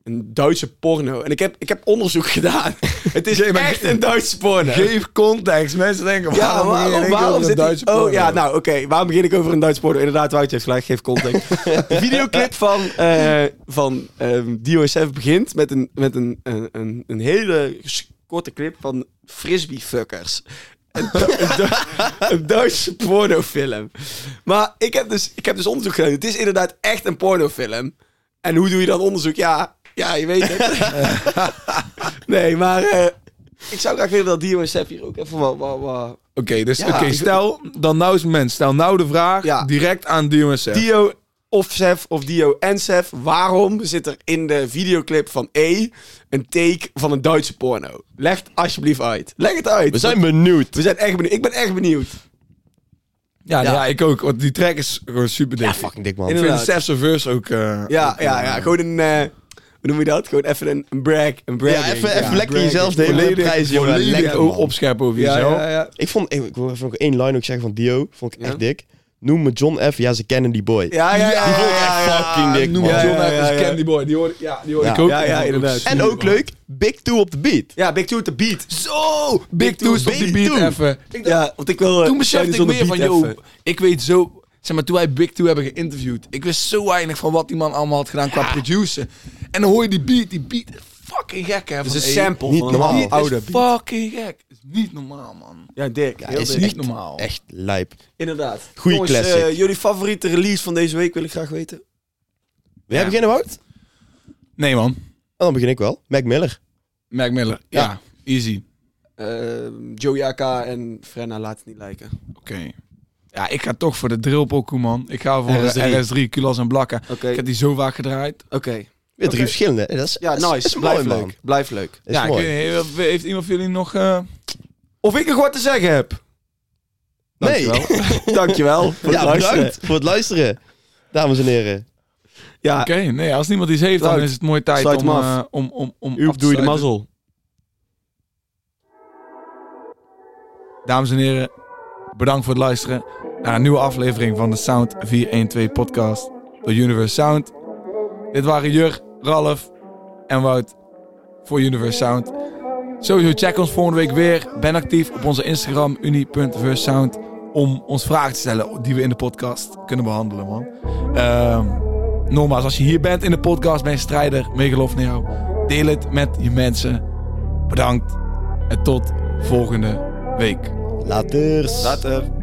Speaker 2: een Duitse porno. En ik heb, ik heb onderzoek gedaan. Het is
Speaker 1: Oké, maar-
Speaker 2: echt een Duitse porno.
Speaker 1: Geef context. Mensen denken,
Speaker 2: ja,
Speaker 1: waarom, begin je in één
Speaker 2: waarom,
Speaker 1: keer over
Speaker 2: waarom
Speaker 1: een
Speaker 2: zit die-
Speaker 1: Duitse
Speaker 2: Oh
Speaker 1: porno?
Speaker 2: ja, nou oké. Waarom begin ik over een Duitse porno? Inderdaad, Woutje heeft gelijk. Geef context. De videoclip van, eh van ehm, DOSF begint met een, met een, een, een, een hele s- korte clip van frisbee-fuckers. Een, Du- een, Du- een Duitse pornofilm. Maar ik heb, dus, ik heb dus onderzoek gedaan. Het is inderdaad echt een pornofilm. En hoe doe je dan onderzoek? Ja, ja je weet het. nee, maar eh, ik zou graag willen dat DOSF hier ook even wat... wat, wat-
Speaker 1: Oké, dus
Speaker 2: Ja.
Speaker 1: oké, stel dan nou eens mens. Stel nou de vraag
Speaker 2: Ja.
Speaker 1: direct aan DMSF.
Speaker 2: Dio of Sef of Dio en Sef. Waarom zit er in de videoclip van E een take van een Duitse porno? Leg het alsjeblieft uit. Leg het uit.
Speaker 3: We zijn benieuwd.
Speaker 2: We zijn echt benieuwd. Ik ben echt benieuwd.
Speaker 1: ja,
Speaker 3: ja.
Speaker 1: ja, ik ook. Want die track is gewoon super dik.
Speaker 3: Ja, fucking dik, man.
Speaker 1: ik vind
Speaker 2: inderdaad.
Speaker 1: Stef's verse ook... eh,
Speaker 2: Ja,
Speaker 1: ook,
Speaker 2: ja,
Speaker 1: eh,
Speaker 2: ja. Gewoon een... eh, hoe noem je dat? Gewoon even een, een brag. Een bragging.
Speaker 3: Ja, even- even lekker
Speaker 2: bragging.
Speaker 3: jezelf de hele
Speaker 2: Volledig-
Speaker 3: tijd prijzen, jongen.
Speaker 1: volledig
Speaker 3: Lekker,
Speaker 1: o-
Speaker 3: man.
Speaker 1: opscheppen over
Speaker 2: Ja,
Speaker 1: jezelf.
Speaker 2: ja, ja.
Speaker 3: Ik vond, ik, ik wil even nog één line ook zeggen van Dio. Vond ik
Speaker 2: Ja?
Speaker 3: echt dik. Noem me John F. Ja, ze kennen die boy.
Speaker 2: Ja, ja, ja.
Speaker 3: Die
Speaker 2: ja,
Speaker 3: vond ik
Speaker 2: ja,
Speaker 3: echt
Speaker 2: ja.
Speaker 3: fucking dik,
Speaker 1: Noem
Speaker 3: man.
Speaker 1: ja,
Speaker 2: Ja,
Speaker 1: John
Speaker 2: ja,
Speaker 1: Evans,
Speaker 2: ja, ja.
Speaker 1: Candy Boy. Die hoor, ja, die hoor
Speaker 3: Ja.
Speaker 1: ik ook.
Speaker 2: Ja, ja, inderdaad.
Speaker 3: En ook leuk, Big Two op de beat.
Speaker 2: Ja, Big Two op de beat.
Speaker 1: Zo! Big
Speaker 3: Two
Speaker 1: Toes op
Speaker 3: Big
Speaker 1: die beat
Speaker 3: Two.
Speaker 1: even. Ik dacht-
Speaker 2: Ja, want ik wil... eh,
Speaker 1: Toen besefte
Speaker 2: tijdens
Speaker 1: ik
Speaker 2: op de
Speaker 1: meer van,
Speaker 2: beat
Speaker 1: yo,
Speaker 2: even.
Speaker 1: ik weet zo... Zeg maar, toen wij Big Two hebben geïnterviewd, ik wist zo weinig van wat die man allemaal had gedaan qua produceren. En dan hoor je die beat, die beat is fucking gek, hè.
Speaker 2: Dat
Speaker 1: van
Speaker 2: is een
Speaker 1: Abe.
Speaker 2: sample
Speaker 3: niet
Speaker 2: van
Speaker 3: normaal.
Speaker 2: een
Speaker 1: Dit
Speaker 2: Oh, oude
Speaker 1: is
Speaker 2: beat.
Speaker 1: fucking gek. Is niet normaal, man.
Speaker 2: Ja, dik. Heel
Speaker 3: is
Speaker 2: dik.
Speaker 1: Niet
Speaker 3: echt-
Speaker 1: normaal.
Speaker 3: Echt lijp.
Speaker 2: Inderdaad.
Speaker 3: Goeie
Speaker 2: Jongens,
Speaker 3: classic.
Speaker 2: eh, jullie favoriete release van deze week wil ik graag weten.
Speaker 3: Wil jij beginnen, Wout? En
Speaker 1: Nee, man.
Speaker 3: dan begin ik wel. Mac Miller.
Speaker 1: Mac Miller. Ja, easy.
Speaker 2: Ehm, Joey AK en Frenna laat het niet lijken.
Speaker 1: Oké. Ja, ik ga toch voor de drillpokoe, man. Ik ga voor
Speaker 3: RS3.
Speaker 1: eh, RS3, Kulas en Blakken.
Speaker 2: Oké,
Speaker 1: Ik heb die zo vaak gedraaid.
Speaker 2: oké.
Speaker 3: Weer drie
Speaker 2: Oké.
Speaker 3: verschillende. hè? Dat is,
Speaker 2: Ja,
Speaker 3: dat is-
Speaker 2: nice.
Speaker 3: is mooi,
Speaker 2: Blijf
Speaker 3: man.
Speaker 2: leuk. Blijf leuk.
Speaker 3: Dat is
Speaker 1: ja, ik
Speaker 3: mooi.
Speaker 1: weet niet, heeft iemand van jullie nog... eh,
Speaker 2: Of ik nog wat te zeggen heb.
Speaker 3: Nee.
Speaker 2: Dankjewel. Dankjewel voor het
Speaker 3: ja,
Speaker 2: luisteren.
Speaker 3: bedankt voor het luisteren. Dames en heren.
Speaker 2: Ja,
Speaker 1: Oké, nee, als niemand iets heeft, dan
Speaker 2: Sluit.
Speaker 1: is het mooi tijd
Speaker 2: Sluit
Speaker 1: om,
Speaker 2: hem af.
Speaker 1: eh, om, om, om af
Speaker 2: Joep,
Speaker 1: te
Speaker 2: doe je de
Speaker 1: sluiten.
Speaker 2: mazzel.
Speaker 1: Dames en heren, bedankt voor het luisteren naar een nieuwe aflevering van de Sound 412 podcast door Universe Sound. Dit waren Jur, Ralf en Wout voor Universe Sound. Sowieso check ons volgende week weer. Ben actief op onze Instagram uni.versound om ons vragen te stellen die we in de podcast kunnen behandelen, man. Ehm nogmaals, als je hier bent in de podcast, ben je strijder. Meer geloof naar jou. Deel het met je mensen. Bedankt en tot volgende week.
Speaker 3: Laters.
Speaker 2: dus. Later.